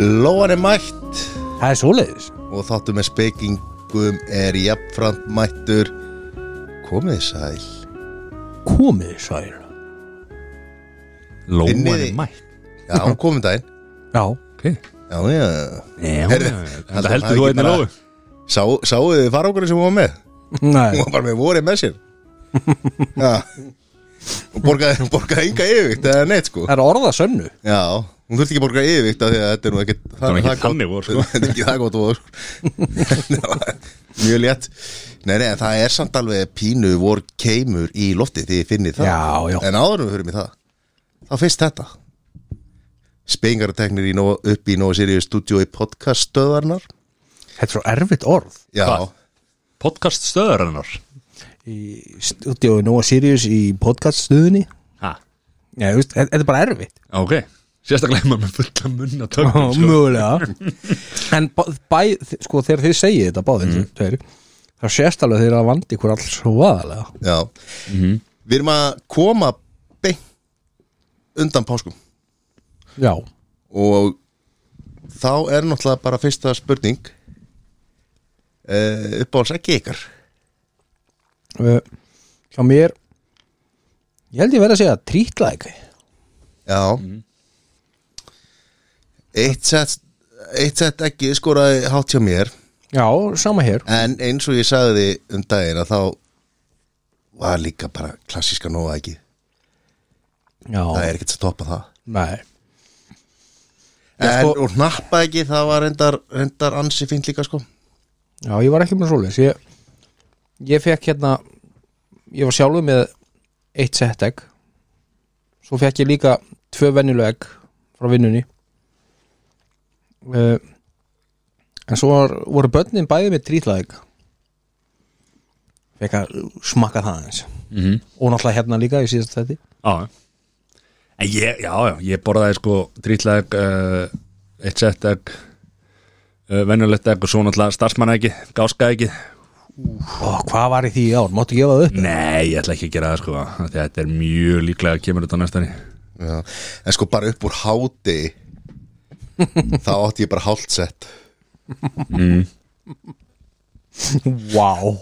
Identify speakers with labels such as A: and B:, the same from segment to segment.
A: Lóan er mætt
B: Það er svoleiðis
A: og þáttu með spekingum er jafnframt mættur komið sæl
B: Komið sæl
C: Lóan
A: Finnið
C: er
A: þið-
C: mætt
A: Já, hún komið daginn
B: Já,
C: Ok
A: Já, já
B: já.
C: Þetta heldur þú hérna einnig lóðu
A: Sá, Sáuðu þið farangurinn sem hún var með?
B: Nei,
A: Hún var bara með vorið með sér Já Hún borgaði, hún borgaði enga yfirvikt eða neitt sko
B: það er orða sönnu
A: Já, hún þurfti ekki að borga yfirvikt af því að þetta er nú ekkit Það
C: var ekki
A: gott-
C: þannig vor, sko.
A: Þetta er ekki það gott vor Það var Mjög létt Nei, nei, en það er samt alveg pínu vor keimur í lofti því þið finnið það
B: Já, já.
A: En áðurum við hörum í það Þá fyrst þetta Spengarateknir í Nova- upp í Nóa Sirius stúdíói podcaststöðarnar
B: Þetta er svo erfitt orð
A: Já,
C: Hvað? Podcast stöðurinnar
B: Í stúdíói Nóa Sirius í podcaststuðinni
C: Ha
B: Já, þú veist, e-, þetta þetta er bara erfitt
C: Ok Sérstaklega maður með fulla munna tökum
B: Já,
C: sko.
B: Mögulega En bæ, bæ, sko, þegar þið segið þetta báðið mm. tveir, þá sést alveg þeirra vandi ykkur alls svoðalega
A: já
C: Mhm.
A: Við erum að koma beint undan páskum
B: Já,
A: og þá er náttúrulega bara fyrsta spurning uh, uppáhalds ekki ykkar
B: uh, hjá mér Ég held ég verið að segja trítlæk
A: já Mhm. eitt sett eitt sett ekki skoraði hátt hjá mér
B: Já, sama hér
A: en eins og ég sagði því um daginn að þá var líka bara klassíska nóa ekki
B: Já,
A: það er ekkert að toppa það
B: nei
A: en,
B: Já, sko-
A: og hnappa ekki það var reyndar, reyndar ansi fínt líka sko
B: Já, ég var ekki með svoleiðis ég, ég fekk hérna ég var sjálfur með eitt sett egg svo fekk ég líka tvö venjuleg egg frá vinnunni uh, en svo var, voru börnin bæði með trítlaði egg fekk að smakka það eins
C: Mhm.
B: og náttúrulega hérna líka í síðast þetta
C: Já En ég, já, já, ég borðaði sko drítlegg, uh, eitt sett egg, uh, venjulegt egg og svo náttúrulega starfsmanna ekki, gáska ekki.
B: Ó, hvað var í því í ár? Máttu gefa það upp?
C: Nei, ég ætla ekki að gera það sko, af því að þetta er mjög líklega að kemur út á næstani.
A: Já. En sko bara upp úr háti Þá átti ég bara hálfsett
B: Vá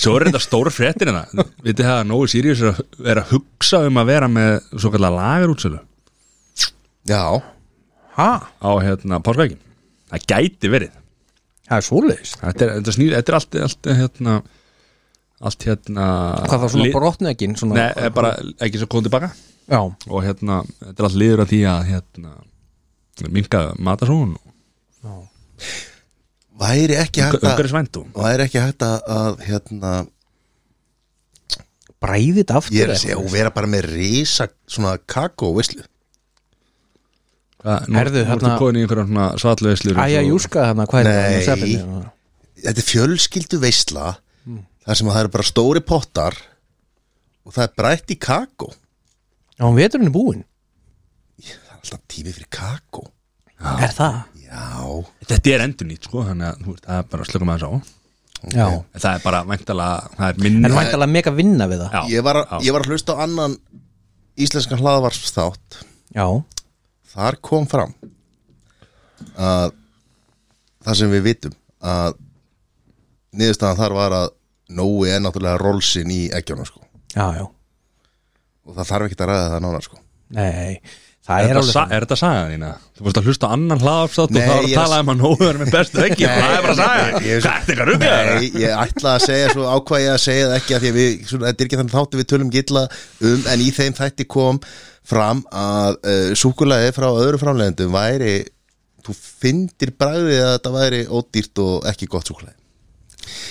C: Svo er þetta stóra fréttir hérna Vitið það að Nói Sirius er að, er að hugsa um að vera með svo kallar lagarútsölu
A: Já,
B: Hæ?
C: á hérna páskaækin Það gæti verið
B: Það er svoleiðis
C: Þetta er, þetta snýr, þetta er allt, allt hérna Allt hérna
B: Hvað það svona
C: lið-
B: brotnegin? Svona,
C: Nei, er bara ekki svo kom tilbaka
B: Já,
C: Og hérna, þetta er allt liður að því að hérna Minga matasón
A: væri ekki hægt að
C: Ungaris væntu
A: Væri ekki hægt að, að hérna,
B: bræðið aftur
A: Ég er
B: eða
A: að segja
B: eitthvað.
A: og vera bara með risa Svona kakó, veistlu
C: Nú
B: Herðu,
C: nú ertu
B: hérna-
C: komin í einhverjum svona svalluðislur
B: Æja, júska þarna, hvað er
A: Nei.
B: það? Nei
A: Þetta er fjölskyldu veistla Þar sem að það eru bara stóri pottar Og það er brætt í kakó
B: Já, hún vetur henni búin
A: Það er alltaf tími fyrir kakó
B: Er það?
A: Já,
C: Þetta er endur nýtt sko Þannig að þú veist, það er bara að slökum að þessu á
B: Já
C: En Það er bara væntalega, það er minna
B: En hann ætlaði mega vinna við það
C: Já,
A: ég var,
C: já.
A: að- ég var að hlusta á annan Íslenskan hlaðvarpsþátt
B: Já,
A: þar kom fram að það sem við vitum að niðurstaðan þar var að Nói er náttúrulega rólsinn í ekkjana sko
B: já, já
A: og það þarf ekkert að ræða það nánar sko
B: Nei, það
C: Er,
B: er
C: er,
B: alveg
C: sa,
B: það
C: er þetta sagan þína? Þú fórst að hlusta á annan hlaðafstátt
A: Nei,
C: og þá
A: ég
C: var að
A: er
C: tala um að nógu er með bestu ekki Það er bara
A: Ég-
C: sagan
A: ég-
C: Hvað er þetta ruggjaður?
A: Nei, ég ætla að segja svo ákvað ég að segja það ekki að því að við, svona, þetta er ekki þannig þáttu við tölum gilla um en í þeim þætti kom fram að uh, súkulaði frá öðru framlegendum væri þú fyndir bragðið að þetta væri ódýrt og ekki gott súkulaði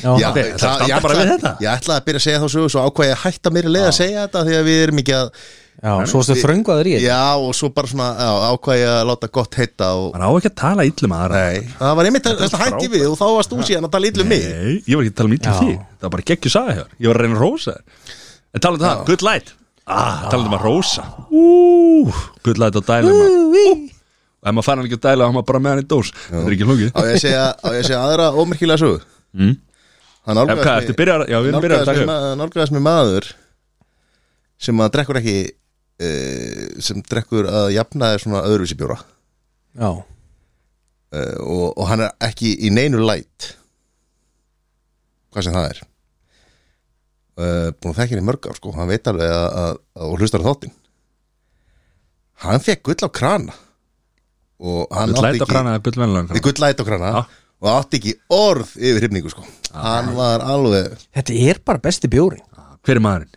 B: Já,
A: Já,
C: ok, það standa
A: ég
C: bara
A: ætla-
C: við þetta.
A: Ég ætlaði að byrja að segja þá sögur svo ákvað ég að hætta mér að leiða að segja þetta því að við erum ekki að
B: já svo stu þrönguður í þetta
A: Já, og svo bara svona já, ákvað ég að láta gott heita og
C: Það á ekki að tala illum aðra
A: Nei, það var einmitt að þetta hætti við og þá varst þú síðan að tala illa um mig
C: Nei, ég var ekki að tala um illum
B: Já.
C: þig Það var bara geggju saga hér Ég var að reyna að rósa þér En tala um það, good light Ah, tala um að rósa Ú, Good light á dælum Og um ef maður fann hann ekki að dæla þá maður bara með hann í dós Þetta er ekki
A: Á
C: hlugið
A: ég að segja, á ég að segja aðra ómerkilega sögu
C: Mm.
A: Hann
C: Ef hvað, ertu byrjar Já, við erum byrjar að
A: nálgaðist
C: taka
A: með
C: upp
A: ma- nálgaðist með maður sem að drekkur ekki eh, uh, sem drekkur að jafna þér svona öðruvísi bjóra
B: Já,
A: uh, og, og hann er ekki í neinu læt hvað sem það er uh, búin að þekkja hann í mörg ár sko, hann veit alveg að, að, að og hlustar á þáttinn hann fekk gull á krana og hann átti
C: Gull læt á
A: ekki-
C: krana eða gull venlega á
A: Þið
C: krana
A: gull læt á krana
C: Já.
A: og átti ekki orð yfir hrifningu sko hann var alveg,
B: Þetta er bara besti bjórin
C: Hver er maðurinn?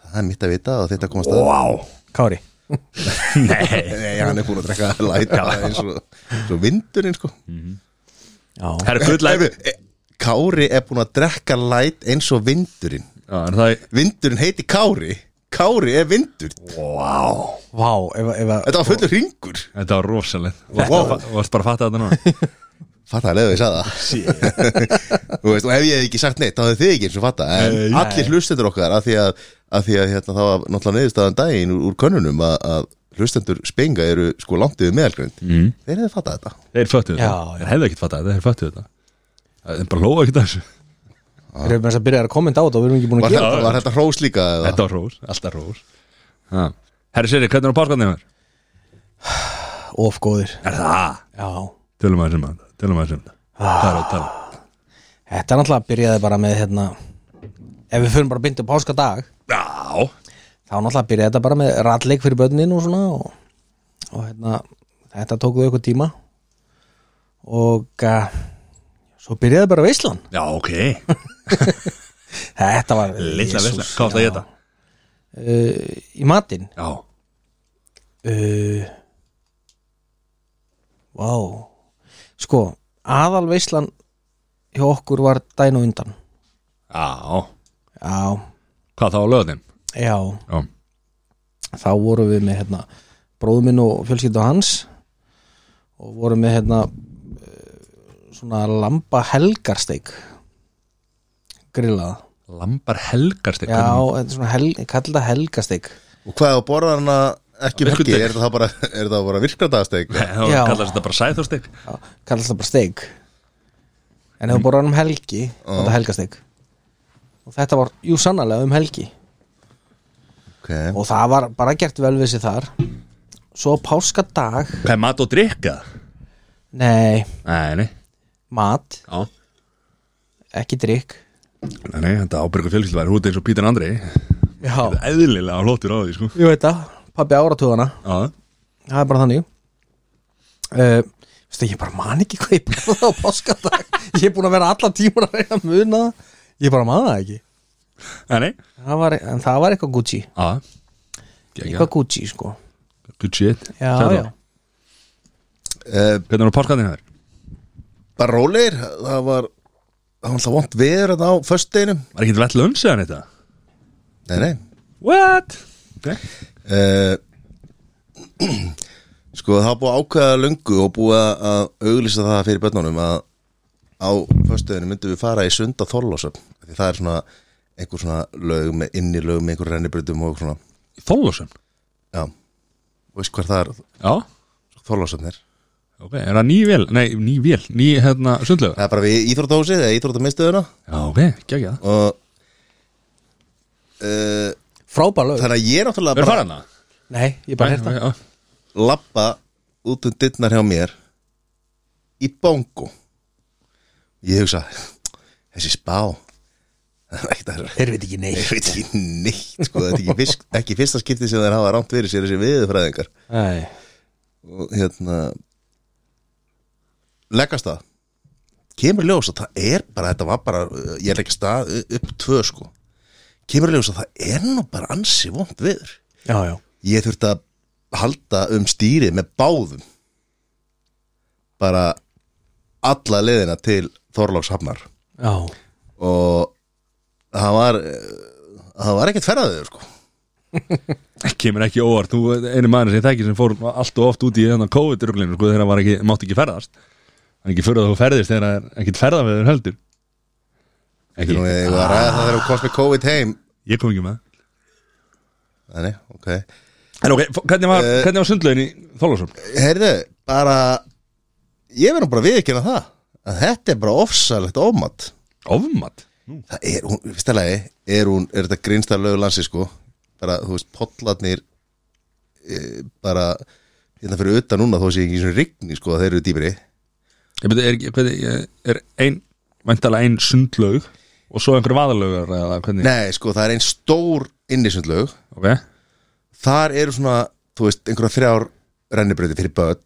A: það er mitt að vita og þetta komast að
B: Kári
C: Nei
A: Nei, hann er búin að drekka læt eins og eins og vindurinn sko
B: Já,
C: Herra gull læt
A: Heyrðu, e- Kári er búin að drekka læt eins og vindurinn
C: Já, en það er
A: Vindurinn heiti Kári Kári er vindur
B: vá ef, ef að
A: Þetta var fullur hringur
C: Þetta var rosalegt
A: Wow.
C: Þú varst bara að fatta þetta núna
A: Fattaðarlega við sagði það Þú veist, og ef ég hef ekki sagt neitt þá hefði þið ekki eins og fatta En
C: Nei.
A: allir hlustendur okkar að því að, að, því að hérna, það var náttúrulega niðurstaðan daginn úr, úr könnunum að, að hlustendur spenga eru sko langt yfir meðalgrönd mm. Þeir hefði fattað þetta
C: Þeir föttu þetta
B: Já, já.
C: Þeir hefðu ekkert fattað þetta, þeir föttu þetta Þeir bara lóa ekkert að þessu
B: Við erum þess að byrja að kommenta á þetta og við erum ekki búin
A: Ah.
B: að
A: Var,
B: gera
A: þetta, var þetta hrós líka? eða?
C: Þetta var rós, alltaf rós Ha. Herri Siri, hvernig er á páskarnir mér?
B: þetta Of góðir
C: Er það?
B: Já
C: Tölum aðeins um þetta, tölum aðeins um þetta Það er að tala
B: Þetta er náttúrulega byrjaði bara með hérna Ef við fyrir bara að bynda páska dag
C: Já,
B: Þá náttúrulega byrjaði þetta bara með ratleik fyrir börnin og svona Og, og hérna Þetta tókuðu ykkur tíma Og uh, Svo byrjaði bara veislan
C: já, ok
B: Þetta var
C: Lilla
B: Jesus,
C: veisla, hvað átt að
B: já.
C: geta?
B: uh, Í matinn
C: Já,
B: uh, Vá Sko, aðalveislan hjá okkur var dæn og undan
C: já
B: Já,
C: Hvað þá á löðin?
B: já
C: Já,
B: Þá vorum við með hérna bróður minn og fjölskyldu hans og vorum með hérna eh, svona lamba helgarsteik grillað
C: lambar helgarst
B: Já, þetta er svona hel, kallið það helgarsteik
A: Og hvað á borðarna ekki um
C: Virkur
A: helgi?
C: deg.
A: Er það bara, er það bara virkradagasteg?
C: Það
B: Já.
C: kallast þetta bara sæðhústik
B: kallast það bara steik en ef þú borðar um helgi þá er þetta helgasteik og þetta var, jú sannarlega um helgi
A: Okay.
B: og það var bara gert vel við sér þar svo páskadag
C: Hvað er mat og drikka?
B: nei,
C: Nei, nei,
B: mat,
C: já
B: ekki drikk
C: Nei, nei, þetta ábyrgur fjölskyldu væri húti eins og Pítur Andri
B: já,
C: Þetta er eðlilega hlóttur á því, sko
B: ég veit það pabbi áratugana,
C: Já,
B: það er bara þannig uh, veistu, ég bara man ekki hvað ég borða á páskadag ég er búin að vera alla tímur að reyna að muna það. ég bara man það ekki
C: nei, nei
B: það var, en það var eitthvað Gucci
C: Já, gegja,
B: eitthvað Gucci sko
C: good shit
B: já,
C: Sæður.
B: já.
A: Uh,
C: Hvernig er á páskarnir hér?
A: bara rólegir, það var það var alltaf vont veður þetta á föstudeginum
C: Var ekki vett lönns eða þetta?
A: Nei, nei
C: What? Okay.
A: uh, Sko það var búið að ákveða löngu og búið að auglýsa það fyrir börnunum að á föstuðinu myndum við fara í sunda þorlósöfn því það er svona einhver svona lög með inn í lög með einhver rennibrytum og svona
C: Þóllósun?
A: já, og veist hvar það er
C: Já,
A: þorlósöfn er
C: ok, er það ný vél? Nei, ný vél, ný hérna sundlega
A: það er bara við íþróttahúsið eða íþróttamistuðuna
C: Já, ok, gegja
A: og uh,
B: frábær lög
A: þannig að ég er náttúrulega
C: Við erum
A: bara
C: farin það?
B: Nei, ég bara hérta
C: það
A: lappa út um dittnar hjá mér í bongo ég hugsa þessi spá það er ekkert að-
B: Þeir veit ekki nei
A: ég veit ekki neitt sko, þetta er ekki, fyrst, ekki fyrsta skipti sem þeir hafa rámt verið sér þessi viðurfræðingar
B: Nei
A: og hérna leggast það kemur í ljós að það er bara þetta var bara, uh, ég leggast það upp tvö sko, kemur í ljós að það er nú bara ansi vond viður
B: Já, já
A: ég þurfti að halda um stýrið með báðum bara alla leiðina til Þorlákshafnar
B: Já
A: og það var eh, það var ekkert ferðaður sko
C: Kemur ekki óvart, þú einu maður sem ég þekki sem fór allt og oft út í þennan COVID-ruglinu sko, þegar hann var ekki, mátti ekki ferðast Það er ekki fyrir að þú ferðist þegar það er ekkert ferða með þeir heldur Ekki,
A: Nú, ég var að ræða það þegar við komst með COVID heim
C: ég kom ekki með það.
A: Þannig, ok
C: En ok, f- hvernig var, hvernig var sundlegin í Þóllósun?
A: Heyrðu, bara ég verðum bara viðkynna það að þetta er bara ofsalegt ómatt
C: Ofmat?
A: það er, hún, fyrstælegi er hún, er þetta grinnsta lögur landsi sko eh, bara, þú veist, pollarnir e, bara hérna fyrir utan núna þó sé ekki svona rigni sko að þeir eru dýbri
C: Ég beti, er, hvernig, er ein væntalega ein sundlaug og svo einhver vaðalaugar eða hvernig
A: Nei, sko, það er einn stór innisundlaug
C: ok, já,
A: Þar eru svona, þú veist, einhverja þrjár rennibröði fyrir börn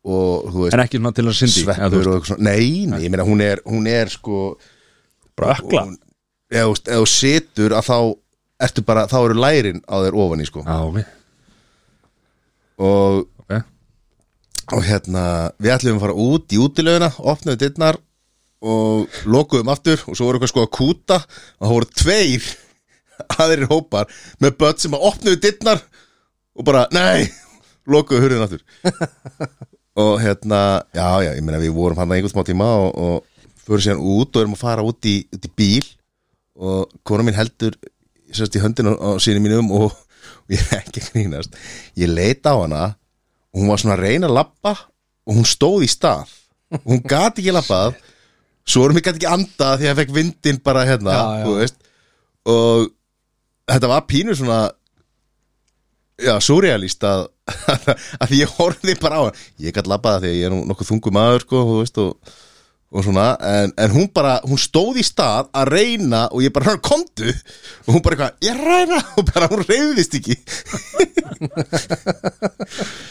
A: og þú veist,
C: en ekki svona til að syndi eða þú
A: sveppur og eitthvað svona Nei, nei, ég meina hún er, hún er sko
C: bara ökla
A: hún- Ef þú veist, ef þú situr að þá ertu bara, þá eru lærin á þér ofan í sko
C: já, ok,
A: og,
C: ok
A: og hérna, við ætlum að fara út í útilaugina opnum dittnar og lokuðum aftur og svo voru eitthvað sko að kúta og það voru tveir aðrir hópar með börn sem að opnuðu dittnar og bara, nei, lokuðu hurðin aftur og hérna, já, já, ég meina við vorum hann einhvern smá tíma og, og förum síðan út og erum að fara út í, út í bíl og kona mín heldur sérst í höndin á, á síni mínum og, og ég er ekki að grínast ég leita á hana og hún var svona að reyna að lappa og hún stóð í stað og hún gati ekki lappað svo erum ég gati ekki andað því að ég fekk vindin bara hérna
B: Já, já.
A: þú veist og þetta var pínu svona já, surrealist að, að því ég horfði bara á hann ég gæti labbaða því að ég er nú nokkuð þungu maður sko, þú veist, og, og svona en, en hún bara, hún stóð í stað að reyna og ég bara, hann komdu og hún bara eitthvað, ég er að reyna og bara hún reyðist ekki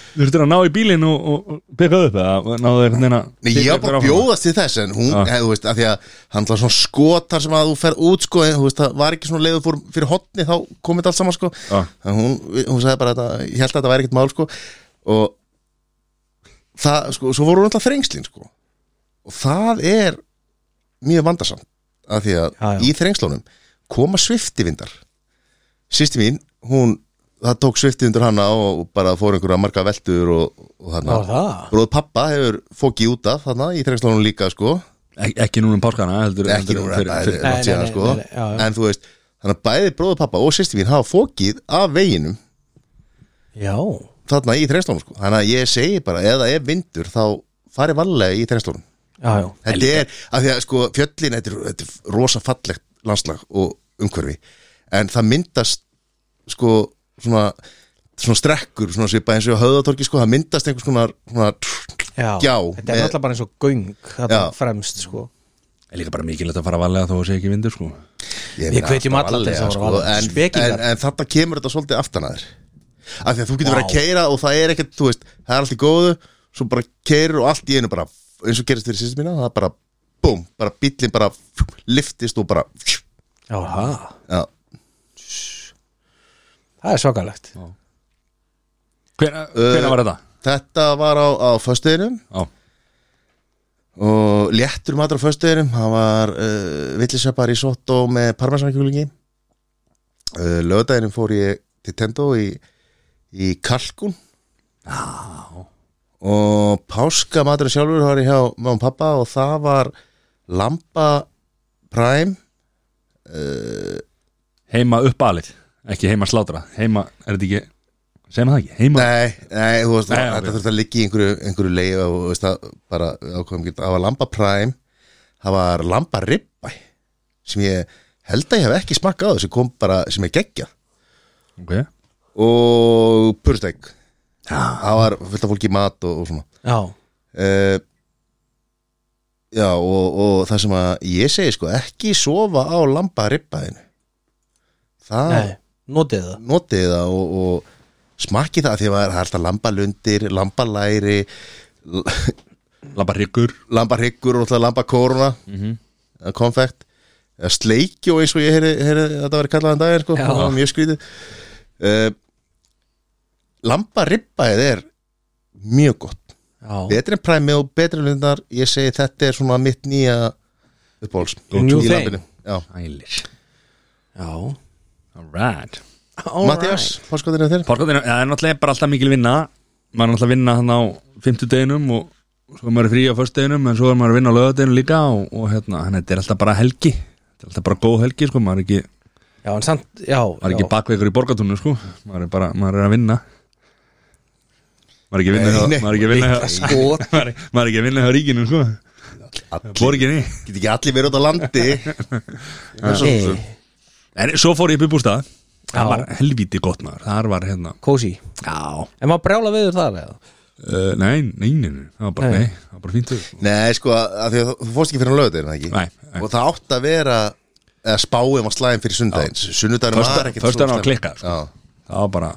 C: Þú þurftir að ná í bílinn og, og, og peka upp eða náðu þeir neina
A: Nei, ég var bara að bjóðast til þess en hún,
C: Já.
A: hef, þú veist, að því að hann var svona skotar sem að þú fer út sko, en, þú veist, það var ekki svona leiður fór fyrir hotni þá komið allt saman sko
C: Já.
A: en hún, hún sagði bara að þetta, ég held að þetta væri ekkert mál sko og það, sko, svo voru hún alltaf þrengslin sko og það er mjög vandarsam af því að
B: Já, já.
A: í þrengslunum koma sviftivindar sýsti mín, hún það tók sviftivindur hana og bara fór einhverja marga veldur og, og hana
B: Var það?
A: Bróð pappa hefur fókið út af þarna í þrengslunum líka sko
C: Ek, Ekki núna um páskana heldur,
A: ekki
C: heldur,
A: núna
C: fyrir,
A: þetta er
C: fyrir,
B: Nei,
A: langt síðan
B: nei,
A: sko
B: nei, nei, já, já.
A: en þú veist, þannig að bæði bróðu pappa og sýsti mín hafa fókið af veginum
B: Já
A: þarna í þrengslunum sko þannig að ég segi bara, eða ef vindur þá fari varlega í þrengslunum
B: Já, já
A: þetta er, af því að sko fjöllin þetta er, þetta er rosa fallegt landslag og umhverfi, en það myndast sko svona svona strekkur, svona svipa eins og á höðatorki sko, það myndast einhvers konar svona,
B: Já, eh,
A: gjá
B: Þetta er
A: með-
B: alltaf bara eins og göng Þetta
A: Já.
B: fremst, sko
C: Er líka bara mikilvægt að fara varlega þó að sé ekki vindur sko
A: Ég
B: Við
A: meina,
B: hvetjum
A: alltaf
B: alla til þess að
A: varlega,
B: fara
A: sko,
B: varlega.
A: en,
B: Spekingar.
A: en, en þetta kemur þetta svolítið aftan að þér af því að þú getur verið að
B: Vá.
A: keira og það er ekkert, þú veist, það er allt í góðu svo bara keirur og allt í einu bara eins og gerist fyrir sýstum mína, það er bara búm, bara bíllinn bara liftist og bara já,
B: Já, það Það er svakalegt
C: Hvena, hvena var þetta?
A: þetta var á, á föstuðinum
C: Já,
A: og léttur matur á föstuðinum það var uh, villisöpa risotto með parmesankjúlingi uh, lögdæðinum fór ég til Tendo í, í kalkun og páska maturinn sjálfur var ég hjá mamma og pappa og það var lampa prime
C: heima uppalið Ekki heima slátra Heima, er þetta ekki Segum það ekki, heima
A: Nei, nei, þú veist,
C: Nei,
A: nei,
C: ok.
A: þetta þurfti að liggja í einhverju, einhverju leið og þú veist að bara ákveðum geta, það var Lamba Prime það var Lamba Ribbæ sem ég held að ég hef ekki smakkað á þessu kom bara, sem ég geggja
C: okay.
A: og Pursteg það var fullt af fólki í mat og, og svona
B: Já,
A: uh, Já, og, og það sem að ég segi sko, ekki sofa á Lamba Ribbæðinu það
B: nei, notið það
A: notið það og, og smakkið það því að það er alltaf lambalundir, lambalæri
C: Labba hryggur
A: lambarhyggur og alltaf lambakóruna mm
B: Mhm.
A: -hmm. konfekt eða sleikjó eins og ég heyri, heyri að þetta verið kallaðan daginn sko,
B: Já.
A: það var mjög skrítið uh, lambaribbaðið er mjög gott,
B: Já,
A: betri en præmi og betri en lundar, ég segi þetta er svona mitt nýja uppbóls
B: New
A: í
B: thing.
A: lambinu Já.
C: Ælis
B: já
C: Alright
B: All
A: Mattias, páskoðinu þér
C: Párkotinu, það er náttúrulega bara alltaf mikil vinna Maður er náttúrulega að vinna hann á 50 deginum og svo er maður frí á föstudeginum en svo er maður að vinna á lögadeginum líka og, og hérna, hann þetta er alltaf bara helgi Þetta er alltaf bara góð helgi, sko, maður er ekki
B: right. Já, en samt, já
C: maður er ekki
B: já.
C: bakveikur í borgatúnu sko maður er bara, maður er að vinna maður er ekki að vinna
A: Nei,
C: hjá-
A: nei.
C: maður er ekki að vinna hjá-
B: Skot.
C: maður er- maður er ekki að vinna hjá ríkinu sko borginni
A: Get ekki allir verið út á landi
B: Nei.
C: en svo fór ég upp í bústað það var helvíti gott maður þar var hérna
B: Kósi
C: já,
B: En maður brjála viður þar eða?
C: uh, nei, nei, nei, nei, það var bara,
B: Nei.
C: nei, það var bara fínt veður.
A: Nei, sko, að því að þú- þú fórst ekki fyrir hann lögutin, ekki?
C: Nei, nei.
A: Og það átt að vera eða spáum að slæðin fyrir sundagins Sunnudaginn
C: Föstudag-
A: var ekkert
C: föstudag
A: svo
C: var
A: slæm.
C: klikkað, sko.
A: Já,
C: það var bara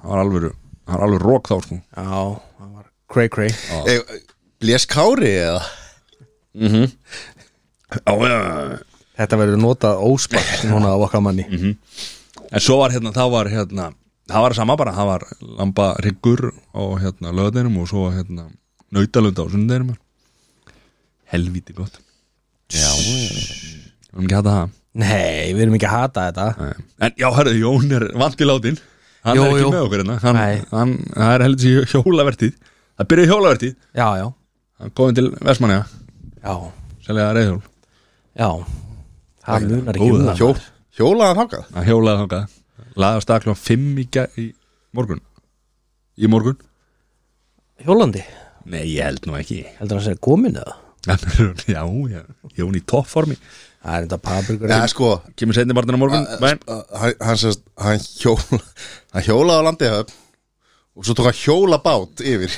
C: það var alveg, það var alveg rók þá sko
B: Já, það var cray cray
A: Ey, Blés Kári eða?
C: já, já, já, já
B: Þetta verður notað óspart núna á okkar manni
C: Mhm. En svo var hérna, þá var hérna Það var sama bara, það var lamba riggur á hérna löðinum og svo hérna nautalunda á sundaðinum Helvíti gott
A: Já,
C: Við erum ekki að hata það
B: Nei, við erum ekki að hata þetta
C: Nei. En já, hörðu, Jón er vant í látin Hann
B: Jú,
C: er ekki
B: jú.
C: með okkur hérna hann,
B: Nei.
C: hann, Það er heldur sér hjólavertið Það byrjaði hjólavertið
B: Já, já,
C: Hann komið til Vestmanniða,
B: já,
C: seljaði reyðhjól
B: já Það munar ekki
C: góður,
B: um það
A: hjó, hjólaðan hákað
C: Hann hjólaði þangað Laði á staklu á fimm í, gær- í morgun Í morgun?
B: Hjólandi,
C: Nei, ég held nú ekki
B: heldur hann að segja komin eða?
C: Já, já, Jón í toppformi
B: Það er þetta paprikur
A: Nei, sko,
C: Kemur setni barndan á morgun Bæn
A: Uh, hann, hann, sérst, hann, hjóla, hann hjólaði á landihöfn og svo tók hann hjólabát yfir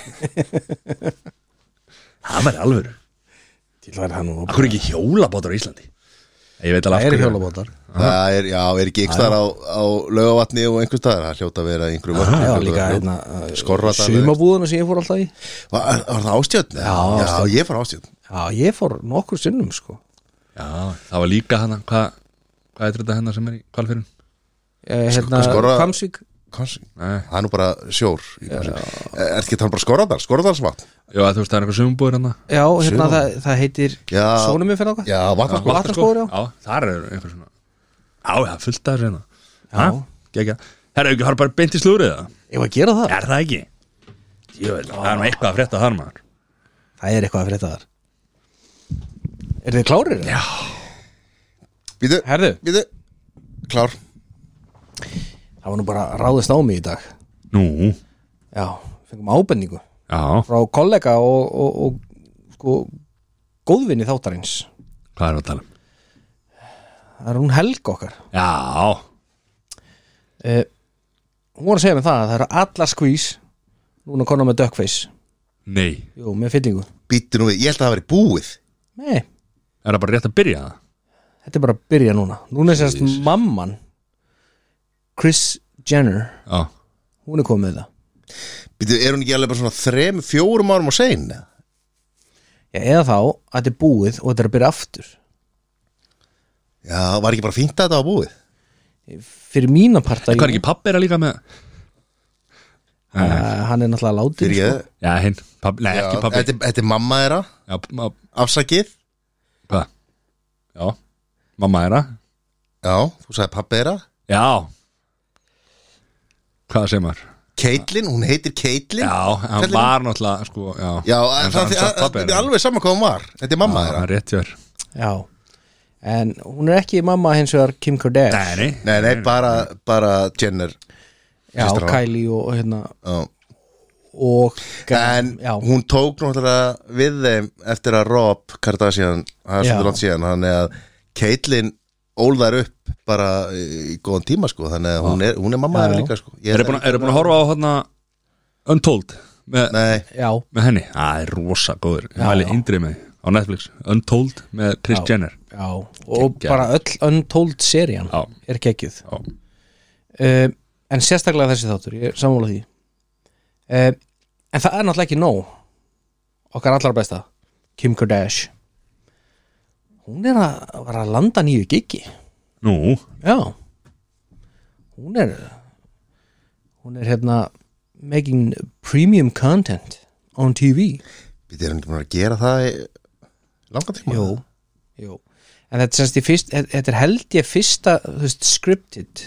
C: ah, Það væri alveg
B: Til það er hann og
C: Akkur ekki hjólabátar á Íslandi Ég veit alveg
B: Það
C: af
B: eru
C: hverju
B: hjólabótar
A: það er, já, er ekki einhverstaðar á, á laugavatni og einhverstaðar, það hljóta að vera í
C: Ah,
A: einhverju vörn
B: Já, líka hérna
A: Skorradal eða
B: Sumabúðuna sem ég fór alltaf í
A: var, var það ástjötn? Já, já
B: Ástjörn.
A: ég fór ástjötn
B: Já, ég fór nokkur sinnum sko
C: Já, það var líka hana Hvað hva er þetta hennar sem er í kvalfyrin?
B: Eh, Hérna,
A: Skorra-
B: Kamsvík
C: Nei,
A: það er nú bara sjór í Hvammsvík. er er ekki þannig bara skorradar, skorradarsvatn
C: já þú veist það er eitthvað sumbúður hana
B: Já, hérna, það, það heitir
A: Já.
B: Sónum minn fyrir okkar
A: já, vatnarskor
B: Vatnaskógur, já.
C: Já, þar er einhver svona Já, það er fullt að reyna
B: Já.
C: Já Gekja Herra, ekki, það er bara beint í slúrið það
B: Ég var að gera það
C: Er það ekki? Jöfell, það er nú eitthvað að frétta þar maður
B: Það er eitthvað að frétta þar Er þið klárir? Já
A: býtu,
B: Herðu,
A: býtu, klár
B: það var nú bara ráðist á mig í dag
C: Nú,
B: Já, fengum ábendingu
C: já,
B: Frá kollega og, og, og sko, góðvinni þáttarins
C: hvað er að tala um?
B: Það er hún helga okkar
C: Já,
B: eh, Hún var að segja mér það að Það eru allar skvís Núna konar með duckface
C: nei
B: Jú, með fyllingu
A: býtu nú við, ég held að það veri búið
B: Nei,
C: Er það bara rétt að byrja það?
B: þetta er bara að byrja núna Núna er sérst mamman Chris Jenner
C: Já,
B: Hún er komið með það
A: býtu, er hún ekki alveg bara svona þrem, fjórum árum og sein
B: Já, eða þá að þetta er búið og þetta er að byrja aftur
A: já, var ekki bara fínt að þetta var búið
B: Fyrir mína parta
C: hvað er ekki pappir að líka með
B: Eh, Hann er náttúrulega sko. látið
A: fyrir ég,
C: Já, hinn, pabbi,
A: já,
C: nei, sko. ekki pabbi
A: þetta, þetta er mamma þeirra
C: Já, ma-
A: afsakið
C: hvað? Já, mamma er það
A: Já, þú sagði pappi þeirra
C: Já Hvað segir maður?
A: Caitlin, hún heitir Caitlin
C: Já, hann
A: Kallinn-
C: var náttúrulega, sko, já
A: Já,
C: En
A: það,
C: hann
A: það,
C: samt
A: það,
C: pabbi
A: er
C: hennar.
A: alveg saman hvað hún var Þetta er
C: Já,
A: mamma
C: hann
A: þeirra
C: er rétt hjör
B: Já, en hún er ekki mamma hins vegar Kim Kardashian
C: Nei, nei,
A: Nei, nei, bara, bara Jenner
B: Já,
A: systir hennar.
B: Kylie og, og hérna
A: Já.
B: og
A: En
B: já,
A: hún tók náttúrulega við þeim eftir að Rob Kardashian það er
B: Já.
A: svolítið langt síðan Þannig að Caitlin ólðar upp bara í góðan tíma sko Þannig að hún er, hún er mamma
B: Já,
A: þeirra
B: já.
A: líka sko Ég
C: eru búin, er búin að horfa á hérna Untold með,
A: Nei,
B: já,
C: með henni Æ, það er rosa góður, ég
B: Já,
C: mæli
B: já.
C: indrið með því. á Netflix Untold með Chris
B: Já.
C: Jenner
B: já og bara öll untold serían
C: Já.
B: er geggjuð
C: Já,
B: uh, en sérstaklega þessi þáttur, ég er sammála því uh, en það er náttúrulega ekki nóg okkar allar besta Kim Kardashian hún er að, var að landa nýju giggi
C: nú,
B: já hún er hún er hérna making premium content on TV
A: býttu, er hann ekki búin að gera það í langan tíma?
B: Jú, jú En þetta, semst, í fyrst, þetta- þetta er held ég fyrsta þú veist, scripted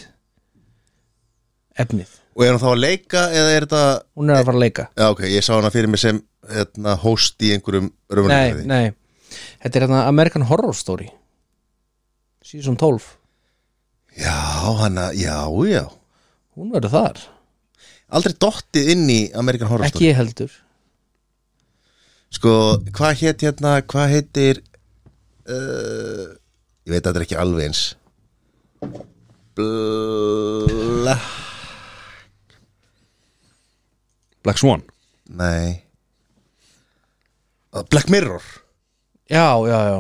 B: efnið
A: Og er hún þá að leika eða er þetta
B: Hún er að fara að leika
A: Já, ok, ég sá hana fyrir mig sem hérna, host í einhverjum
B: Nei,
A: raunverðinni
B: nei Þetta er hérna American Horror Story Season 12
A: Já, hana, já, já
B: Hún verður þar
A: Aldrei dottið inn í Amerikan Horror
B: Ekki
A: Story
B: ég heldur
A: Sko, hvað heit hérna, hvað heitir uh, Ég veit að þetta er ekki alveg eins Bla...
C: Black Swan
A: Nei Uh, Black Mirror
B: Já, já, já,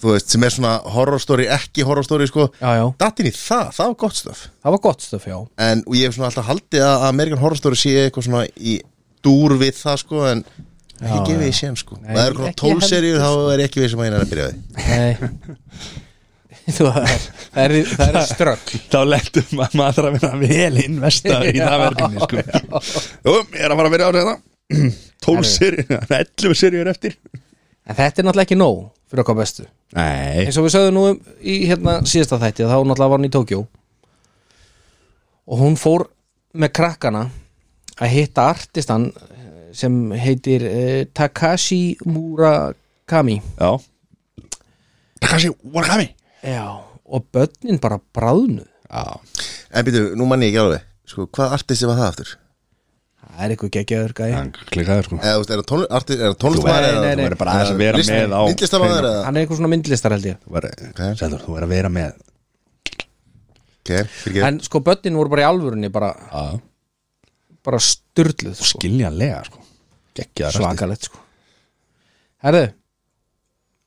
A: Þú veist, sem er svona horror story, ekki horror story sko.
B: já, já
A: Datt inn í það, það var gott stöf
B: Það var gott stöf, já
A: En og ég hef svona alltaf haldið að American Horror Story sé eitthvað svona í dúr við það sko En ekki
B: Já,
A: gefið í
B: já.
A: sén sko
B: Nei,
A: Það eru konar
B: ekki sko.
A: tólserjur, þá er ekki við sem að hérna að byrja því
B: Nei Þú, það er, það er, það er strögg
C: Þá lettum ma- maður að vera vel investa í það verðinni sko. Jú, ég er að fara að vera árið þetta 12 serið, 11 serið er eftir
B: En þetta er náttúrulega ekki nóg fyrir okkar bestu
C: Nei
B: Eins og við sögðum nú um- í hérna síðasta þætti að þá náttúrulega var hann í Tókjó Og hún fór með krakkana að hitta artistan eh, sem heitir eh, Takashi Murakami
C: Já Takashi Wakami
B: Já Og börnin bara bráðnu
C: Já
A: En býtu, nú manni ég ekki alveg Sko, hvað artisti var það aftur?
B: Það er eitthvað geggjaður gæði
C: Hann klikkaði sko
A: Eða, þú veist, er það tónlist, artist, er það tónlistmaður
B: Nei,
A: eða-
B: nei, nei.
C: Þú verður bara aðeins að vera
A: List-
C: með á
A: Myndlistarmaður eða?
B: Hann er eitthvað svona myndlistar held ég
C: Þú verður- Sæður, þú verður að vera með
A: Ok, fyrir
B: En sko börnin voru bara í alvörunni bara,
C: Já
B: bara styrluð sko.
C: Skiljanlega sko Gekkjaðar
B: Svakalegt sko Herðu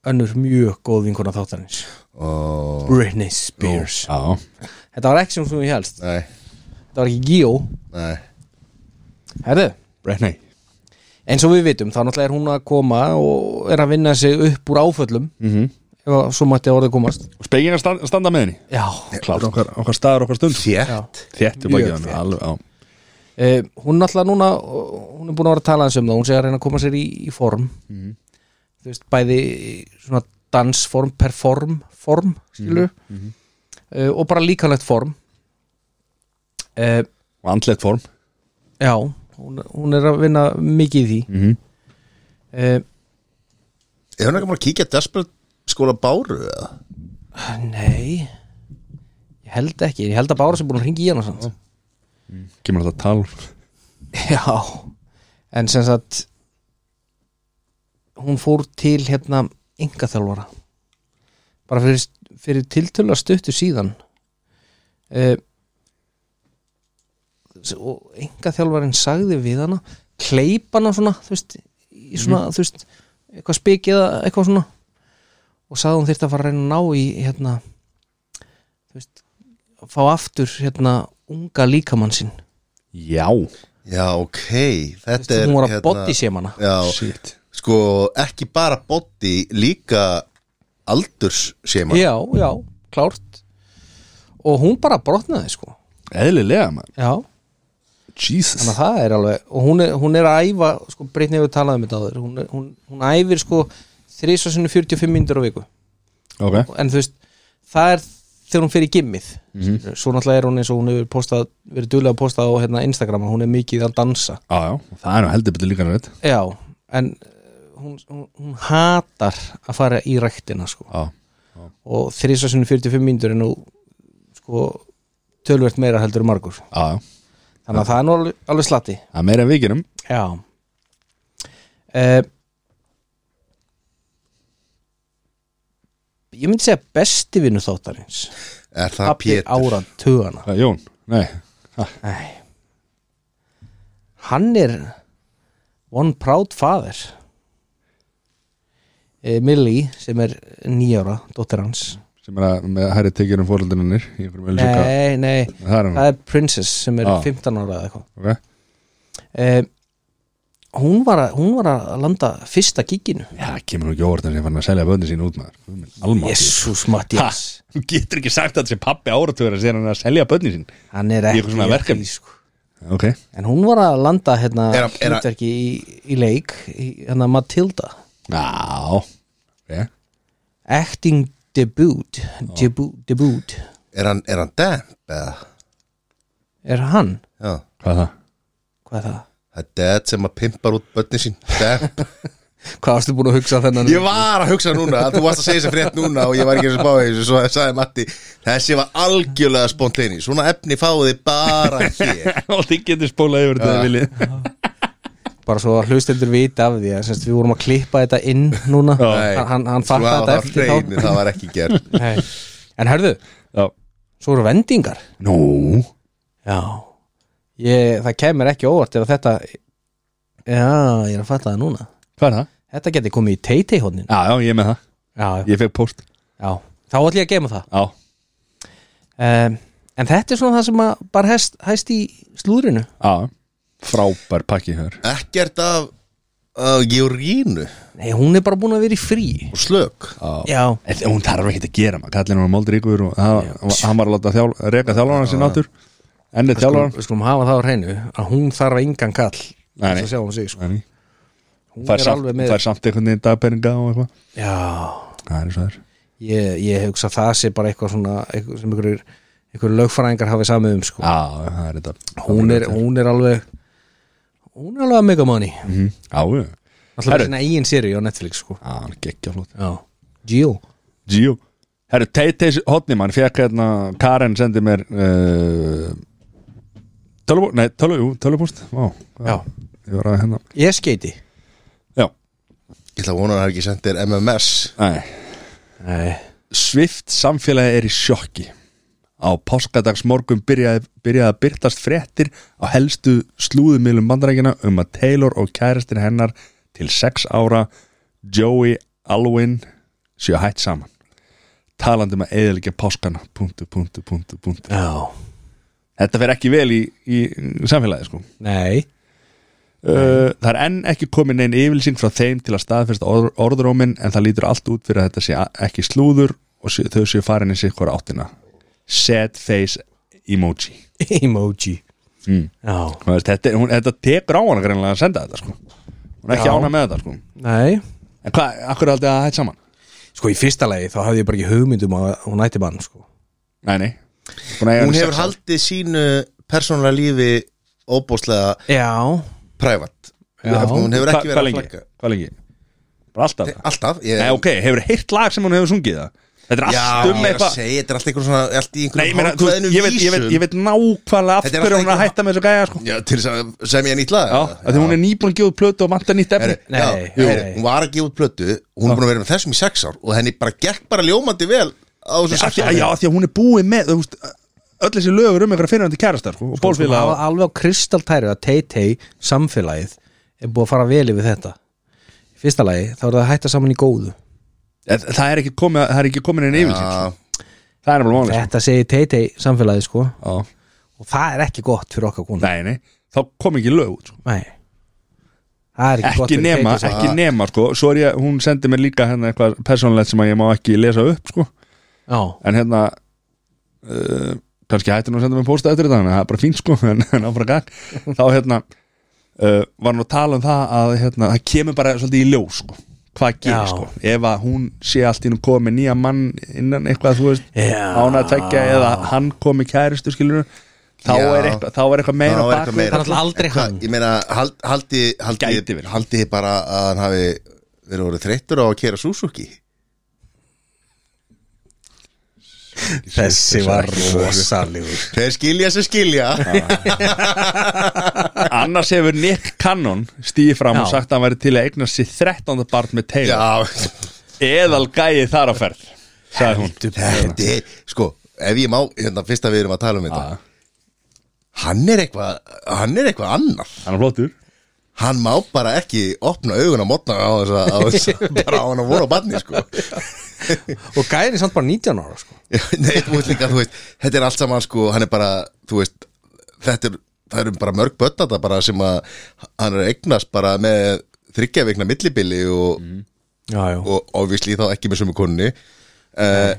B: Önnur mjög góð vinkona þáttarins
A: Og...
B: Britney Spears
C: Já
B: Þetta var ekki sem þú helst
A: Nei,
B: Þetta var ekki Gio
A: nei
B: Herðu
C: Brenni
B: Eins og við vitum þá náttúrulega er hún að koma og er að vinna sig upp úr áföllum
C: Mhm.
B: ef að svo mætti að orðið komast
C: Og spegin að standa, standa með henni
B: Já,
C: Klárt Okkar, okkar staðar okkar stund
A: Þér?
C: Þétt
B: Mjög
C: er bakið hann
B: þétt.
C: Alveg, já
B: eh, Hún náttúrulega núna ó, hún er búin að vera að tala eins um það hún segir að reyna að koma sér í, í form Þú veist, bæði svona dansform, perform form, skilu mm og bara líkanlegt form eh,
C: Og andlet form
B: Já, hún, hún er að vinna mikið í því
C: Mhm.
B: eh,
A: Er hún ekki bara að kíkja Desperate skóla Báru eða?
B: Nei Ég held ekki, ég held að Bára sem búin að ringa í hana samt
C: Kemur þetta tal
B: Já En sem sagt Hún fór til hérna Engaþjálfara Bara fyrir, fyrir tiltölu að stuttu síðan uh, Og engaþjálfarin sagði við hana Kleipana svona Þú veist, í svona,
A: Mhm.
B: þú veist Eitthvað spikið eða eitthvað svona Og sagði hún þyrfti að fara að reyna að ná í hérna Þú veist Fá aftur hérna unga líkamann sinn
C: Já
A: Já, ok, þetta er
B: hún var að hérna... boddi sem hana
A: Já,
C: Shit
A: sko, ekki bara boddi, líka aldurs sé maður
B: já, já, klárt og hún bara brotnaði sko
C: Eðlilega maður
B: já,
C: Jesus
B: þannig að það er alveg og hún er, hún er að æfa, sko Brytni hefur talað um þetta áður, hún, er- hún, hún æfir sko þrísa sinni 45 mínútur á viku
C: Ok
B: en þú veist, það er þegar hún fer í gimmið svo náttúrulega er hún eins og hún hefur postað, verið duðlega postað á hérna, Instagram, hún er mikið að dansa
C: Já, já Það er nú heldur betur líka rétt
B: já, en eh, hún, hún, hún hatar að fara í ræktina sko
C: Já
B: og þrísa sinni 45 mínútur er nú sko tölvert meira heldur en margur
C: Já, já
B: þannig að það er nú alveg, alveg slatti
C: Það er meira en vikinum
B: já uh, ég myndi segja besti vinnu þáttarins
A: Er það
B: pappi
A: Pétur?
B: ára tugana
C: Hvað, Jón Nei Ha,
B: Æ. hann er one proud father uh, Millie sem er nýjára dóttir hans
C: Sem er að með herri tekið um fórhaldinanir Í einhverjum vel
B: nei, nei,
A: Mm.
C: Það er hann
B: það er Princess sem er
C: Já.
A: Ah.
B: 15 ára eða eitthvað
C: Ok
B: Eh, hún, var að, hún var að landa fyrsta giginu
C: Já, það kemur nú ekki óvart en sem fann að selja bönni sín út maður Guð minn Almátt
B: Jésús Mattias
C: Þú getur ekki sagt að þessi pappi áratugur að segja hann að selja bönni sín
B: hann er
C: Í
B: ekki
C: eitthvað svona
B: í
C: verkefni.
B: því, sko.
C: Ok
B: en hún var að landa hérna
A: Er að- er að-
B: hlutverki í, í leik í, hérna Matilda
C: Já Ok
B: acting debut debut, debut
A: Er hann, er hann damp? Eða?
B: er hann,
A: Já,
C: Hvað er það?
B: hvað er það?
A: það er dad sem að pimpar út bönni sín Damp
B: hvað varstu búin að hugsa um þennan
A: Ég var að hugsa núna, að þú varst að segja þessi frétt núna og ég var ekki eins og báði þessu, svo sagði Matti þessi var algjörlega sponténi svona efni fáiði bara hér
C: Og þið getur spólað yfir þetta vilji
B: bara svo að hlustendur vita af því að semst, við vorum að klippa þetta inn núna
C: Já.
B: hann, hann, hann
A: Svo hafa það á
B: fattar þetta eftir
A: hreinu,
B: þá
A: það var ekki gert
B: Nei. en herðu,
C: Já
B: svo eru vendingar
C: Nú
B: já ég, það kemur ekki óvart ef að þetta já, ég er að fatta það núna
C: Hvað er það?
B: þetta geti komið í teitei-hóðnin
C: Já, já, ég er með það
B: já,
C: Ég fekk post
B: já, þá ætlum ég að geima það
C: Já,
B: um, en þetta er svona það sem að bara hæst, hæst í slúðrinu
C: já Frábær pakki hér
A: Ekkert af uh, Georgínu
B: nei, hún er bara búin að vera í frí
A: og slök
B: já,
C: En Hún þarf ekkert að gera maður Kallin var moldiríkur og það, hann var að láta þjál, reka þjálfarna sinna áttur Ennið þjálfarna
B: við skulum hafa það á hreinu að hún þarf engan kall til
C: Nei,
B: þess
C: nei.
B: að sjá um sig sko.
C: Nei,
B: hún
C: Fær
B: er
C: samt,
B: alveg með
C: fær samt einhvern veginn dagpenninga og eitthvað
B: já,
C: Það er svo þær
B: ég, ég hugsa að það sé bara eitthvað svona eitthvað sem einhverjur einhverjur lögfræðingar hafið samið um sko.
C: Já, það er þetta
B: hún, er, hún er alveg hún er alveg að mega money
C: Mhm. Já, já
B: alltaf með
C: Herru.
B: sinna eigin séri á Netflix sko.
C: Já, hann er geggja flott
B: já, Jill
C: Jú Herru, Teiteis hotni mann fekk hérna Karen sendi mér uh, Tölubúst Nei, tölu, jú, tölubúst Vá, hvað-
B: Já.
C: Ég var að hérna
B: ég skeiti
C: Já,
A: Ég ætla að vona að það er ekki sendir MMS
C: nei
B: Nei.
C: Svift samfélagi er í sjokki Á páskadags morgun byrjaði, byrjaði að byrtast fréttir á helstu slúðumilum bandarækina um að Taylor og kærastin hennar til sex ára Joey Alwyn séu hætt saman talandi um að eðilegja páskana punktu, punktu, punktu, punktu
B: já,
C: Þetta fer ekki vel í, í samfélagi sko.
B: nei
C: uh, Það er enn ekki komin einn yfirlýsing frá þeim til að staðfesta orð, orðrómin en það lítur allt út fyrir að þetta sé a- ekki slúður og sé, þau séu farin í sig hvora áttina Sad face emoji
B: emoji
C: Mm.
B: já,
C: Þú veist, þetta, er- hún, þetta tekur á hana greinlega að senda þetta sko. Hún er ekki
B: Já.
C: ána með þetta sko.
B: nei
C: En hvað, akkur er aldrei að hætt saman?
B: sko í fyrsta lagi þá hafði ég bara ekki hugmyndum að hún ætti mann sko.
C: Nei, nei Búin að eiga
A: Hún
C: hann í
A: hefur
C: sex ár.
A: haldið sínu persónulega lífi óbúslega
B: já,
A: prævat
B: Já.
A: Hún hefur
C: Hva-
A: ekki verið að
C: Hvað lengi?
A: flagga
C: Hvað lengi? Bara alltaf það?
A: Alltaf ég,
C: Nei, ok, hefur heilt lag sem hún hefur sungið það? Þetta er
A: Já,
C: allt um
A: ég er að
C: eitthvað
A: segja, þetta er allt einhver svona Allt í
C: Nei, ég meina,
A: einhverjum
C: þú
A: hálfkveðnum
C: veist, ég veit, ég veit, ég veit nákvæmlega af
A: Þetta er
C: hverju
A: alltaf
C: hún er
A: einhver-
C: að hætta með þessu gæja, sko
A: Já, til þess að semja nýtt lag
C: Já, af því hún er nýbúin að gefa út plötu og vanta nýtt efni
A: Herri,
B: Nei,
A: já,
B: nei.
A: herri, hún var að gefa út plötu Hún er búin að vera með þessum í sex ár Og henni bara gekk bara ljómandi vel Á þessum sex
C: Af því-
A: ár
C: Já, af því að hún er búin með, þú veist, öll þessi lögur um einhverja fyrirhandi kærastar, sko,
B: Hún
C: og bólfélag
B: hafa alveg á kristaltæru að Tay-Tay samfélagið er búið að fara vel yfir þetta í fyrsta lagi þá er það að hætta saman í góðu
C: En Það er ekki komið, það er ekki komin einn
A: Já,
C: yfir sko. Það er nefnilega máli,
B: þetta segir Tay-Tay samfélagið sko
C: sko Já.
B: og það er ekki gott fyrir okkar konu
C: Nei, nei, þá kom ekki lög út, sko
B: Nei. það er ekki, gott
C: Ekki
B: fyrir
C: nema,
B: Tay-Tay
C: ekki nema, sko Svo er ég, hún sendi mér líka hérna eitthvað persónulegt sem að ég má ekki lesa upp, sko
B: samfélagið.
C: En hérna, uh, kannski hætti nú að senda mér posta eftir þetta þannig að það er bara fínt sko en, en áfram gag þá hérna uh, var nú að tala um það að hérna, það kemur bara svolítið í ljós sko hvað
B: Já.
C: gerir sko, ef að hún sé allt í nú komið með nýja mann innan eitthvað þú veist,
B: Já.
C: án að tekja eða hann komið kæristu skilur þá
A: Já.
C: er eitthvað, þá er eitthvað meira
A: þá
C: á
A: er
C: bak
A: eitthvað
C: við.
A: meira.
B: Það er náttúrulega aldrei
A: En hvað,
B: hann.
A: Ég meina, hald- haldi,
C: Gæti
A: haldi,
C: verið.
A: haldi þið bara að hann hafi verið orðið þreyttur á að kera Suzuki
B: Já. þessi var rosalegur
A: Þeir skilja sem skilja
C: annars hefur Nick Cannon stíði fram
B: Já.
C: og sagt að hann væri til að eignast sér 13. barn með tegur
A: Já,
C: eðal gæi þar á ferð sagði hún Hérna,
A: þetta er, sko Ef ég má, hérna, fyrst að við erum að tala um þetta
C: Já.
A: Hann er eitthvað Hann er eitthvað annar
C: hann er flottur
A: Hann má bara ekki opna augun á mótna á þess að, á þess að bara á hann að voru á barni sko.
B: og gæðin er samt bara 19 ára sko.
A: Nei, þú veist líka, þú veist Þetta er allt saman, sko, hann er bara Þú veist, þetta er Það eru bara mörg börn þetta bara sem að hann er að eignast bara með þryggja vikna millibili og,
B: já, já.
A: og obviously þá ekki með sömu konni uh,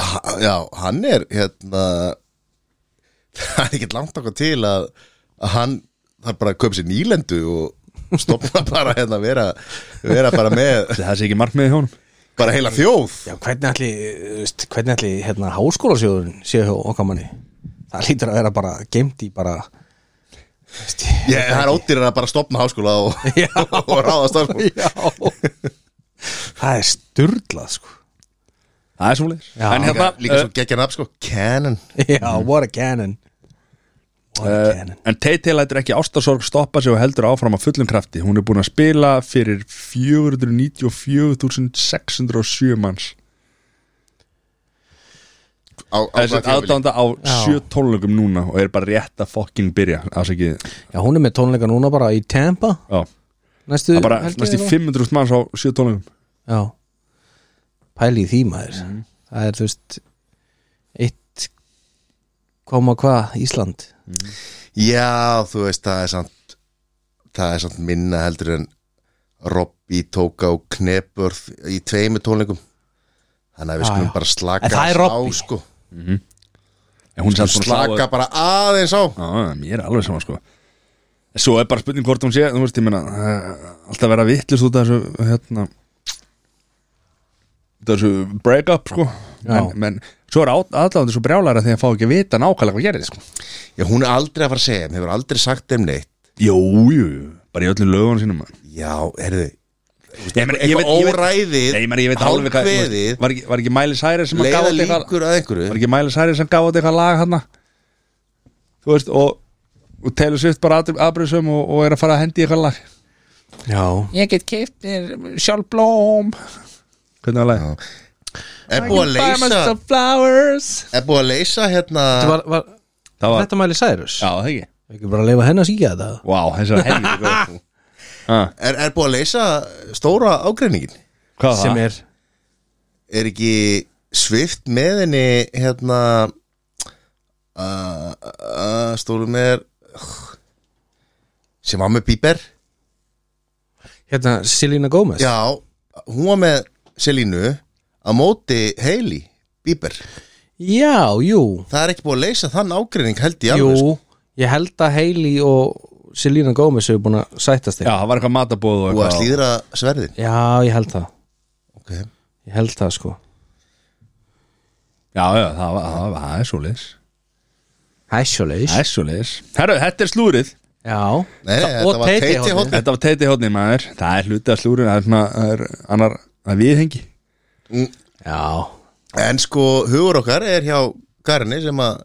A: ha- Já, hann er hérna það er ekkert langt okkur til að, að hann þarf bara að köpa sér nýlendu og stopna bara hérna vera, vera bara með
C: það sé ekki markmiði hjá honum
A: bara heila þjóð
B: Já, hvernig ætli, eh, þú veist, hvernig ætli hérna, háskólasjóðun séu hjá okkar manni það lítur að vera bara geimt í bara þú veist, ég-
A: Ég, það er ódýrar að bara stopna háskóla og,
B: Já.
A: og ráðast það sko.
B: Já Það er sturdlað sko
C: Það er svoleiðis
B: Já.
C: En
A: Líka,
C: hérna
A: líka svo geggja nafn sko Canon
B: Já,
C: Mhm.
B: what a cannon What a
C: uh,
B: cannon
C: En Teiti lætur ekki ástasorg stoppa sig og heldur áfram að fullum krafti Hún er búin að spila fyrir 494.607 manns
A: á, á
C: Þessi aðdánda á sjö tónleikum núna og er bara rétt að fokkin byrja afsakið,
B: Já, hún er með tónleika núna bara í Tampa
C: já,
B: Næstu
C: það er bara
B: helgi
C: næst í
B: eða?
C: 500 manns á sjö tónleikum
B: Já Pæli í því maður
C: Mhm.
B: Það er þú veist Eitt koma hvað Ísland
A: Já, þú veist, það er samt það er samt minna heldur en Robby tók á Knebörð í tveimu tónleikum þannig að við
B: Já,
A: skulum
B: já.
A: bara slaka
B: En það
A: aðeins
B: er
A: á
B: Robbie.
A: sko.
C: en hún er samt búin að slá
A: slaka bara aðeins á
C: Já, mér er alveg sama sko Svo er bara spurning hvort hún sé Þú veist, ég meina, uh, alltaf vera vitlust út af þessu hérna út af þessu break-up sko
B: Já.
C: en, menn, svo er aðláðandi svo brjálæra því að fá ekki að vita nákvæmlega hvað gerir sko
A: Já, hún er aldrei að fara að segja, mér hefur aldrei sagt þeim neitt
C: Jú, jú, bara í öllum lögunum sínum maður.
A: Já, heyrðu,
C: Ég meina, ég
A: eitthvað
C: veit- ég veit-
A: óræðið
C: Nei, ég meina, ég veit alveg hvað þú veist,
A: hálfkveðið,
C: Var ekki- var ekki Miley Cyrus sem að gaf
A: leiða
C: út eitthvað
A: líkur að einhverju
C: Var ekki Miley Cyrus sem gaf út eitthvað lag hann Þú veist, og og telur svift bara aðbröðsum og, og er að fara að hendi í eitthvað lag
B: Já
C: Ég get keift mér sjálf blóm Hvernig var lagið?
A: Er búið að leysa
C: flowers
A: Er búið að leysa hérna
B: Þetta var, var
C: Það var,
B: Þetta mæli Cyrus
C: já það ekki
B: Ekki bara að leifa henni að síkja þetta
C: Vá, þessi var helviti góð Ha,
A: er, er búið að leysa stóra ágreiningin
C: Hvað var
B: Sem
C: það?
B: er
A: Er ekki svift með henni hérna uh, uh, Stóru með er uh, sem var með Bíber
B: Hérna Selena Gomez
A: Já, hún var með Selínu á móti Hailey Bíber
B: Já, jú
A: Það er ekki búið að leysa þann ágreining held ég alveg sko.
B: Jú, ég held að Hailey og Selena Gomez hefur búin að sættast
C: Já,
B: þeim
C: það var eitthvað
A: og
C: matabóð og
A: sko, að
C: eitthvað
A: slíðra sverðin
B: Já, ég held það
A: okay.
B: Ég held það sko
C: Já, já, það var, það var, það er svo leis
B: Hæsjóleis
C: Það er svo leis Herru, þetta er slúrið
B: Já
A: Nei,
B: Það-
A: þetta
B: og
A: var
B: Teiti
A: Teiti
B: hornið.
A: hótt
C: Þetta var teiti hóðni maður Það er hluti af slúrið Það er svona, það er annar, það er viðhengi
B: Já
A: En sko hugur okkar er hjá Garni sem að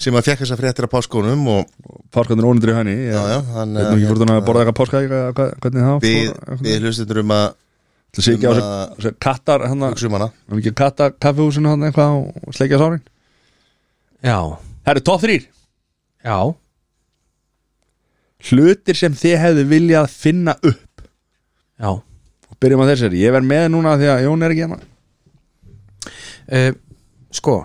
A: sem að fekk þess að fréttir að páskónum og
C: Páskarnir ónundur í henni Já,
A: já, hann eh,
C: Þetta er ekki hvort hann að borða eitthvað páska eitthvað- hvað- Hvernig það
A: við,
C: fór
A: við hlustendur um að
C: Það sé ekki á
A: um
C: þessu-
A: að-
C: þessu kattar hérna. hann að
A: hugsa um hana
C: Hann ekki katta kaffehúsinu hann eitthvað og sleikja sárin
B: Já
C: Herru, top 3
B: Já
C: Hlutir sem þið hefðu viljað finna upp
B: Já
C: Og byrjum að þessari, ég verð með núna því að Jón er ekki hérna
B: uh, Sko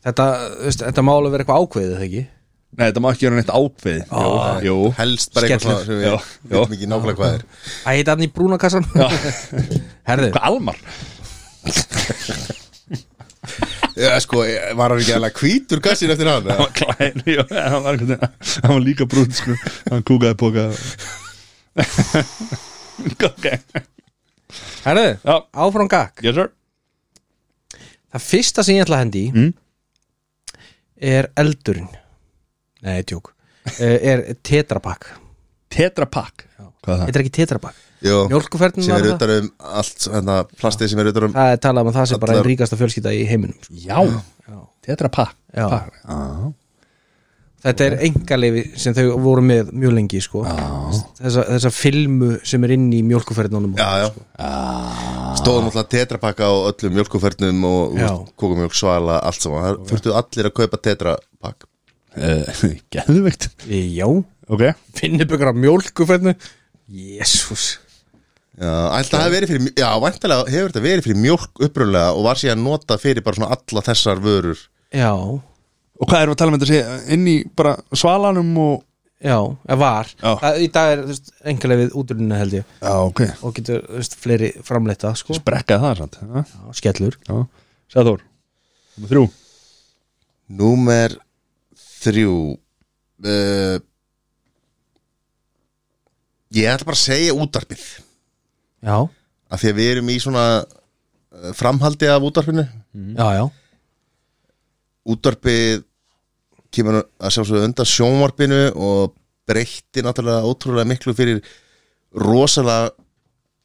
B: Þetta, þú veist, þetta mála verið eitthvað ákveðið eða ekki
C: Nei, þetta má ekki vera neitt ákveð
B: Ah.
C: Jú, jú
A: helst bara eitthvað
B: Skellur.
A: svona sem
C: Já,
A: við
C: já.
A: veitum ekki nákvæmlega hvað er
B: Æ, þetta hann í brúna kassan Herðu,
C: Hvað almar?
A: Já, sko, eh, var hann ekki alveg hvítur gassin eftir hann
C: Hann var klæn, jú, hann var, einhvern veginn- hann var líka brún sko Hann kúkaði póka Ok,
B: herðu
C: já,
B: Áfram gag
C: yes sir
B: Það fyrsta sem ég ætla að hendi í
C: Mm.
B: Er eldurinn Nei, tjók uh, Er tetrapakk
C: Tetra Pak Hvað er það?
B: Þetta er ekki tetrapakk
A: Jó,
B: Mjólkuferðin
A: sem
B: var
A: er
B: það
A: utan um allt hérna, plastið sem er utan um
B: Það er talað um að það sé bara
A: Allar-
B: einn ríkasta fjölskylda í heiminum sko.
C: Já, Tetra Pak
B: Já.
C: Pak. Já.
B: Þetta er engalefi sem þau voru með mjög lengi sko. þessa, þessa filmu sem er inn í mjólkuferðinunum
A: Já, já
C: Ah.
A: Stóðum alltaf tetrapakka á öllum mjölkufernum
B: Ah. Já.
A: og kókumjölk svala allt saman Það þurftu allir að kaupa tetrapakk
C: Eh, Geðveikt
B: já.
C: Ok
B: finnum ykkur af mjólkuferðinu Jésús
A: Já, ætla það hafi verið fyrir, já, vantilega hefur þetta verið fyrir mjólk upprunlega og var síðan nota fyrir bara svona alla þessar vörur
B: Já,
C: Og hvað erum við að tala um þetta að segja inn í bara svalanum og
B: já, eða var
C: Já.
B: Það, Í dag er engalefið útruninu held ég
C: Já, ok
B: og getur þú veist, fleiri framleita sko.
C: Brekkaði það samt ja?
B: já, Skellur
C: Já Sæður Númer þrjú
A: Númer þrjú uh, Ég ætla bara að segja útarpið
B: Já,
A: af því að við erum í svona eh, framhaldi af útarpinu
B: já, já
A: Útarpið kemur að sjá svo undan sjónvarpinu og breytti náttúrulega ótrúlega miklu fyrir rosalega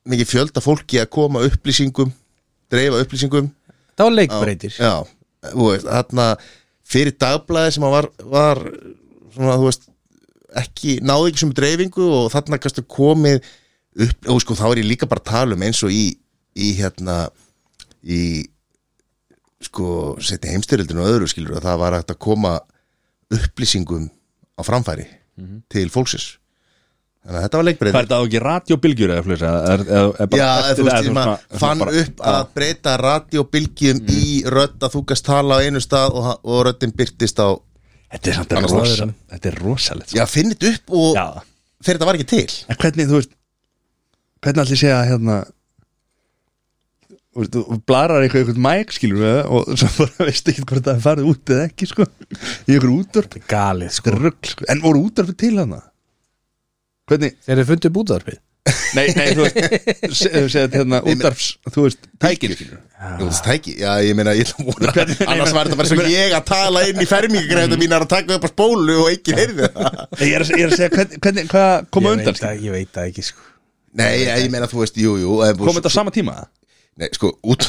A: mikið fjölda fólki að koma upplýsingum dreifa upplýsingum
B: Það var leikbreytir
A: Já, þú veist, þarna fyrir dagblæði sem að var, var svona, þú veist, ekki náði ekki sem dreifingu og þarna kannski komið upp, og sko, þá er ég líka bara að tala um eins og í, í hérna í sko setni heimstyrildinu og öðru skilur að það var hægt að koma upplýsingum á framfæri til fólksins þannig að þetta var
C: Mhm. Hvað
A: leikbreyð
C: er þetta á ekki radiobilgjur eða fljóðis? Er, er, er bara
A: Já,
C: eftir-
A: þú
C: eða
A: veist,
C: svona-
A: maður
C: svona
A: fann
C: bara- Mm.
A: upp að breyta radiobilgjum í rödd að þú gast tala á einu stað og, og röddin byrtist á
C: Þetta er samt
A: Annars
C: rosa, þetta er rosalegt sko.
A: Já, finn þetta upp og
C: Já.
A: fyrir þetta var ekki til
C: En hvernig, þú veist Hvernig allir sé að hérna Þú veist, þú blarar eitthvað eitthvað mæk, skilur við það, og svo bara veist ekki hvort það er farið út eða ekki, sko í eitthvað útvarp,
B: Galið sko
C: þetta er rugl, sko en voru útvarpið til hana? Hvernig,
B: Þeir eru fundið búðarpið
C: nei, nei, þú veist se- þú segir hérna útvarps, þú veist tækir, skilur við
A: Þú veist það ekki, já ég meina ég ætla að vona
C: Hvernig- Mm. nei,
A: annars
C: menn-
A: var þetta bara svo ég að tala inn í fermingagreifta mín að taka upp á spólu og ekki heyrði það
C: Nei, ég er, að- ég er að segja, hvernig, hvernig hvað koma
B: Ég
C: undan,
B: veit það- Ég veit það ekki sko
A: Nei, ég, ég meina þú veist, jú, jú ef-
C: koma þetta á sama tíma?
A: Nei, sko, út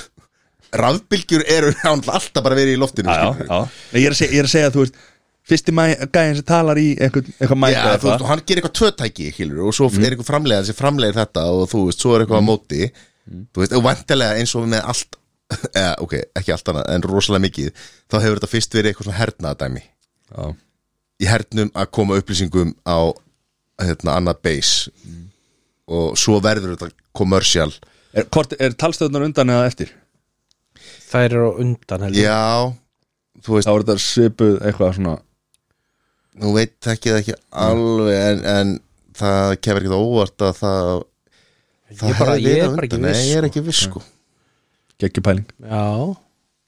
A: Rafbylgjur eru náttúrulega alltaf bara verið í loftinu
C: Já,
A: skilurðu.
C: já, Nei, ég er að segja, ég er að segja, þú veist fyrsti mæ- gæðin sem talar í eitthvað, eitthvað mæk
A: Já,
C: eða
A: þú veist,
C: eitthvað
A: og hann gerir eitthvað tvötæki, skilur Og svo
B: Mm.
A: er eitthvað framlegað sem framlegir þetta Og þú veist, svo er eitthvað á móti
B: Mm.
A: Þú veist, og vantilega eins og með allt eða, Ok, ekki allt annað, en rosalega mikið Þá hefur þetta fyrst verið eitthvað svona hernaðadæmi
C: Já.
A: Í hernum að koma upplýsingum á hérna, annað base
B: Mm.
A: Og svo verður þetta kommersial
C: Er, hvort, er talstöðunar undan eða eftir?
B: Þær eru á undan heldur
A: Já, þú veist,
C: Þá er þetta svipuð eitthvað svona
A: nú veit ekki það
B: Mm.
A: ekki alveg En, en það kemur ekki það óvart að það Það
B: Ég bara-
A: hefði
B: ég er
A: verið
B: bara ekki
A: undan.
B: viss,
A: Nei, ég er
B: sko.
A: ekki viss sko
C: geggjupæling
B: Já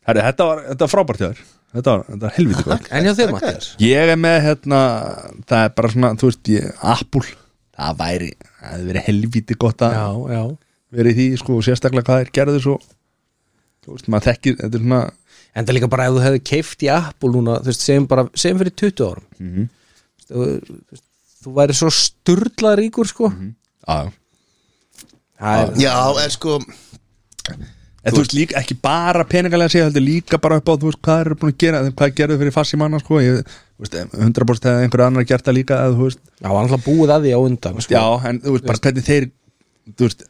C: Herri, þetta var, þetta var frábært hjá þér Þetta var, þetta var helviti gott
B: En hjá þér Mattias
C: Ég er með hérna Það er bara svona, þú veist, ég, Apple Það væri, það hefði verið helviti gott að
B: Já, já
C: vera í því, sko, og sérstaklega hvað þeir gerðu svo Þú veist, maður þekkir, þetta er svona
B: En það er líka bara ef þú hefði keift í Apple núna Þú veist, segjum bara, segjum fyrir 20 árum mm
C: Mhm.
B: -hmm. Þú væri svo sturla ríkur sko
C: Mhm. Já,
B: Það er
A: Já, en sko
C: En þú veist líka, ekki bara peningalega séð heldur líka bara upp á, þú veist, hvað eru búin að gera hvað gerðu fyrir fassi manna, sko ég, þú veist, 100% hefði einhver annar gert það líka eða, þú veist,
B: Já, hann alltaf búið að því á undan sko.
C: já, en þú veist, bara hvernig þeir þú veist,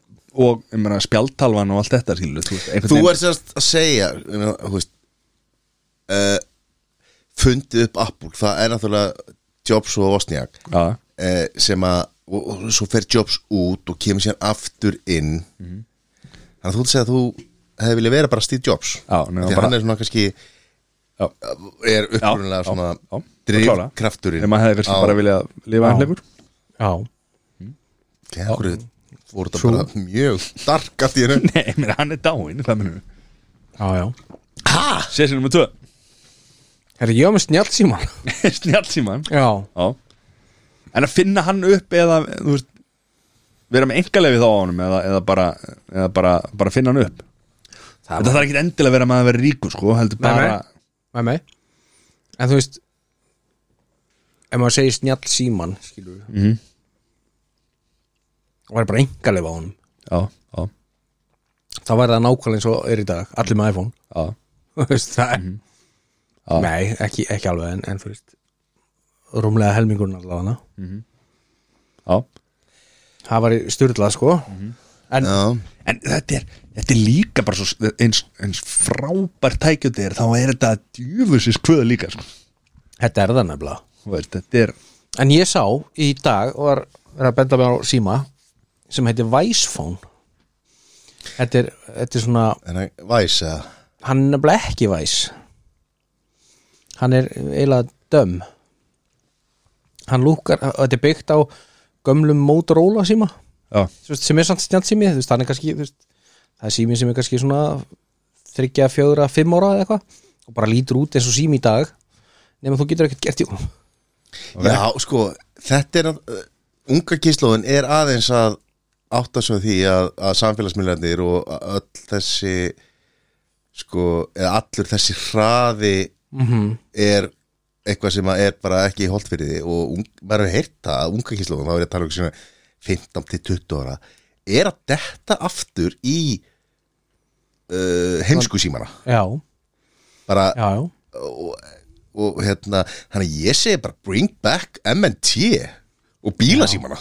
C: og, ég meina, spjaldtalvan og allt þetta, skilur, þú veist, einhvern
A: Þú er sérst að segja ég meina, þú veist, uh, fundið upp Apple, það er náttúrulega Jobs og Vosniak
C: Já,
A: uh, sem að, og, og svo fer Jobs út og kemur sér aftur inn
C: Mhm.
A: þannig að þú ert að segja að þú hefði viljað vera bara Steve Jobs
C: Já,
A: því
C: nema
A: að
C: bara-
A: hann er svona kannski
C: Já.
A: er upprunalega
C: Já,
A: svona
C: já, já, klára.
A: drifkrafturinn
C: en maður hefði kannski
A: á-
C: bara viljað lifa einhlegur
B: já.
A: Já, af hverju voru þetta bara mjög dark allt í hennu
C: Nei, ég meina, hann er dáinn, hvað minnum við
B: já, já.
A: Ha?
C: Sessi nummer 2,
B: Herra, ég var með snjálfsíman
C: snjálfsíman
B: Já,
C: Já En að finna hann upp eða, þú veist vera með engalefið á honum eða, eða, bara, eða bara, bara finna hann upp
B: það
C: Þetta
B: var
C: þarf ekki endilega að vera maður að vera ríkur sko, heldur
B: Nei,
C: bara
B: nei. með mig En þú veist Ef maður segir snjálfsíman Skilur við mm
C: Mhm.
B: Og það er bara engalega á honum
C: Já, já,
B: Þá væri það nákvæmlega eins og er í dag Allir með iPhone
C: já
B: Þú veist, það er
C: Mhm. Já.
B: Nei, ekki, ekki alveg en, en þú veist Rúmlega helmingurinn allavega
C: Já.
B: Það var í styrlað sko
C: Mhm.
B: En
A: Já,
C: En þetta er, þetta er líka bara svo eins, eins frábær tækjöndi er þá er þetta djöfusis kvöða líka sko.
B: þetta er það nefnilega
C: Þú veist, þetta er
B: En ég sá í dag og var, var að benda mig á síma sem heitir Vicephone Þetta er, þetta er svona
A: en hann væsa
B: hann er nefnilega ekki Vice hann er eiginlega döm hann lúkar, þetta er byggt á gömlum Motorola síma
C: Já,
B: þú veist, sem er samt snjátt sími þú veist, hann er kannski, þú veist, það er sími sem er kannski svona þryggja, fjögra, fimm ára eða eitthvað og bara lítur út eins og sími í dag nema þú getur ekkert gert í honum
A: Já, sko, þetta er uh, unga kyslóðin er aðeins að átta svo því að, að samfélagsmiðlarnir og að öll þessi sko, eða allur þessi hraði -hmm. er eitthvað sem að er bara ekki holdt fyrir því og ung, maður hefur heyrt það að unga kyslóðin, þá er ég að tala um svona 15 til 20 ára er að detta aftur í uh, heimsku símana
B: já,
A: bara
B: já, já
A: og, og hérna þannig að ég segi bara bring back MNT og bílasímana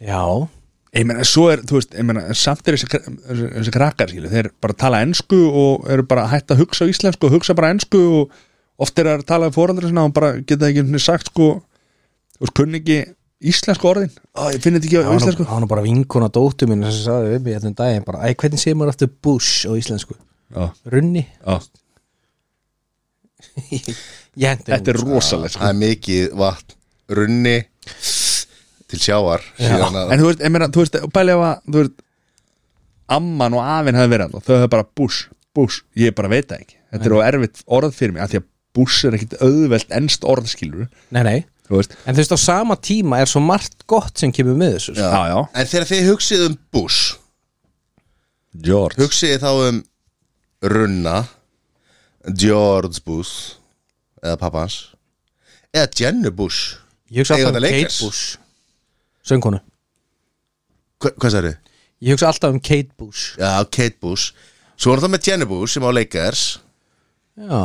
B: Já,
C: ég meina, svo er, þú veist, ég meina samt er þessi, kra- þessi þessi krakkar, skilu þeir bara tala ensku og eru bara hætt að hugsa á íslensku og hugsa bara ensku og oft er að tala um fórandra sinna og bara geta ekki einu sinni sagt, sko þú veist, kunni ekki íslensku orðin Ó, ég finn þetta ekki á
B: Það var nú-
C: íslensku
B: það var nú bara vinkona dóttu mín sem sagði við mig hérna um daginn bara, æ, hvernig segir maður aftur Bush á íslensku?
C: Já,
B: Runni?
C: já,
B: Ég hendi
C: þetta er rosalegt, sko
A: það er mikið vatn runni til sjávar síðan að
C: en þú veist, ég meina, þú veist, bæli ef að þú veist, amman og afinn hefði verið þarna og þau hefði bara bush, bush ég bara veit það ekki, þetta er á erfitt orð fyrir mig af því að bush er ekkit auðvelt ennst orðskilur,
B: Nei, nei,
C: þú veist
B: en þú veist á sama tíma er svo margt gott sem kemur með þessu sko.
C: já, já,
A: en þegar þið hugsið um Bush
C: George
A: hugsið þá um runna George Bush eða pappans eða Jenny Bush
B: Ég hugsa alltaf
A: Eiganda
B: um Kate
A: Lakers.
B: Bush Söngunu
A: Hva, hvað sagði?
B: Ég hugsa alltaf um Kate Bush
A: Já, Kate Bush svo er það með Jenny Bush sem á Lakers
B: Já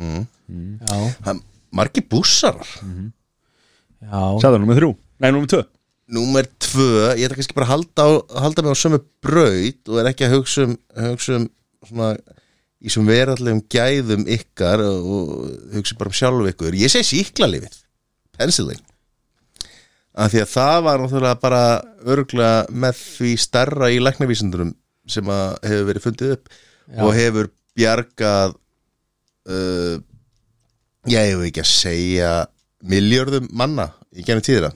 B: Já,
A: Það er margir bussar
B: já
C: sagði nummer þrjú, nei nummer tvö
A: Númer tvö, ég ætla kannski bara að halda, á- halda mig á sömu braut og er ekki að hugsa um, hugsa um svona, í sem verallegum gæðum ykkar og, og hugsa bara um sjálf ykkur. Ég segi síklarlifið, penicillin. Af því að það var náttúrulega bara örgla með því starra í læknavísindunum sem að hefur verið fundið upp og hefur bjargað, uh, já, ég hefur ekki að segja, miljörðum manna í genið tíðra.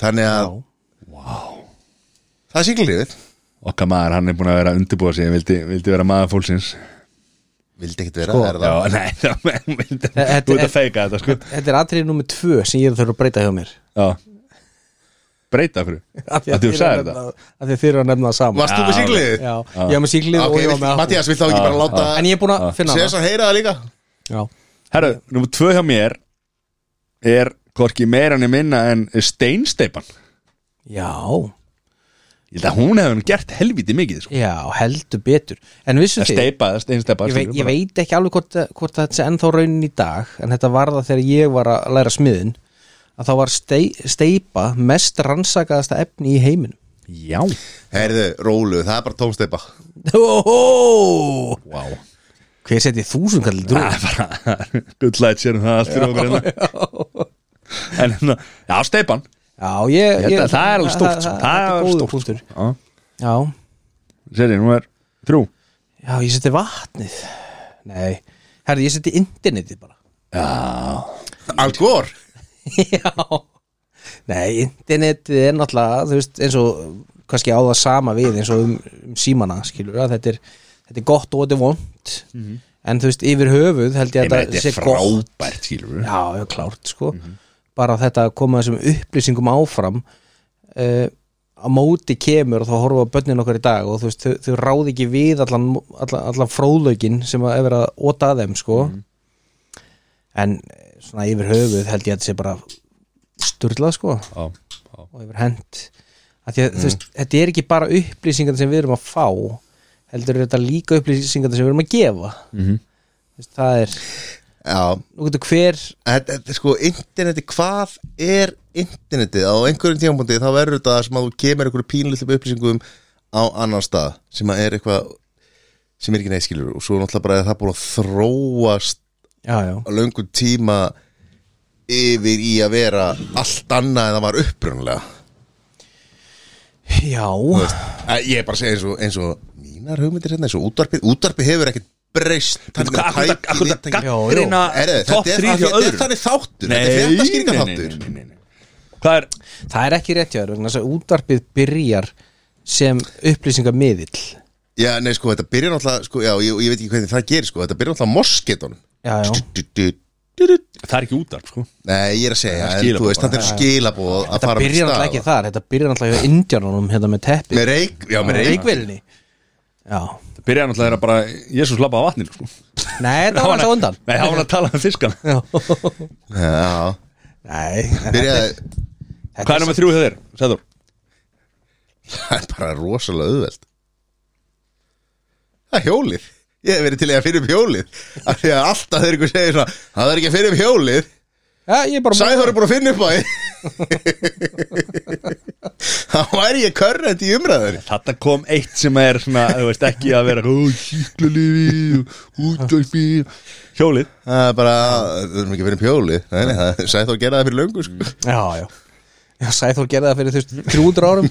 A: Þannig að
B: Já.
A: það er síklarlífið
C: okkar maður, hann er búin að vera að undirbúa sig vildi, vildi vera maður fólksins
A: Vildi ekkert vera
B: Sko,
A: er
C: já,
A: það
C: nei, það menn vildi
B: Þetta
C: þú ert
B: er-
C: að feika þetta, sko
B: Þetta er atriði nummer tvö sem ég þarf að breyta hjá mér
C: já, breyta fyrir
B: Af því
C: að
B: þið
C: þú
B: eru
C: sagði
B: nefna-
C: þetta
B: Af því að þið eru að nefna það saman
A: Varst þú með
C: Já,
A: síklarlífið?
B: Já, ég var með síklið og ég var
A: Ok,
B: með Apple.
A: Mattias vill þá ekki bara láta
B: En ég er búin að finna
A: Sér þess
B: hana
A: að heyra það líka
B: Já,
C: herru, nummer tvö hjá mér er hvorki meira en minna en steinsteipan
B: já,
C: ég held að hún hefði nú gert helviti mikið sko.
B: já, heldur betur En vissu
C: að
B: þið
C: steipa eða steinsteipa
B: ég, veit,
C: skilur,
B: ég
C: bara.
B: veit ekki alveg hvort, hvort þetta er ennþá raunin í dag en þetta var það þegar ég var að læra smiðin að þá var stei, steipa mest rannsakaðasta efni í heiminum
C: já,
A: Heyrðu, rólu, það er bara tómsteipa
B: Óhó
C: vá
B: Hver seti þúsund kallið drú?
C: það er bara, good light sér um það allt fyrir okkur hérna en hérna, já, steipan
B: Já, ég,
C: Þetta,
B: ég
C: það er alveg stórt sko.
B: það er góður
C: stórt
B: punktur.
C: sko.
B: Já,
C: Seri, nú er þrjú
B: já, ég seti vatnið Nei, herri, ég seti internetið bara
A: Al Gore
B: Já Nei, internetið er náttúrulega þú veist, eins og kannski á það sama við eins og um, um símana skilur að þetta er, þetta er gott og þetta er vond en þú veist, yfir höfuð held ég
C: Mhm. Ég
B: að
C: meina,
B: þetta
C: Þetta
B: sé
C: er
B: gott
C: frábært skilur við
B: Já, já, klárt sko bara þetta að koma þessum upplýsingum áfram uh, á móti kemur og þá horfa bönnin okkar í dag og þú veist, þau, þau ráði ekki við allan, allan, allan fróðlögin sem að er verið að óta að þeim sko en eh, svona yfir höfuð held ég að þetta sé bara sturlað sko
C: Já, já.
B: og yfir hend að því að þú veist, þetta er ekki bara upplýsingar sem við erum að fá heldur er þetta líka upplýsingar sem við erum að gefa mm -hmm. veist, það er
A: Já,
B: nú getur hver
A: þetta þetta er sko interneti, hvað er internetið? Á einhverjum tímapunkti þá verður þetta það sem að þú kemur einhverju pínlítið upplýsingum á annan stað sem að er eitthvað sem er ekki neiskilur og svo náttúrulega bara er það búin að þróast
B: já, já.
A: á löngum tíma yfir í að vera allt annað en það var upprunalega
B: já,
A: Þú veist, að ég er bara að segja eins og, eins og mínar hugmyndir hérna, eins og útvarpið útvarpið hefur ekkert breyst þannig að
C: Akkur
A: tæki-
C: þetta
A: tæki-
C: gaggrina
A: Herðu,
C: topp
A: þetta er-
C: þrý
A: af því að
C: hjá
A: þetta er
C: öðrum
A: þannig þáttur þetta er fréttaskýringa þáttur
C: nei, nei, nei. Hvað er,
B: það er ekki rétt hjá þér vegna þess að útvarpið byrjar sem upplýsingar miðill
A: já, nei, sko, þetta byrjar náttúrulega sko, já, ég, ég veit ekki hvernig það gerir, sko, þetta byrjar náttúrulega mosketunum
B: já, já.
C: það er ekki útarp sko.
A: nei, ég er að segja,
C: Það
A: en,
C: er
A: þú
C: skilaboð
A: veist, þetta er skilabóð að
B: þetta
A: fara um
B: byrjar náttúrulega ekki þar þetta byrjar náttúrulega hjá indjánunum hérna með teppið
A: með reik, já, með reik
B: reikvelinni já,
C: Það byrjaði náttúrulega bara, Jésús labba á vatninu sko.
B: nei, þetta var alltaf undan
C: Nei, það var að tala um fiskan
B: Já.
A: já,
B: nei, en
A: byrjaði
B: þetta
C: Hvað er nummer þrjú hjá þér, Sæður?
A: það er bara rosalega auðveld það er hjólið ég hef verið til í að fyrir upp hjólið af því að alltaf þegar ykkur segir svona það er ekki að fyrir upp hjólið
B: Já, ég er bara
A: Sæþór er búin að finna upp á því Þá væri ég körrent í umræður
C: Þetta kom eitt sem er svona, þú veist ekki að vera Sýklarlifi, útvarfi Hjólið
A: Það er bara, við erum ekki fyrir pjóli Nei, nei, það- Sæþór gerði það fyrir löngu sko.
B: Já, já Já, Sæþór gerði það fyrir þú veist 300 árum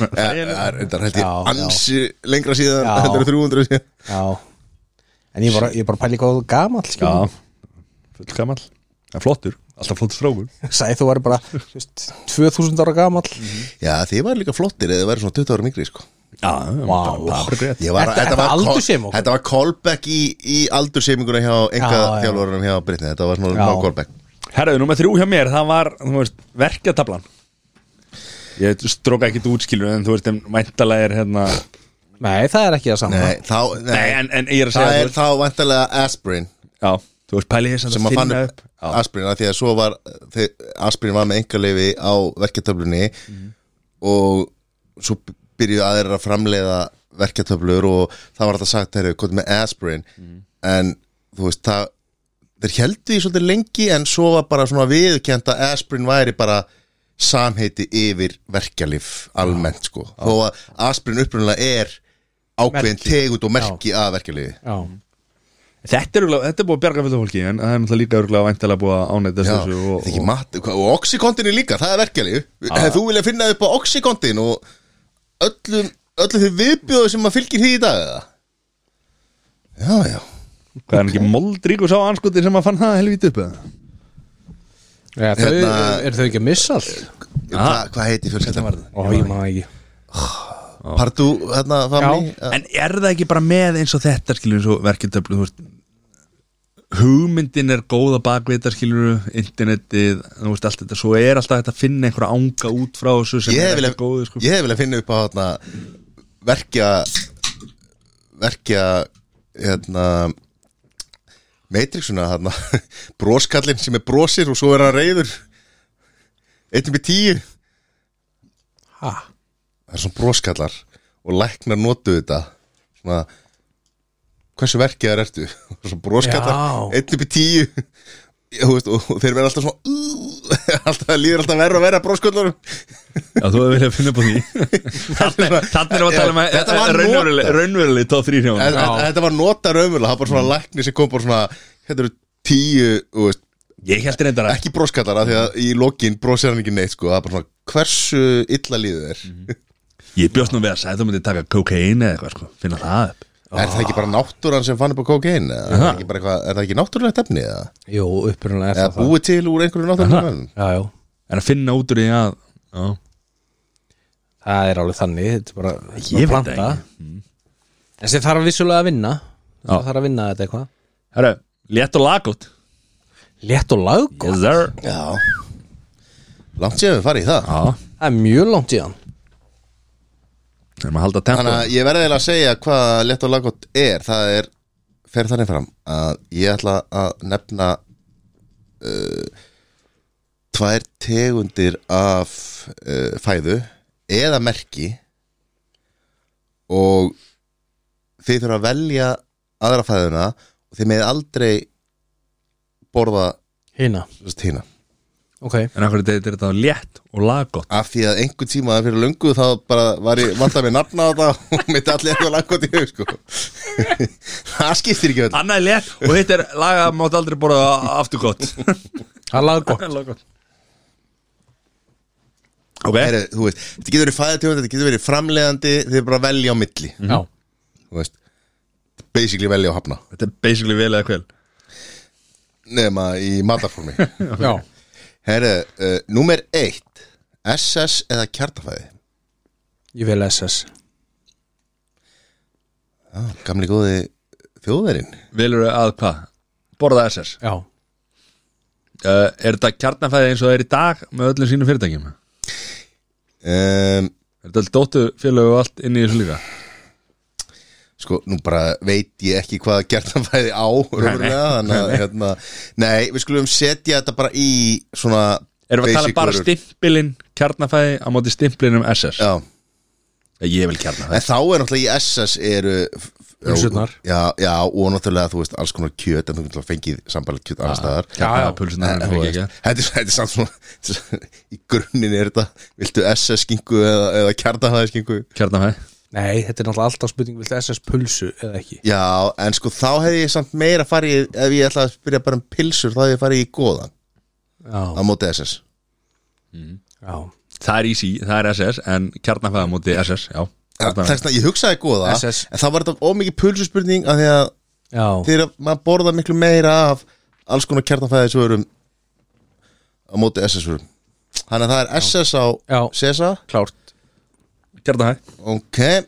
A: Það er þetta held ég
B: Já, já.
A: ansi lengra síðan
B: Já.
A: Þetta eru 300 síðan
B: Já En ég bara, ég bara pæli hvað þú gamall sko.
C: Já,
B: skilur.
C: full gamall En flottur, alltaf flott strókur
B: Sæþór var bara þú veist, 2000 ára gamall
A: Já, þið var líka flottir eða þið væri svona 20 ára mingri sko.
C: Já,
B: Vá.
C: wow.
A: Ég var,
B: Þetta- þetta
A: var kol-
B: aldursheimung.
A: Þetta var callback í, í aldursheiminguna hjá enga
B: Já, já.
A: þjálfurunum hjá Britni Þetta var
B: Já.
A: svona má callback
C: Herraðu, nummer þrjú hjá mér, það var þú veist, verkjatablan Ég stróka ekki útskilur en þú veist, en væntalega er hérna
B: Nei, það er ekki það saman
A: Nei, þá, nei,
C: Nei, en, en ég er að segja
A: það
C: þú
A: er
C: veist-
A: þá vantarlega Aspirin
C: Já, þú veist, pæli ég samt
A: sem að fann
C: finna
A: upp Aspirin af því að svo var þið, Aspirin var með engaleifi á verketöflunni og svo byrjuðu aðeir að framleiða verketöflur og það var alltaf sagt þeirri, hvað með Aspirin en þú veist, það þeir heldu því svolítið lengi en svo var bara svona viðkjönd að Aspirin væri bara samheiti yfir verkjalif almennt sko, þó að Aspirin upprunnilega er ákveðin
B: Merki.
A: tegund og merki að verkjalifi
B: Já,
C: Þetta er, örugglega- þetta er búið að bjarga fyrir fólki en það er náttúrulega líka örgulega væntalega búið að ánæta
A: Já,
C: þessu og,
A: og,
C: og,
A: mat, hva- og oxykontin er líka, það er verkefni Hefði þú vilja finna upp á oxykontin og öllum, öllum þau viðbjóðu sem maður fylgir því í dag eða? Já, já
C: Hvað er hann ekki moldríkur sá anskotin sem að fann það helvítið upp eða?
B: Já, þau,
A: Hérna-
B: er þau ekki að missa allt?
A: Hva, Hvað heiti fjölskyldan?
B: Ó, ég maður ekki
A: Partú, hérna, fammi
C: En er það ekki bara með eins og þetta skilur eins og verkefntöflu veist, hugmyndin er góða bakvita skilur, internetið þú veist allt þetta, svo er alltaf þetta að finna einhverja anga út frá þessu sem
A: Ég
C: er
A: hef vilja,
C: ekki góðu sko.
A: ég hef vilja finna upp á hérna, verkja verkja hérna Matrixuna hérna, broskallin sem er brosir og svo er hann reyður 1 með 10
B: Ha?
A: það er svona broskallar og læknar notu þetta svona hversu verkiðar ertu svona broskallar,
B: Já.
A: einn upp í tíu Já, þú veist, og og þeir verða alltaf svona "Ú", alltaf, líður alltaf verra og verra broskallar
C: Já, þú hefur viljað finna upp á því Þannig er að tala um að-
A: Já, þetta var
C: raunveruleg- raunveruleg tóð þrýr hjá
A: En-
C: hann
A: en- en þetta var nota raumulega, það var bara
B: Mm.
A: svona lækni sem kom bara svona, þetta eru tíu þú veist,
C: Ég held reyndar að
A: ekki broskallar af því að í lokin brosir hann ekki neitt sko, það er bara svona, hversu illa líður er
B: Mhm.
C: Ég bjóst nú við að sagði þú myndi taka kokain eða eitthvað sko, finna það upp
A: er það ekki
B: Ah.
A: bara náttúran sem fann upp á kókein eða? er það ekki, bara eitthvað- er það ekki náttúrulegt efni eða,
B: Jú, upprunalega er
A: eða
B: það það
A: búið til úr einhverju náttúrulega efni
B: Já, já
C: En að finna út úr því að já.
B: Það er alveg þannig, þetta er bara þetta
C: Ég
B: er bara
C: veit það
B: planta. En sem þarf vissulega að vinna
C: Já.
B: Það þarf að vinna þetta eitthvað
C: Herra, létt og lagótt
B: Létt og laggótt,
C: Yes sir
A: Já Langt séum við farið í það
C: Já,
B: það er mjög langt í hann
C: það er maður að halda
A: Þannig
C: tempo
A: að ég verði eiginlega að segja hvað lett og laggott er Það er, fer þannig fram að ég ætla að nefna uh, tvær tegundir af uh, fæðu eða merki og þið þurfa að velja aðra fæðuna og þið með aldrei borða
B: Hina,
A: sérst, hína
B: ok
C: En af hverju þetta er þetta létt og laggott
A: af því að einhvern tíma fyrir löngu þá bara var ég vant að mér nafna á það og mitt allir eitthvað langt í hug sko. það skiptir ekki öll
C: Annað er létt og hitt er laga mátt aldrei borða aftur gott
B: Það er laggótt
C: Ok,
A: Heru, þú veist, þetta getur verið fæðatjóð, þetta getur verið framleiðandi þið er bara að velja á milli
B: Já,
A: þú veist, basically velja og hafna
C: þetta er basically vel eða kvel
A: nema í matarformi
B: já
A: Herru, uh, númer eitt SS eða kjartafæði
B: Ég vil SS
A: ah, gamli góði þjóðverinn
C: Velur að hvað? Borða SS
B: Já,
C: uh, Er þetta kjarnafæði eins og það er í dag með öllum sínum fyrirtækjum?
A: um,
C: Er þetta alltaf dóttu félög og allt inn í þessu líka?
A: sko, nú bara veit ég ekki hvað gertanfæði á raunverulega, þannig að hérna, nei, við skulum setja þetta bara í svona
C: Erum við að tala
A: basic
C: bara
A: vörur.
C: stimpilinn kjarnafæði á móti stimpilinum SS?
A: Já,
C: Eh, Ég vil
A: en
C: kjarnafæði
A: þá er náttúrulega í SS eru f- f-
B: Pulsurnar.
A: já, já, og náttúrulega þú veist alls konar kjöt en þú getur fengið sambarlegt kjöt annars staðar
C: Ah, Já, já, pulsunar
A: En, þú veist, Þetta er- þetta er samt svona í grunninn er þetta, viltu SS skingu eða, eða kjartahæði skingu
C: Kjarnafæ
B: Nei, þetta er náttúrulega alltaf spurning Viltu SS pulsu eða ekki?
A: Já, en sko þá hefði ég samt meira farið ef ég ætlaði að spyrja bara um pilsur þá hefði ég farið í góðan á
B: Já,
A: móti SS
B: já
C: Það er easy, það er SS En kjarnafæ á móti SS, já
A: Já,
C: Kjarnafæ.
A: Þess að ég hugsaði góða
B: SS.
A: en þá var þetta ómikið pulsuspurning af því að
B: Já,
A: þegar maður borða miklu meira af alls konar kjartanfæðis vörum á móti SS vörum þannig að það er SS á
B: Já.
A: CESA
B: klárt
C: Kjarnafæ
A: ok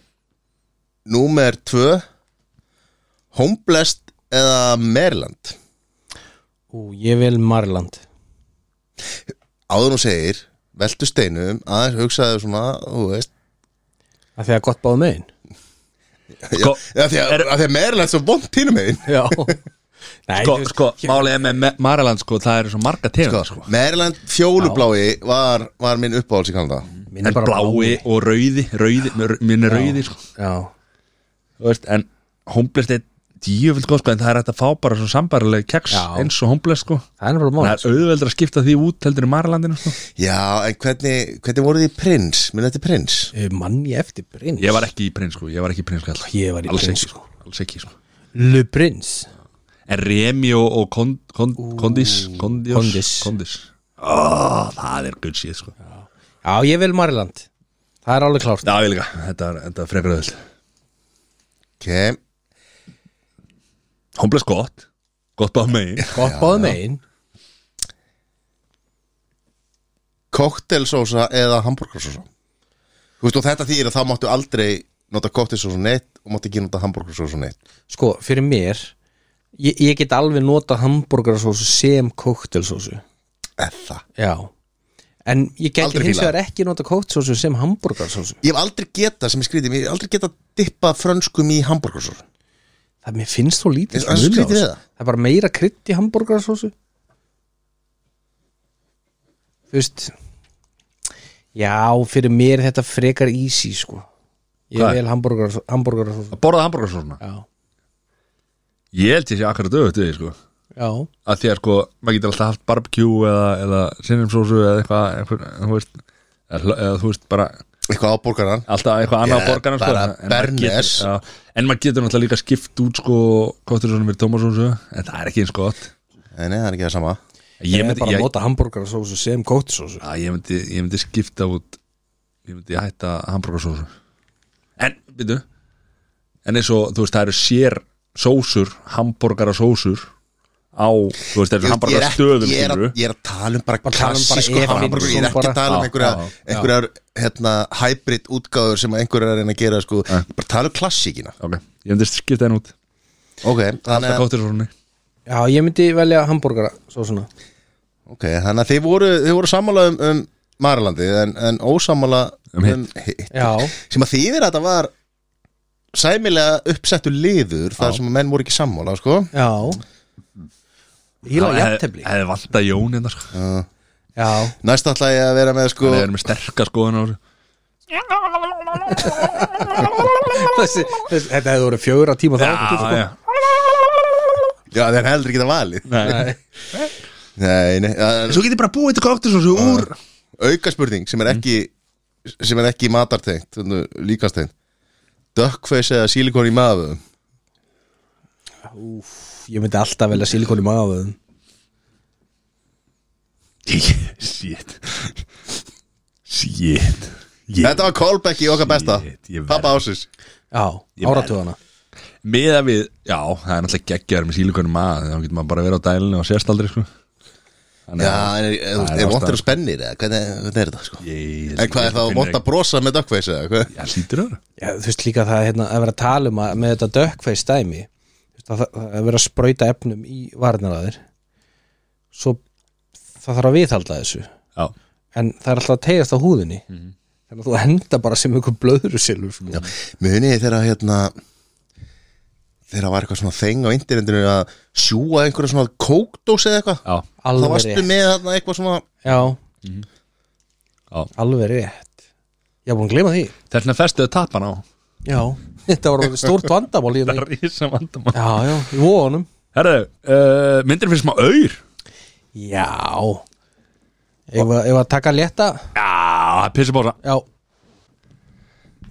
A: númer 2 Homeblest eða Maryland
B: Ú, ég vil Marland
A: áður nú segir veltu steinum aðeins hugsaðu svona þú veist
B: Það þegar gott báð megin
A: sko, já, af því að, af því að Maryland er svo vond tínu megin
B: Já Nei,
C: Sko,
B: þú veist-
C: sko, málið er með Mariland sko, það eru svo marga tegund sko.
A: Maryland fjólublái var, var minn uppáhalds í Kanada
B: Minn er
C: En
B: bara
C: blái og rauði, rauði með rau- minn er rauði sko.
B: Já,
C: Þú veist, En homblest er djöfild góð sko, En það er hægt að fá bara svo sambarileg keks
B: Já.
C: Eins og homblest sko.
B: það er bara
C: Það
B: mál
C: er auðveldur að skipta því út heldur í Marilandinu sko.
A: já, en hvernig, hvernig voru því prins minn þetta prins
B: Mann ég eftir prins
C: Ég var ekki í prins sko, ég var ekki í prins sko,
B: Ég var í
C: alls
B: Prins,
C: ekki,
B: sko.
C: sko. Alls ekki sko.
B: Le prins
C: En Remi og, og kond, kond, Kondis Kondis,
B: Kondis.
C: kondis. Ó, Það er gutt síð sko. Já,
B: Já, ég vil Marland Það er alveg klárt
C: ég líka, þetta er, þetta er frekar auðveld
A: ok,
C: Homblest gott, gott bá megin
B: Gott báð megin
A: koktelsósa eða hambúrgarsósa Þú veist og þetta þýr að þá máttu aldrei nota koktelsósa neitt og máttu ekki nota hambúrgarsósa neitt
B: Sko, fyrir mér Ég, ég get alveg nota hambúrgarsósu sem koktelsósu
A: Eða
B: Já En ég get
A: Aldrei
B: hins
A: fílað.
B: vegar ekki nota koktelsósu sem hambúrgarsósu
A: Ég hef aldrei getað sem ég skrítið, ég hef aldrei getað dippað frönskum í hambúrgarsósa
B: Það mér finnst þú lítið
A: Ég- það er
B: munur á
A: skrítið við
B: þessu.
A: það.
B: Það er bara meira krydd í hambúrgarsósu Þú veist Já, fyrir mér er þetta frekar easy sko Ég
C: Hvað er?
B: vil hambúrgarsósu hambúrgarsósu.
C: Að borða hamburgur svona
B: Já,
C: Ég held ég sé akkurat auðvitað því sko
B: já
C: að því að sko, maður getur alltaf haft barbecue eða, eða sinnumsósu eða eitthvað einhver, þú veist, eða, hla- eða þú veist bara
A: Eitthvað á borgaran
C: alltaf eitthvað annað
A: Ég
C: yeah, borgarna sko,
A: bara
C: en- en maður getur-
A: Bernes.
C: já, en maður getur náttúrulega líka skipt út sko kostur svona mér tómasósu en það er ekki eins gott
A: Nei, nei, það er ekki það sama
B: Ég
C: ég
B: er
C: myndi,
B: bara að
C: ég,
B: nota hambúrgarsósu sem koktelsósu
C: já, ég, myndi, ég myndi skipta út ég myndi hætta hambúrgarsósu en, byrju en eins og, þú veist, það eru sér sósur, hambúrgarasósur á, þú veist, það
A: Ég er
C: eru
A: ekki-
C: hambúrgarastöðum
A: ég er, að- ég er að tala um bara
B: tala um bara
A: klassísku
B: ef-
A: hambúrgarsósa Ég er ekki
B: bara-
A: að tala um
C: Já,
A: einhverja,
C: já, já.
A: einhverjar hérna, hybrid útgáður sem einhverjar er að reyna að gera sko. Ég er bara að tala um klassíkina
C: ok, ég myndi skipta henn út
A: Ok, þannig
C: það
A: að,
C: kostur svona
B: Já, ég myndi velja hambúrgara Svo svona
A: okay, þannig að þið voru, þið voru sammála um, um Marlandi en, en ósammála
C: Um hitt.
A: hitt.
B: Já,
A: sem að þýðir að þetta var sæmilega uppsettu liður þar sem að menn voru ekki sammála sko.
B: já Ég lág
C: Það hefði-
B: jafntefli
C: hefði vantað Jón hérna sko.
B: Já,
A: næst ætla ég að vera með sko,
C: við erum með sterka skoðun á þessu
B: þessi, þessi, þetta hefði voru fjögur að tíma þá
A: sko.
C: já, já.
A: já þeir heldur ekki það valið
C: Nei.
A: nei, nei, að,
C: svo getur bara búið til kóktur svo úr
A: auka spurning sem
C: Mm.
A: er ekki sem er ekki matartengt svona líkastengt dökkfeis eða sílikon í maður
B: Ég myndi alltaf velja silikon í magaðum
C: shit shit
A: þetta var callback í okkar besta
C: Shit, ég verð-
A: pappa ásins
B: Já,
C: man.
B: áratugana
C: meða við, já, það er náttúrulega geggjaður með sílikonum að, þá getur maður bara að vera á dælinu og sérst aldrei sko. Þannig
A: já,
C: að-
A: en er, er, er,
C: Það er
A: er vondur
C: ástæðan.
A: og spennir eða hvernig, hvernig er þetta sko
C: Ég-
A: en hvað er það
C: Finnur
A: vond að
C: ekki-
A: brosa með dökkfeis eða hvað
C: já, hlýtur öðru
B: Já, þú veist líka það hérna, að vera að tala um að með þetta dökkveist dæmi þú veist, að, það- að vera að sprauta efnum í varnaraðir svo það þarf að viðhalda þessu
C: já,
B: en það er alltaf að tegast á húðinni þannig að þú henda bara sem einhver blöðru silfur Mhm. sko. Já,
A: Munið þið þegar hérna þegar var eitthvað svona þeng á internetinu að sjúa einhverja svona kókdós eða eitthvað
C: já,
A: þá
B: alveg
A: varstu
B: rétt
A: með þarna eitthvað svona
B: Já,
C: já.
B: Mhm. alveg rétt Ég er búin að gleyma því
C: þess vegna festuðu tappan á
B: Já, þetta var orðið stórt vandamál hérna.
C: Það er rísa vandamál
B: Já, já, í vonum
C: Herðu, uh, myndir finnst maður auður
B: Já Ef að- ef að taka létta
C: Já, það pissar bósa
B: Já,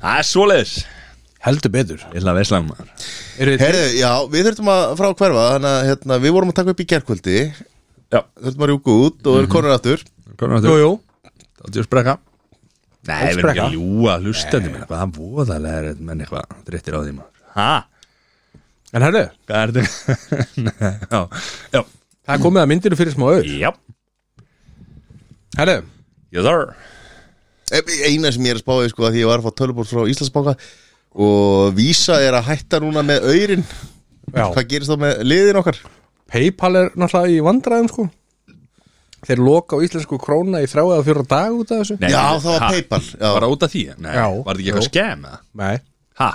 C: Það er svoleiðis
B: heldur betur
C: Ég ætla að veisla um maður
B: Eru þið
A: Herðu, já, við þurfum að frá hverfa Þannig að hérna, við vorum að taka upp í gerkvöldi
C: Já,
A: Þurfum að rjúka út og erum konur aftur
C: komum við
B: Jú,
C: aftur
B: jú
C: Þáttu að sprekka Nei, við erum ekki
B: Sprekka.
C: að ljúga hlustandi minn Hvað það voðalega er menn eitthvað Drittir á því maður Hæ?
B: En herðu,
C: Hvað er þetta? já, já,
B: það er komið að myndinu fyrir smá auð
C: já
B: Herðu,
C: Yes sir
A: E- Eina sem ég er að spáði sko að því ég var að fá tölubór frá Íslandsbáka Og vísa er að hætta núna með aurin
B: já
A: Hvað gerist þá með liðin okkar?
B: Paypal er náttúrulega í vandræðum sko Þeir loka á íslensku króna í þrjá eða fjóra dag út af þessu
C: Nei,
A: Já,
C: nei,
A: það var
C: ha?
A: Paypal, já.
C: Bara út af því? Nei,
B: Já.
C: var þetta ekki eitthvað
B: Jú.
C: skem eða?
B: Nei,
C: Hæ?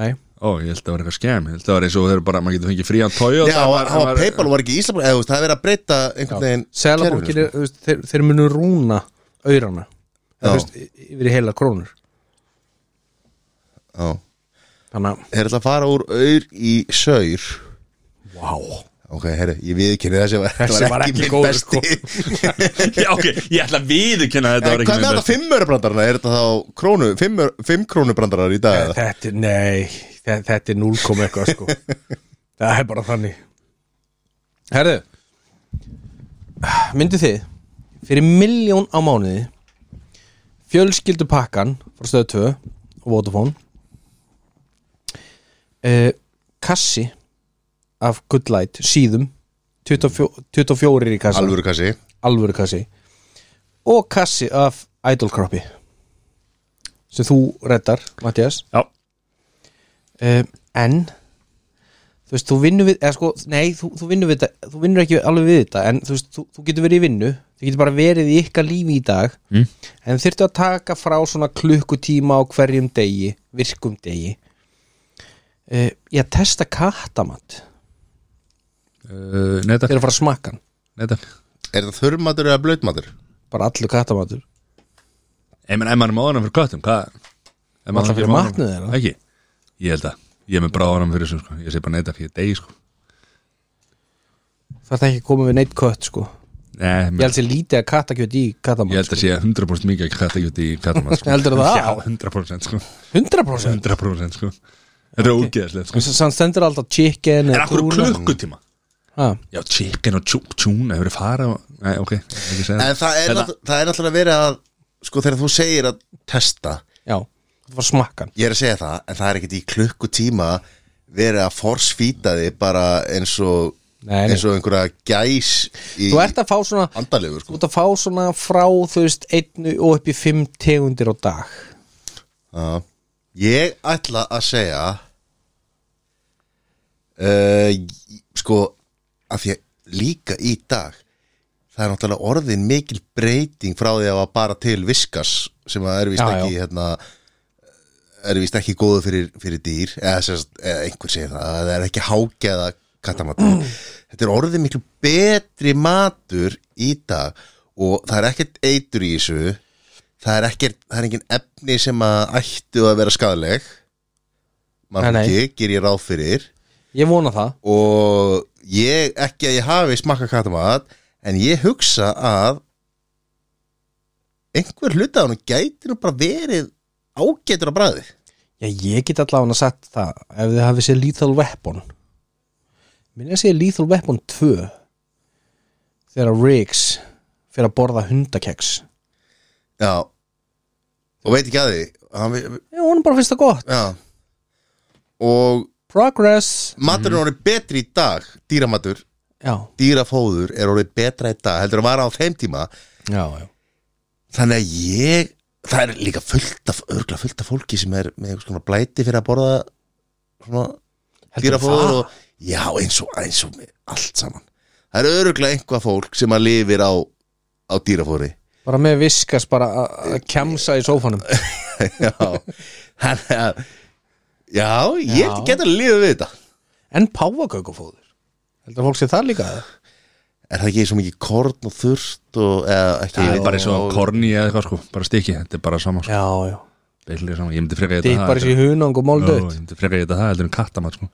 B: nei
C: Ó, ég held að það var eitthvað skem Ég held að það var eins og þeir bara, maður getur fengið frían tói
A: Já, það var, var Paypal og var ekki Íslandsbáka Eða þú veist, það er verið að breyta einhvern veginn
B: Selabankin,
A: kerfinu,
B: er, þú veist, þeir, þeir munu rúna aurana
A: Já.
B: Eða, þú veist, y- yfir í heila krónur
A: sko. Já.
B: Þannig að,
A: Þeir ætla að fara úr aur í saur
B: vá
A: Ok, herru, ég viðkynni þessi var,
B: Þessi var ekki
A: minn
B: góður,
A: besti.
C: Já, ok, ég ætla að viðurkenna að þetta
A: En Hvað
C: var ekki
A: með
C: minn
A: þetta
C: besti.
A: fimmörubrandarana? Er þetta þá krónu, fimmur, fimm krónubrandarar í dag? eða?
B: Þetta, er- nei, þe- þetta er 0, koma eitthvað sko Það er bara þannig Herðu Myndi þið Fyrir miljón á mánuði Fjölskyldu pakkan Frá stöðu 2 og Vodafone eh, Kassi Af Good Light síðum 24, 24 í kassa
A: Alvöru kassi
B: alvöru kassi og kassi af Idol Croppi sem þú reddar, Mattias
C: Já,
B: um, en þú veist, þú vinnur við eða sko, nei, þú, þú vinnur við þetta þú vinnur ekki alveg við þetta, en þú veist, þú, þú getur verið í vinnu þú getur bara verið í ykkar lífi í dag
C: Mm.
B: en þurftu að taka frá svona klukkutíma á hverjum degi virkum degi uh, ég testa kattamatt
C: uh, nei
B: þegar
C: takk,
B: að fara að smakka hann,
C: nei takk
A: Er þetta þurrmatur eða blötmatur?
B: bara allur kattamattur
C: Ég menn, ef maður er með ánum fyrir köttum, hvað? Ef
B: Var það
C: er
B: fyrir
C: með
B: matnum
C: ofnæmi-
B: þeirra?
C: Ekki, ég held að Ég er með bráð ánum fyrir þessu, sko Ég sé bara nei takk, ég er degi, sko
B: það er ekki að koma við neitt kött sko
C: Nei,
B: Ég
C: menn,
B: held sér lítið að kattakjöt í sko. kattamann
C: ég held að sé 100% mikið að kata ekki út í kattamann, sko
B: Heldurðu það?
C: Já, 100% sko
B: 100%
C: 100% sko Þetta er ógeðslegt, sko
B: Sann stendur alltaf chicken
C: En akkur klukkutíma
B: Ha,
C: Já, chicken og tjúk tjúna Hefur þið farað og... Nei, ok, ég er ekki að segja
A: En það er,
C: Þetta-
A: nátt- það er náttúrulega verið að Sko þegar þú segir að testa
B: Já, það var smakkan
A: Ég er að segja það, en það er ekkert í klukkutíma Verið að forsfýta þig bara eins og
B: Nei, nei.
A: Eins og einhverja gæs í
B: Þú ert að fá svona
A: andalegu
B: Þú
A: sko
B: ert að fá svona frá þú veist einnu og upp í fimm tegundir á dag
A: Já. Ég ætla að segja uh, Sko Af því að líka í dag Það er náttúrulega orðin mikil breyting Frá því að var bara til viskas Sem að er vist
B: Já,
A: ekki Hérna, Er vist ekki góðu fyrir, fyrir dýr Eða, sérst, eða einhver segir það Það er ekki hágeða kattamatur Þetta er orðin miklu betri matur Í dag Og það er ekkert eitur í þessu það er ekki, það er engin efni sem að ættu að vera skadaleg maður
B: Nei, nei.
A: ekki, ger ég ráð fyrir
B: Ég vona það
A: og ég, ekki að ég hafi smakka katamat, en ég hugsa að einhver hluta af hann gæti nú bara verið ágætur á bræði
B: Já, ég get allavega sagt það ef þið hafið séð Lethal Weapon Minni að segja Lethal Weapon 2 þegar Riggs fyrir að borða hundakeks
A: já og veit ekki að því hann,
B: Já, honum bara finnst það gott
A: já og
B: Progress
A: maturinn mm. orðið betri í dag dýramatur,
B: Já,
A: dýrafóður er orðið betra í dag, heldur að vara á þeim tíma
B: já, já
A: þannig að ég það er líka fullt af, örgla fullt af fólki sem er með einhvers konar blæti fyrir að borða svona
B: Heldurðu það?
A: dýrafóður og já eins og, eins og með allt saman það er örgla einhvað fólk sem að lifir á á dýrafóðri
B: bara með viskas bara að- að kemsa í sófanum
A: já þannig að já ég
B: Já.
A: get að lifa við þetta
B: en páfagaukufóður heldur að fólk sé það líka
A: er það ekki svo mikið korn og þurft og eða ekki
C: Það er bara eins og korni eða eitthvað sko Bara stiki, þetta er bara sama sko
B: já, já,
C: Beillir saman, ég myndi freka þetta
B: Dippar sér í hunang og mál
C: Ég
B: dött
C: myndi freka þetta það, heldur en kattamat sko.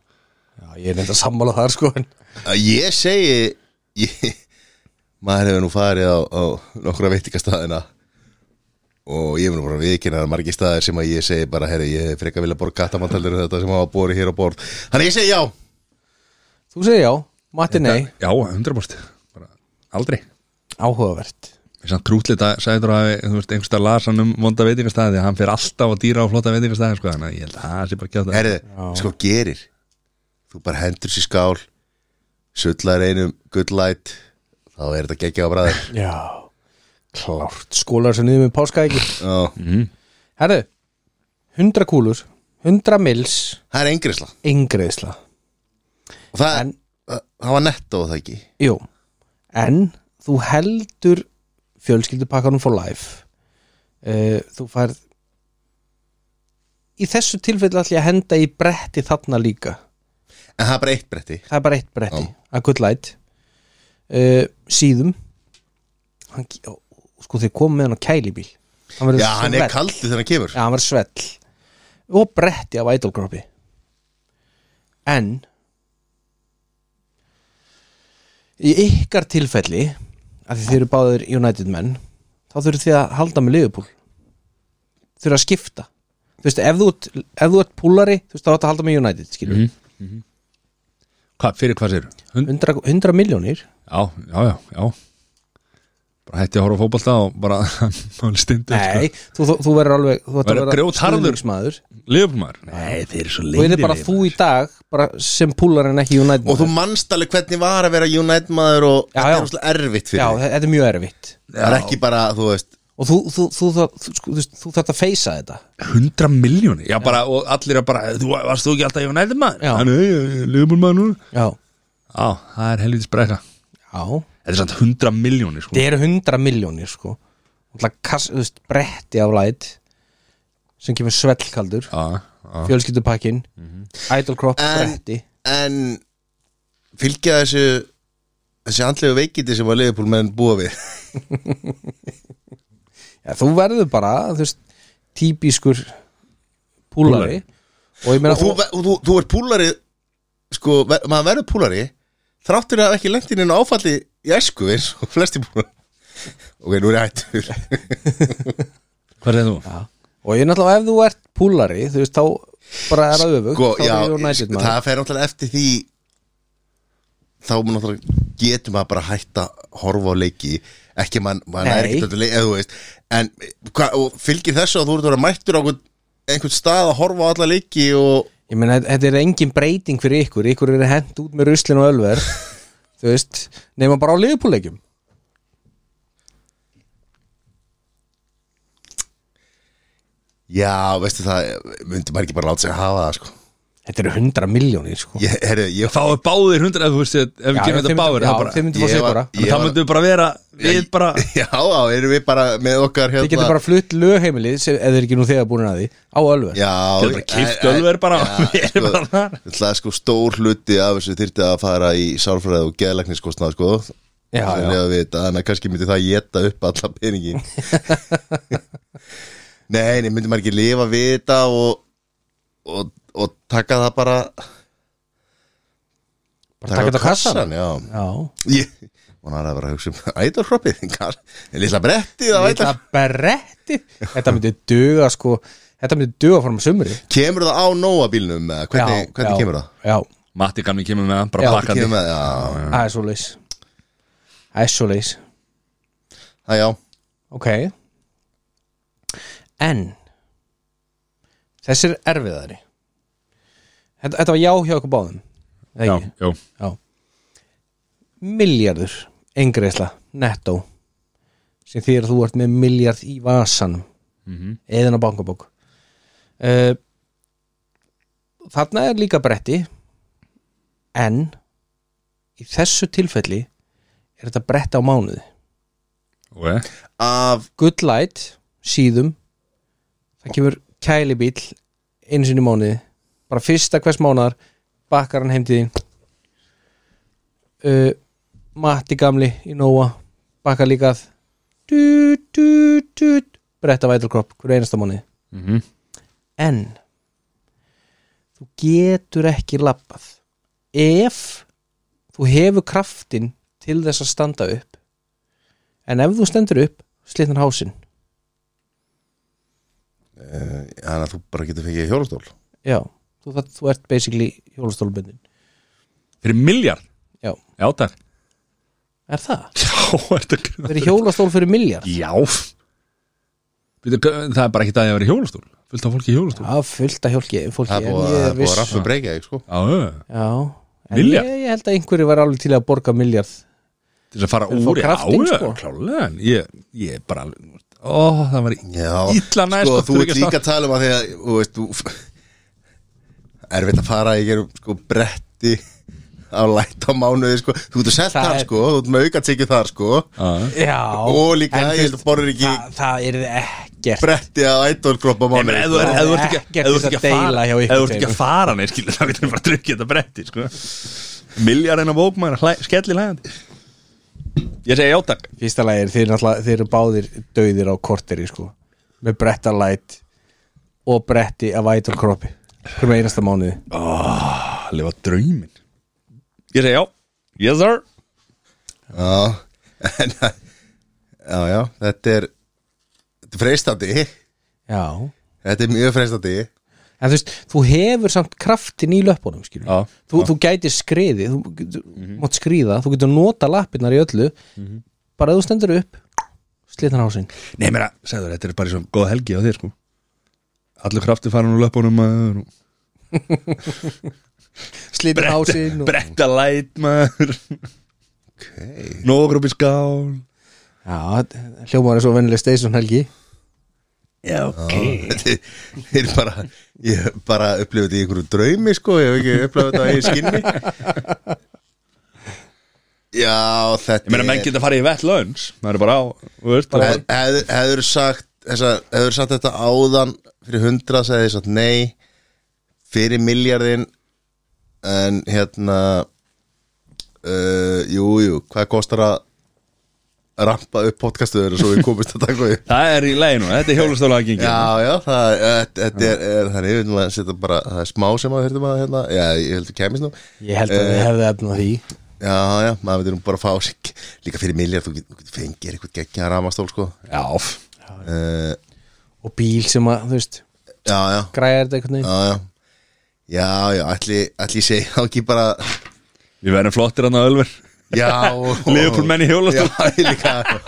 B: Ég er nefnd að sammála þar sko en
A: Að Ég segi ég, Maður hefur nú farið á, á nokkra veitingastæðina og ég hef nú bara viðkynna margir staðir sem að ég segi bara herri, ég hef frekar vilja borga kattamantaldur en þetta sem hafa borið hér á borð Þannig ég segi já
B: Þú segir já, Matti nei
C: Já, 100% Bara Aldrei
B: Áhugavert
C: Samt krútlið að sagði þú að þú veist einhverstað lasan um vonda veitingastæði því að hann fer alltaf að dýra á flotta veitingastæði sko, þannig að ég held að það sé bara kjátt að
A: Herri, sko gerir Þú bara hendur sér skál Sullar einum good light Þá er þetta geggja á bræðir
B: Já, klárt Skólar sem niður með páskaæki
A: Það
C: Mhm.
B: Herðu, 100 kúlur 100 mils,
A: er engrisla
B: yngreðsla
A: Og það,
B: En-
A: það, það var netto það ekki
B: Jú, en þú heldur fjölskyldupakkanum for life uh, Þú færð Í þessu tilfelli ætla ég að henda í bretti þarna líka
A: En það er bara eitt bretti
B: Það er bara eitt bretti
A: Já.
B: að good light uh, Síðum hann, ge- ó, Sko þeir komum með hann á kælibíl hann verður
A: Já, hann er
B: svell.
A: kaldur þegar hann kemur
B: Já, hann verður svell Og bretti af idolgrópi En Í ykkar tilfelli af því þið eru báðir United menn Þá þurfið þið að halda með liðupúl Þurfið að skipta Þú veist, ef þú ert, ef þú ert púlari Þú veist, þá átt að halda með United, skilur
A: Mhm.
B: mm.
C: Hva, Fyrir hvað sér?
B: 100, 100 miljónir
C: Já, já, já, já Bara hætti að horfa á fótbolta og bara Máli sko. stundu
B: Nei, þú, þú, þú verður alveg Þú ætti að
C: Verður
B: vera
C: grjótharður.
B: stuðningsmaður.
C: Leifumar Nei, þeir eru svo
B: Þú er bara þú í dag bara sem púlar en ekki United
A: Og þú manst alveg hvernig var að vera United maður og
B: Já,
A: þetta
B: já.
A: er rosalega erfitt
B: Já,
A: fyrir þig.
B: þetta er mjög erfitt
A: Það er ekki bara, þú veist
B: Og þú, þú, þú, þú, þú, sko, þú, veist, þú þarft að feysa þetta
C: 100 miljóni, já bara, og allir er bara Þú varst þú ekki alltaf United maður
B: Já.
C: Þannig, leifumar maður núna
B: Já,
C: Já, það er helvitis brekka
B: já
C: Þetta er samt 100 miljóni sko
B: Þetta eru 100 miljónir sko Alla kass, þú veist, bretti af læt sem kemur svellkaldur
C: Já, já
B: fjölskyldupakkin, idol crop,
A: En-
B: bretti
A: En fylgja þessu þessi andlegu veikindi sem að Leifupúl menn búa við
B: Já, þú verður bara, þú veist típiskur púlari,
C: Púlari.
B: og ég meina
A: og þú, ve- og þú, þú er púlari sko, ver, maður verður púlari þráttur að hafa ekki lengt inn inn á áfalli í æsku eins og flesti púlari ok, nú er ég hættur
C: Hvað er þú?
B: Og ég náttúrulega ef þú ert púlari Þú veist þá bara er að öfug
A: sko,
B: Þá
A: já,
B: er United maður
A: það fer náttúrulega eftir því þá mun náttúrulega getur maður bara hætt að horfa á leiki ekki mann, mann er
B: Nei.
A: ekki leiki, eða þú veist en hva, og fylgir þessu að þú ert að vera mættur á einhvern, einhvern stað að horfa á alla leiki og
B: Ég meina þetta- þetta er engin breyting fyrir ykkur Ykkur eru hent út með ruslin og ölver Þú veist Nefna bara á liðupúleikjum
A: já, veistu það, myndi maður ekki bara láta sig að hafa það sko
B: Þetta eru 100 miljónir sko
A: ég, herri, ég,
C: Fáðu báðir 100, ef þú veist Ef við kemur þetta báðir,
B: Já þið
C: það bara
B: myndum fá
A: Ég var-
B: sigura
A: ég
C: Það myndum við bara vera, við bara
A: já, þá erum við bara með okkar hérna,
B: Þið getur bara flutt lögheimilið sem- Ef þið er ekki nú þegar búin að því Á ölver
A: Já,
C: Getur bara keypt
A: en- en-
C: ölver bara,
A: Já,
C: við erum
A: sko,
C: bara þar.
A: Það er sko stór hluti af þessu þyrfti að fara í sálfræði og geðlagniskostnað sko
B: Já,
A: Sem
B: já.
A: ég að vita, þannig að kannski myndi það geta upp alla peningi Nei, nei, myndi maður ekki lifa við þetta og, og, og taka það bara
B: Bara taka þetta á kassan
A: Já,
B: Já
A: ég Hún er að vera að hugsa um ædolhroppið Lilla brettið á ædol
B: Þetta bretti Þetta myndi duga sko Þetta myndi duga fórum sumri
A: Kemur það á nóa bílnum? eða Hvernig,
B: Já,
A: hvernig
B: já,
A: kemur það?
B: Já
C: Matti kannu kemur með það,
B: Já,
C: bara pakkandi
A: Kemur það, já,
B: Það er svo leis Það er svo leis
A: það já
B: Ok En Þessir erfiðari Þetta, þetta var já hjá okkur báðum eða
C: Já,
B: ekki?
C: já
B: já Miljardur Engreisla, nettó sem þýr að þú ert með miljard í vasanum
C: Mhm.
B: eðan á bankabók uh, Þarna er líka bretti en í þessu tilfelli er þetta bretti á mánuði
C: Ok.
A: Af
B: good light síðum það kemur kælibíl einu sinni í mánuði bara fyrsta hvers mánuðar bakkar hann heim til þín uh, Matti gamli í Nóa bakkar líkað du, du, du, bretta vætalkropp hver einasta mánuði
C: Mhm.
B: en þú getur ekki lappað ef þú hefur kraftin til þess að standa upp en ef þú stendur upp slitnar hásinn
A: Þannig að þú bara getur fengið hjólastól
B: já, þú, það, þú ert basically hjólastólbundin
C: Fyrir miljard
B: já,
C: Já, takk
B: er það?
C: Já, ertu að grínast?
B: verið hjólastól fyrir miljard
C: Já Býtu, Það er bara ekki það að ég vera í hjólastól Fullt af fólki í hjólastól
B: já, fullt að hjólki fólki
A: Það er
B: en
A: búið það
B: ég
A: er búið að
B: viss-
A: raffa breyka þig sko
C: Já, já.
B: já, en
C: Milljarð?
B: ég, ég held að einhverju var alveg til að borga miljard
C: til þess að fara
B: Til að fá
C: úr já,
B: kraftinn,
C: já,
B: sko.
C: klálega en ég, ég er bara alveg ó, það var
A: Já,
C: illa næst
A: sko,
C: að
A: þú ert
C: tryggja
A: líka að tala um að því að þú veist, þú erfitt að fara í gerum sko bretti á lætt á mánuði sko, þú ert að selta
B: Það
A: hann
B: er-
A: sko þú ert með aukatekið þar sko
C: stað.
B: já,
A: og líka,
B: en
A: ég held
B: þú
A: að borður ekki
B: það, það er ekkert
A: bretti á ædolklopp á
C: Nei, menn,
A: mánuði
C: ef
A: sko.
C: þú ert- ef þú ert
B: Það er
C: ekki
B: ekkert
C: ef þú ert
B: þess að
C: ekki að fara
B: deila hjá
C: ef
B: ykkur
C: þú ert ekki að
B: tveimur.
C: fara nei, skilur, þá getur við bara að tryggja þetta bretti sko. miljarinn af bókmæður skellir hægandi ég segi játak
B: fyrsta lagi er þeir, náttúrulega- þeir eru báðir döðir á korteri sko með bretta light og bretti af vætul kroppi hverjum einasta mánuði
C: að lifa draumin ég segi já, yes sir
A: Já, en Já, já, þetta er Þetta er freistandi
B: já
A: Þetta er mjög freistandi
B: en þú veist, þú hefur samt kraftin í löpunum skilur
C: Já,
B: þú, þú gætir skriði þú getur, mátt skriða, þú getur nota lappirnar í öllu bara ef þú stendur upp slitnar hásinn
C: nei, mér að, segður, þetta er bara svona góð helgi á þér sko allur krafti farin úr löpunum maður og
B: slitnar hásinn og...
C: bretta læt maður
A: okay.
C: nógur upp í skál
B: já, hljómaður er svo vennileg station helgi
C: Já, ok
A: Þetta er- er bara Ég hef bara upplifði þetta í einhverju draumi sko, ég hef ekki upplifði þetta í skinni Já, þetta
C: Ég meina, menn geta farið í vett lönns Maður er bara á, þú veist bara,
A: Hef- hefð- Hefður sagt þessa, Hefður sagt þetta áðan Fyrir hundra sagði þess að nei Fyrir miljardin En hérna uh, Jú, jú Hvað kostar að Rampa upp podcastuður Svo við komumst að taka upp
C: Það er í leginu, þetta er hjólastóla að gengi
A: Já, já, það, eh, þetta- þetta er, er þannig, ég vil að setja bara, það er smá sem að þurfum að, hérna, já, ég held að kemist nú
B: ég held að þið hefðu efna því
A: Já, já, maður veitur um bara að fá sig, líka fyrir miljard, þú getur get, fengir eitthvað geggja að ramastól, sko
C: Já,
A: uh,
B: og bíl sem að, þú veist,
A: Já, já,
B: græjar þetta einhvern veginn
A: já, já Já, já, ætli, ætli ég segi þá ekki bara
C: við verðum flottir hann á Ölver
A: Já, og
C: Liverpool menn í hjólastól.
A: Já, ég líka já.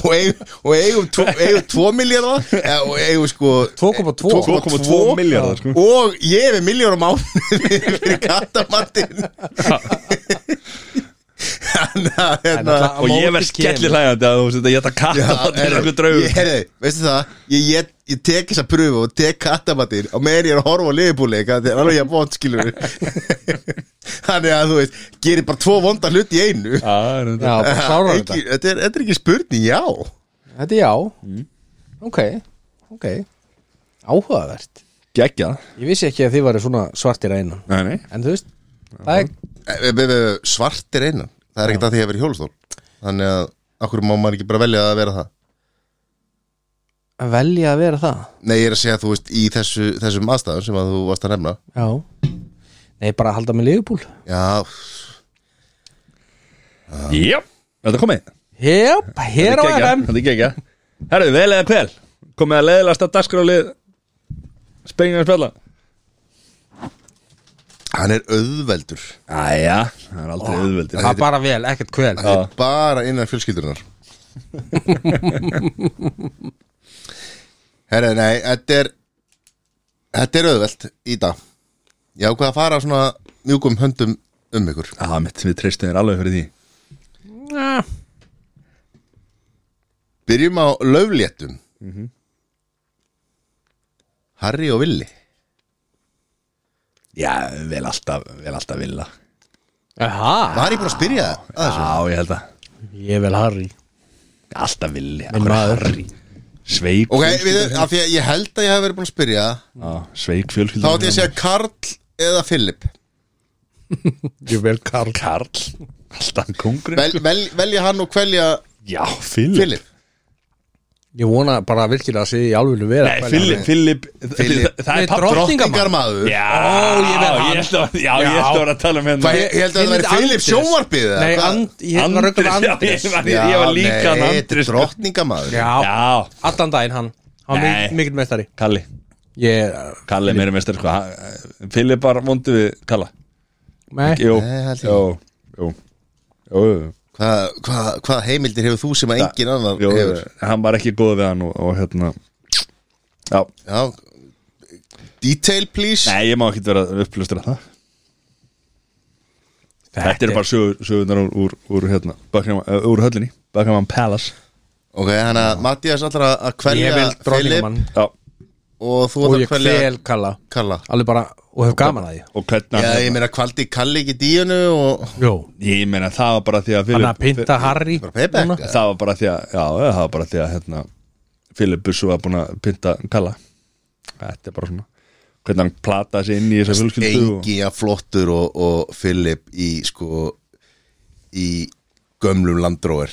A: Og eigum, og eigum, tvo, eigum 2 miljardar Já, og eigum sko
B: 2,2
C: 2,2 miljardar, sko
A: Og ég er með miljónum án fyrir kattamattin Þannig að hérna
B: náttúrulega-
C: Og ég verð
B: móti kemur.
C: skellir hlægandi að þú veist þetta Ég ætla að
A: Já,
C: katta það til
A: heyrðu,
C: einhver draug
A: ég- heyrðu, Veistu það, ég, ég, ég tek þessa pröfu og tek kattamattin og meðan ég er að horfa á liðbúleika það er alveg ég að bótt skilur Þannig að þú veist, gerir bara tvo vonda hlut í einu
C: Já, það er
B: já,
C: þetta.
B: bara klárar
A: Ekki-
B: þetta
A: þetta er, þetta er ekki spurning, já
B: þetta er já, ok ok, áhugavert
C: Geggja
B: ég vissi ekki að þið varu svona svartir að innan
C: Nei, nei
B: en þú veist, það er
A: E- e- e- Svartir einan, það er ekkert að því að vera í hjólastól Þannig að, akkur má maður ekki bara velja að vera það
B: að velja að vera það
A: Nei, ég er að segja, þú veist, í þessu, þessum aðstæðum sem að þú varst að nefna
B: já, nei bara að halda með liðbúl
A: Já,
C: Jáp, þetta komið
B: jáp, hér á
C: Þetta er geggjað,
B: FM
C: Þetta er geggja Herðu, vel eða kvel Komið að leiðilegast að dagskrálið Spengið að spjalla
A: hann er auðveldur
C: Æja, það er aldrei auðveldi
B: það er bara vel, ekkert kvel
A: Hann er bara innan fjölskyldurinnar Herra, nei, þetta er Þetta er auðveld í dag Ég ákvað að fara svona mjúkum höndum um ykkur
C: Já, mitt, við treystum þér alveg fyrir því
B: Ah,
A: Byrjum á löfléttum Harry og Willi
C: Já, vel alltaf, vel alltaf vilja
B: aha,
A: Var ég búin að spyrja það? að þessu?
C: Já, ég held að
B: ég vel Harry
C: Alltaf villi
B: Minn maður.
C: Harry Sveik
A: Ok, við, af því að ég held að ég hef verið búin að spyrja það
C: á, Sveik
A: Þá
C: fjölskyldur
A: ætti ég að segja Karl eða Philip
B: ég vel Karl
C: Karl Alltaf kongur
A: vel, vel, Velja hann og kvelja
C: Já, Filip
A: Philip
B: Ég vona bara virkilega að sé í alvölu vera
C: Nei, Filip, Filip
A: Filip.
C: Það
B: Nei,
C: er pappi
B: drott-
A: Drottingarmaður
C: Já,
B: Ó, ég verð hann.
C: ég held að- já, ég
B: Já.
C: ætti að vera að tala með
A: Hvað, ég held að það væri Filip sjónvarpið eða
B: Nei,
A: hvað?
B: and, ég var
C: Andrés,
B: röggum
C: já,
B: Andrés
C: ég var- ég var líka hann
A: nei,
C: Andrés.
A: þetta er drottningamaður
B: Já,
C: Já,
B: allan daginn hann Hann var
C: Nei.
B: mik- mikill mestari
C: Kalli
B: Ég, eh,
C: Kalli er meira mestar sko Ha- Filip var vondu við Kalla
B: nei,
C: Jú,
A: Nei, held ég.
C: jú, jú Jú, jú.
A: Hvað hva, hva heimildir hefur þú sem að engin annar
C: jú,
A: hefur?
C: hann var ekki góð við hann og, og hérna Já,
A: Já, detail please
C: nei, ég má ekki vera upplustur að það Þetta er bara sögur, sögurnar úr, úr, úr, hérna, Buckingham, uh, úr höllinni Buckingham Palace
A: Ok, hann að Mattias allra að
B: Ég
A: kvelja
B: vil
A: Filip
B: dronningamann
C: Já,
A: og þú
B: Og
A: að
B: ég
A: kvelja
B: kvel kalla
A: Kalla
B: Alveg bara, og hef gaman að
C: og hvernig
A: Já,
C: hann-
A: ég meina kvaldi Kalli ekki díunu og
B: því Jó,
C: Ég meina það var bara því að
B: hann
C: Philip-
B: að pinta Harry
A: bara payback,
B: núna.
A: eða?
C: Það var bara því að Já, það var bara því að hérna Filip Bussu var búin að pinta Kalla Þetta er bara svona Hvernig hann plataði sig inn í þessa fjölskyldu og...
A: Engi að flottur og, og Filip í sko í gömlum landróer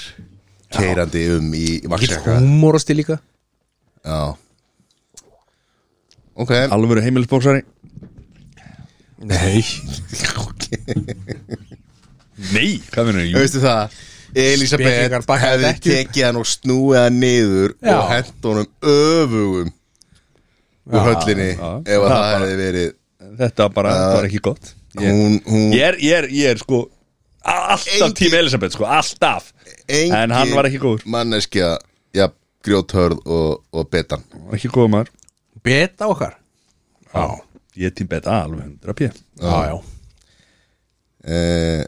A: keirandi um í vaksjaka
B: Húmorasti líka
A: Já Ok,
C: Alvöru heimilisbóksari
B: Nei
C: Nei, hvað minnur ég?
A: veistu það
B: Spekingar
A: Elisabeth
B: bakka
A: hefði
B: þetta ekki upp.
A: tekið hann og snúið hann niður
B: Já.
A: og hent honum öfugum úr höllinni
C: já.
A: ef að
C: Það
A: það,
C: bara-
A: hefði verið
C: Þetta var bara, þetta var ekki gott Ég,
A: hún, hún
C: ég, er, ég, er, ég er sko a- Alltaf
A: Engi- E-
C: tím Elisabeth sko, alltaf
A: engin
C: En hann var ekki góður
A: manneskja, ja, grjóthörð og, og betan
C: Hann var Ekki góður maður
B: Beta okkar Já,
C: Ég er tím betta alveg 100 pjö
B: já, já
A: uh,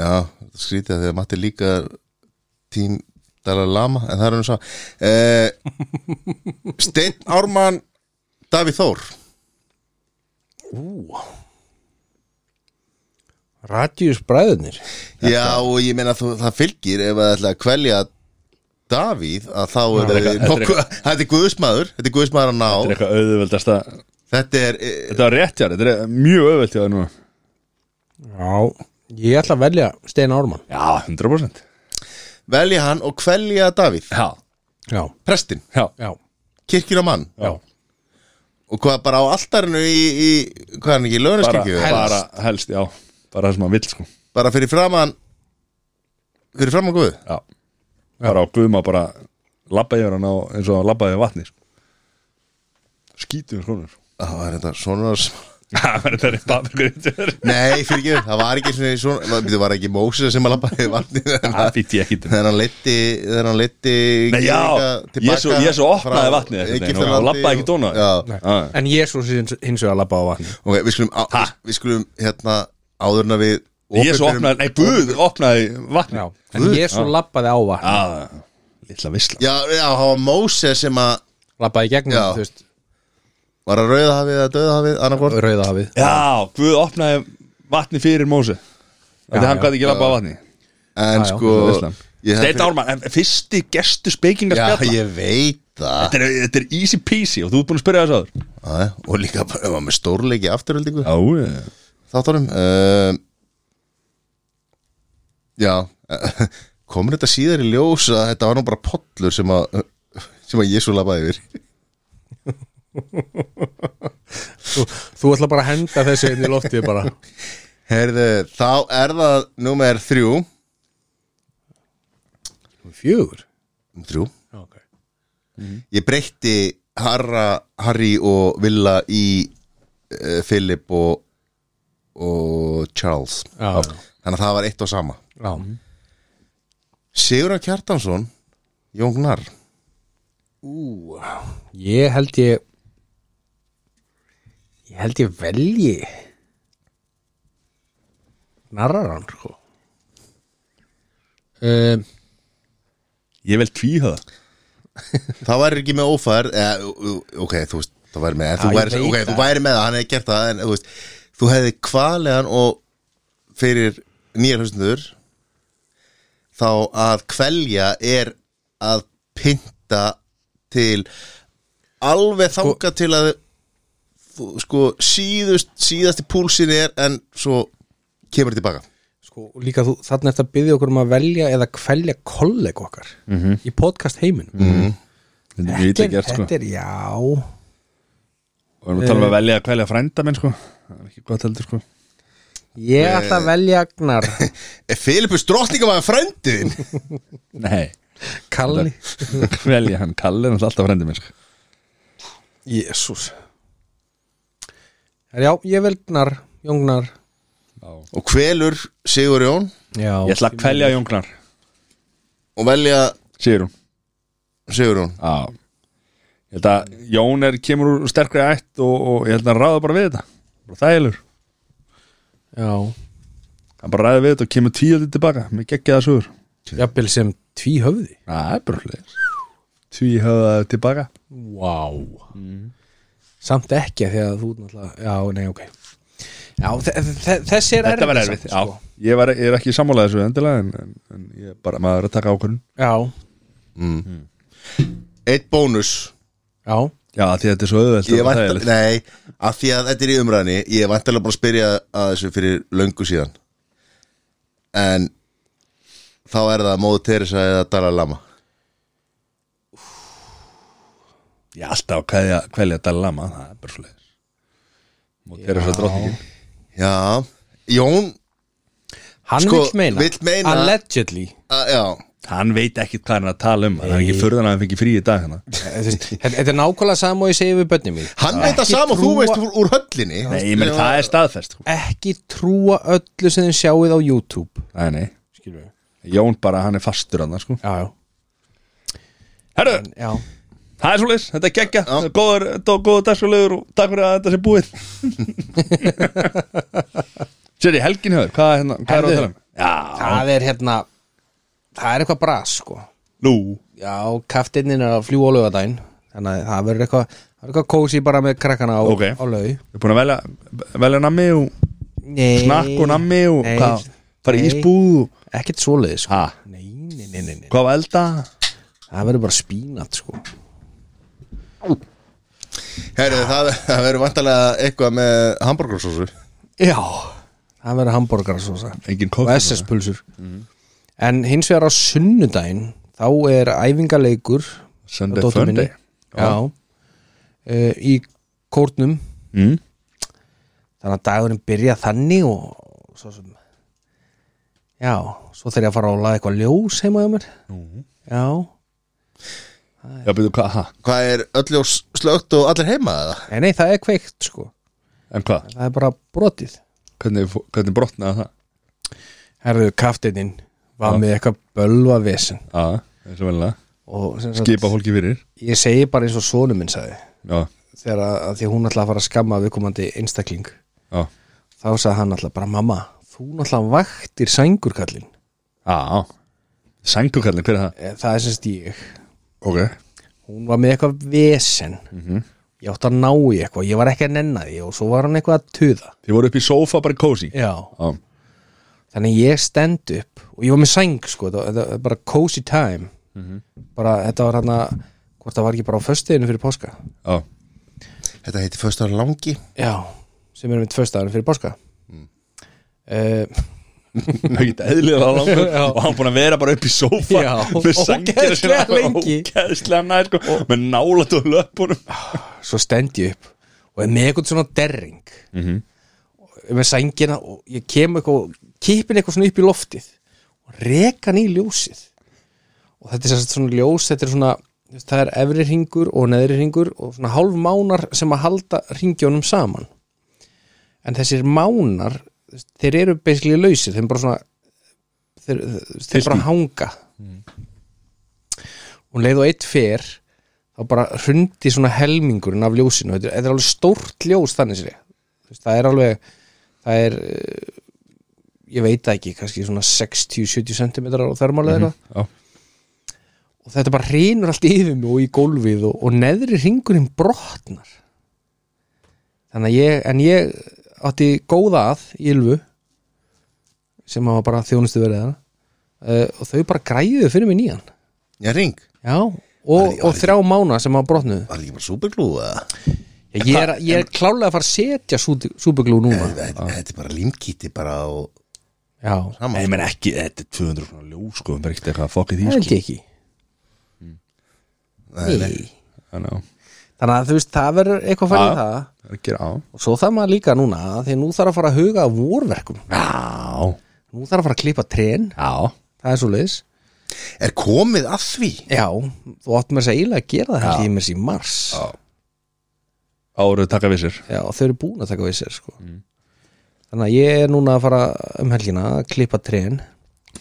A: já, skrítið að þegar Matti líka er tím Dalai Lama, en það er hann svo uh, Steinn Ármann Davíð Þór
B: Ú Radius bræðunir
A: Já og ég meina þú, það fylgir ef að ætla að kvelja Davíð að þá er
C: þetta er
A: nokkuð þetta er guðsmaður, þetta er guðsmaður að
C: Þetta er
A: ná
C: eitthvað auðveldasta
A: þetta er, eh,
C: Þetta var rétt hjá þér, þetta er mjög auðveld hjá þér núna
B: Já, ég ætla að velja Steina Ármann
C: Já, 100%
A: velja hann og kvelja Davíð,
C: Já,
B: Já,
A: prestin,
C: já,
B: já,
A: kirkjur og mann
B: já
A: og hvað bara á altarinu í, í hvað er hann ekki,
C: bara,
A: lögnarskirkju bara,
C: bara helst, já Bara það sem maður vill sko
A: bara fyrir framan fyrir framan guð
C: Já, bara á guðma bara labba yfir hann á eins og að labba yfir vatni sko. Skítum sko
A: það er þetta svona
C: Það er paprikur
A: nei, fyrir ekki, það var ekki svona, svona það var ekki Mósir sem að labbaði í vatnið en
C: Það fýtti ég ekki
A: þegar hann leiti þegar hann leiti
C: Nei, já, Jesú- Jesú opnaði vatnið einhvern veginn og labbaði ekki dóna. Já,
B: En Jésús hins hins vegar labba á vatni
A: ok, við skulum, á,
C: Ha?
A: við, við skulum hérna áðurna við
C: Ég svo
A: opinberum-
C: opnaði, nei Guð opnaði vatni
B: Já, en Jésús labbaði á vatni
C: Já, litla visla
A: já, já, það var Móses sem að
B: Labbaði í gegnum,
A: Já.
B: þú veist,
A: var að rauða hafið eða döða hafið annarkvort
B: rauða hafið
C: Já, Guð opnaði vatni fyrir Móse Þetta hann gæti ekki labba á vatni
A: en
B: Já, já,
A: sko
C: Visla
A: ég hef-
C: Steinn Ármann, en fyrsti gestu spekinga
A: já,
C: spjalla
A: ég veit það
C: þetta, er, þetta er easy peasy og þú ert búin að spyrja þess aður
A: Æ, og líka bara, ef hann með stórleiki afturöldingu
C: Já, ég
A: þáttunum uh, já komur þetta síðar í ljós að þetta var nú bara pollur sem að sem að Jésu labbaði yfir
B: Þú, þú ætla bara að henda þessu inn í loftið bara
A: Herðu, þá er það númer þrjú
B: Fjögur
A: þrjú
B: okay.
A: ég breytti Harra, Harry og Villa í uh, Philip og, og Charles
B: Já.
A: þannig að það var eitt og sama
B: Já.
A: Sigurðan Kjartansson Jóngnar
B: Ú, ég held ég ég held ég velji narrar hann sko um,
C: Ég vel tvíhöða
A: það væri ekki með ófær eh, ok, þú veist, það væri með en þú
B: Já, ég
A: væri,
B: veit
A: ok,
B: það.
A: þú væri með það, hann hefði gert það en þú veist, þú hefði kvalegan og fyrir nýjar hlustundur þá að kvelja er að pynta til alveg
B: Sko-
A: þanga til að þú- sko síðust síðasti púlsin er en svo kemur tilbaka
B: sko, og líka þú, þarna Mhm. eftir að byggja okkur um að velja eða kvelja kolleg okkar -hmm. í podcast heiminum -hmm.
C: Mhm. Þetta er mjög ítla gert sko
B: þetta er, já
C: Og erum að tala um að velja að kvelja frænda minn sko Það er ekki gott heldur sko
B: Ég ætla
C: Eh.
B: að velja Agnar
A: Filipus drottningamæður frendin
C: Nei,
B: Kalli
C: velja hann Kalli er náttúrulega alltaf frændi minn sko
B: Jésús Já, ég vel Gnar, Jóngnar
A: Og kvelur Sigur Jón
B: Já,
C: Ég ætla að kvelja Jóngnar
A: Og velja
C: Sigur hún
A: Sigur Jón
C: Já Ég held að Jón er, kemur úr sterkri ætt og, og ég held að hann ráða bara við þetta Bara þægilegur
B: já
C: Hann bara ræði við þetta og kemur tíðaldi tilbaka Mér geggja það sögur
B: Jafnvel sem tví höfði
C: Það er bara hlut Tvíhöða tilbaka
B: Vá
C: Mhm.
B: Samt ekki af því að þú náttúrulega Já, nei, ok Já, þe- þe- þessi er
C: Þetta var
B: erfið
C: erfitt,
B: samt,
C: já
B: sko.
C: Ég, var, ég er ekki sammálaði þessu endilega en, en, en ég er bara, maður er að taka ákvörðun
B: Já,
A: Eitt bónus
B: já
C: Já, því að þetta er svo auðvelt
A: Ég
C: og
A: vant
C: þægilegt.
A: Nei, af því að þetta er í umræðinni Ég er vantilega bara að spyrja að þessu fyrir löngu síðan En Þá er það Móðu Teresa eða Dalai Lama
C: Ég er alltaf að kveðja, kveðja Dalai Lama Það er bara svo leiðis Og þeirra svo drottningin
A: Já, Jón
B: Hann
A: Sko,
B: vill meina
A: vill meina-
B: Allegedly
A: a, Já,
C: Hann veit ekkit hvað hann er að tala um Það er ekki furðan að hann fengi frí í dag hérna. hana.
B: Þú veist, Þetta þetta er nákvæmlega sama og ég segi við bönni mín
A: hann veit það sama og Þú
B: trúa-
A: veist úr, úr höllinni
C: Nei, ég meni það er staðfest sko.
B: Ekki trúa öllu sem þið sjáið á YouTube
C: Nei, nei
B: Skilur við
C: Jón bara, hann er fastur hann sko.
B: Já, já
C: Herru,
B: Já,
C: það er svo leiðis, þetta er geggja Góður, þetta var góður dagsfjölegur og takk fyrir að þetta sé búið Sér í helgin höfður, hvað, er hérna, hvað er að
B: Herðu.
C: tala um? Já,
B: það er hérna Það er eitthvað bras, sko
C: nú
B: Já, kaftinnin er að fljúa á laugardaginn Þannig að það verður eitthvað Það er eitthvað kósi bara með krakkana á,
C: Ok.
B: á laug
C: Ég er búin að velja, velja nammi og
B: Nei,
C: snakk og nammi og
B: nei,
C: hvað, fara í
B: nei.
C: ísbúð og
B: Ekkert svoleiðis, sko
C: Ha?
B: Nei, nei, nei, nei, nei
C: hvað var elda?
B: Það verður bara spínat, sko
A: Herri, það, það verður vantilega eitthvað með hambúrgarsósu
B: Já Það verður hamborgar svo
C: Engin
B: og
C: kokkur
B: SS-pulsur En hins vegar á sunnudaginn þá er æfingaleikur á
C: Sunday
B: dóttur minni.
C: Funday
B: Já uh, Í kórnum
C: mm?
B: Þannig að dagurinn byrja þannig og og svo sem Já, svo þegar ég að fara að laga eitthvað ljós heima hjá mér Já,
C: Já, byrju, hvað, ha?
A: Hvað er öllu slögt og allir heima eða?
B: nei, nei, það er kveikt sko
C: En hvað?
B: Það er bara brotið
C: Hvernig, fó- hvernig brotnaði það?
B: Herðu, kaftininn var með eitthvað bölva vesen
C: Já, eins og velja
B: og sem sagt,
C: Skipa fólki fyrir
B: ég segi bara eins og sonu minn sagði
C: Já,
B: þegar að, að því að hún ætlaði að fara að skamma viðkomandi einstakling
C: já,
B: þá sagði hann alltaf bara mamma þú náttúrulega vaktir sængurkallin
C: já Sængurkallin, hver er það?
B: Eh, það er sem stíg
C: Ok
B: hún var með eitthvað vesen ég átti að ná í eitthvað, ég var ekki að nenna því og svo var hann eitthvað að tuða
C: Þið voru upp í sófa bara kósi
B: Já.
C: Já,
B: þannig ég stend upp og ég var með sæng sko, þetta þetta var bara cozy time Mhm. bara þetta var hann að hvort það var ekki bara á föstuðinu fyrir páska
C: já
A: Þetta heitir föstar langi
B: já, sem erum við föstuðinu fyrir páska mm.
C: Það geta eðlið það langur
B: Já.
C: Og hann búin að vera bara upp í sófa
B: Já,
C: Með sængina
B: ógeðslega lengi.
C: Ógeðslega nær, sko Með nálat og löpunum
B: svo stend ég upp og er með eitthvað svona derring mm -hmm. með sængina og ég kem eitthvað og kipin eitthvað svona upp í loftið og reka hann í ljósið og þetta er sem sagt svona ljós þetta er svona, þú veist, það er efri hringur og neðri hringur og svona hálf mánar sem að halda hringjónum saman en þessir mánar þú veist, þeir eru basically lausir þeir bara svona þeir, þú veist, þeir bara hanga og um leið og eitt fer þá bara hrundi svona helmingurinn af ljósinu þetta er, þetta er alveg stórt ljós þannig sér veist, það er alveg það er, eh, ég veit það ekki kannski svona 60-70 cm á þermáli eða eitthvað
C: Já
B: og þetta bara hreinur allt yfir mig og í gólfið og, og neðri ringurinn brotnar þannig að ég en ég átti góða að í Ylfu sem var bara þjónustu verið hana uh, og þau bara græðu fyrir mig nýjan
A: Já, ring
B: já, og, og þrjá mána sem að brotnuðu
A: Var það ekki bara superglú eða?
B: Já, Ég er, ég er klálega að fara að setja súti- súpuglú núna
A: Þetta þetta er bara límkíti bara og
B: Já,
A: saman
C: Ah. Nei, menn sko, ekki, þetta er 200 svona ljós sko, það er ekkert eitthvað að fokka í því
B: það
C: sko.
B: held ég ekki Nei.
C: þannig að
B: Þannig að þú veist, það verður eitthvað færi í það
C: það er að gera á
B: og svo þarf maður líka núna því að nú þarf að fara að huga að vorverkum
C: já,
B: nú þarf að fara að klippa trén
C: já,
B: það er svo leiðis
A: Er komið að því?
B: já, þú átt mér að segja eiginlega að gera það held ég mér sér í mars já.
C: áruð taka við sér
B: og þau eru búin að taka við sér sko. þannig að ég er núna að fara um helgina að klippa trén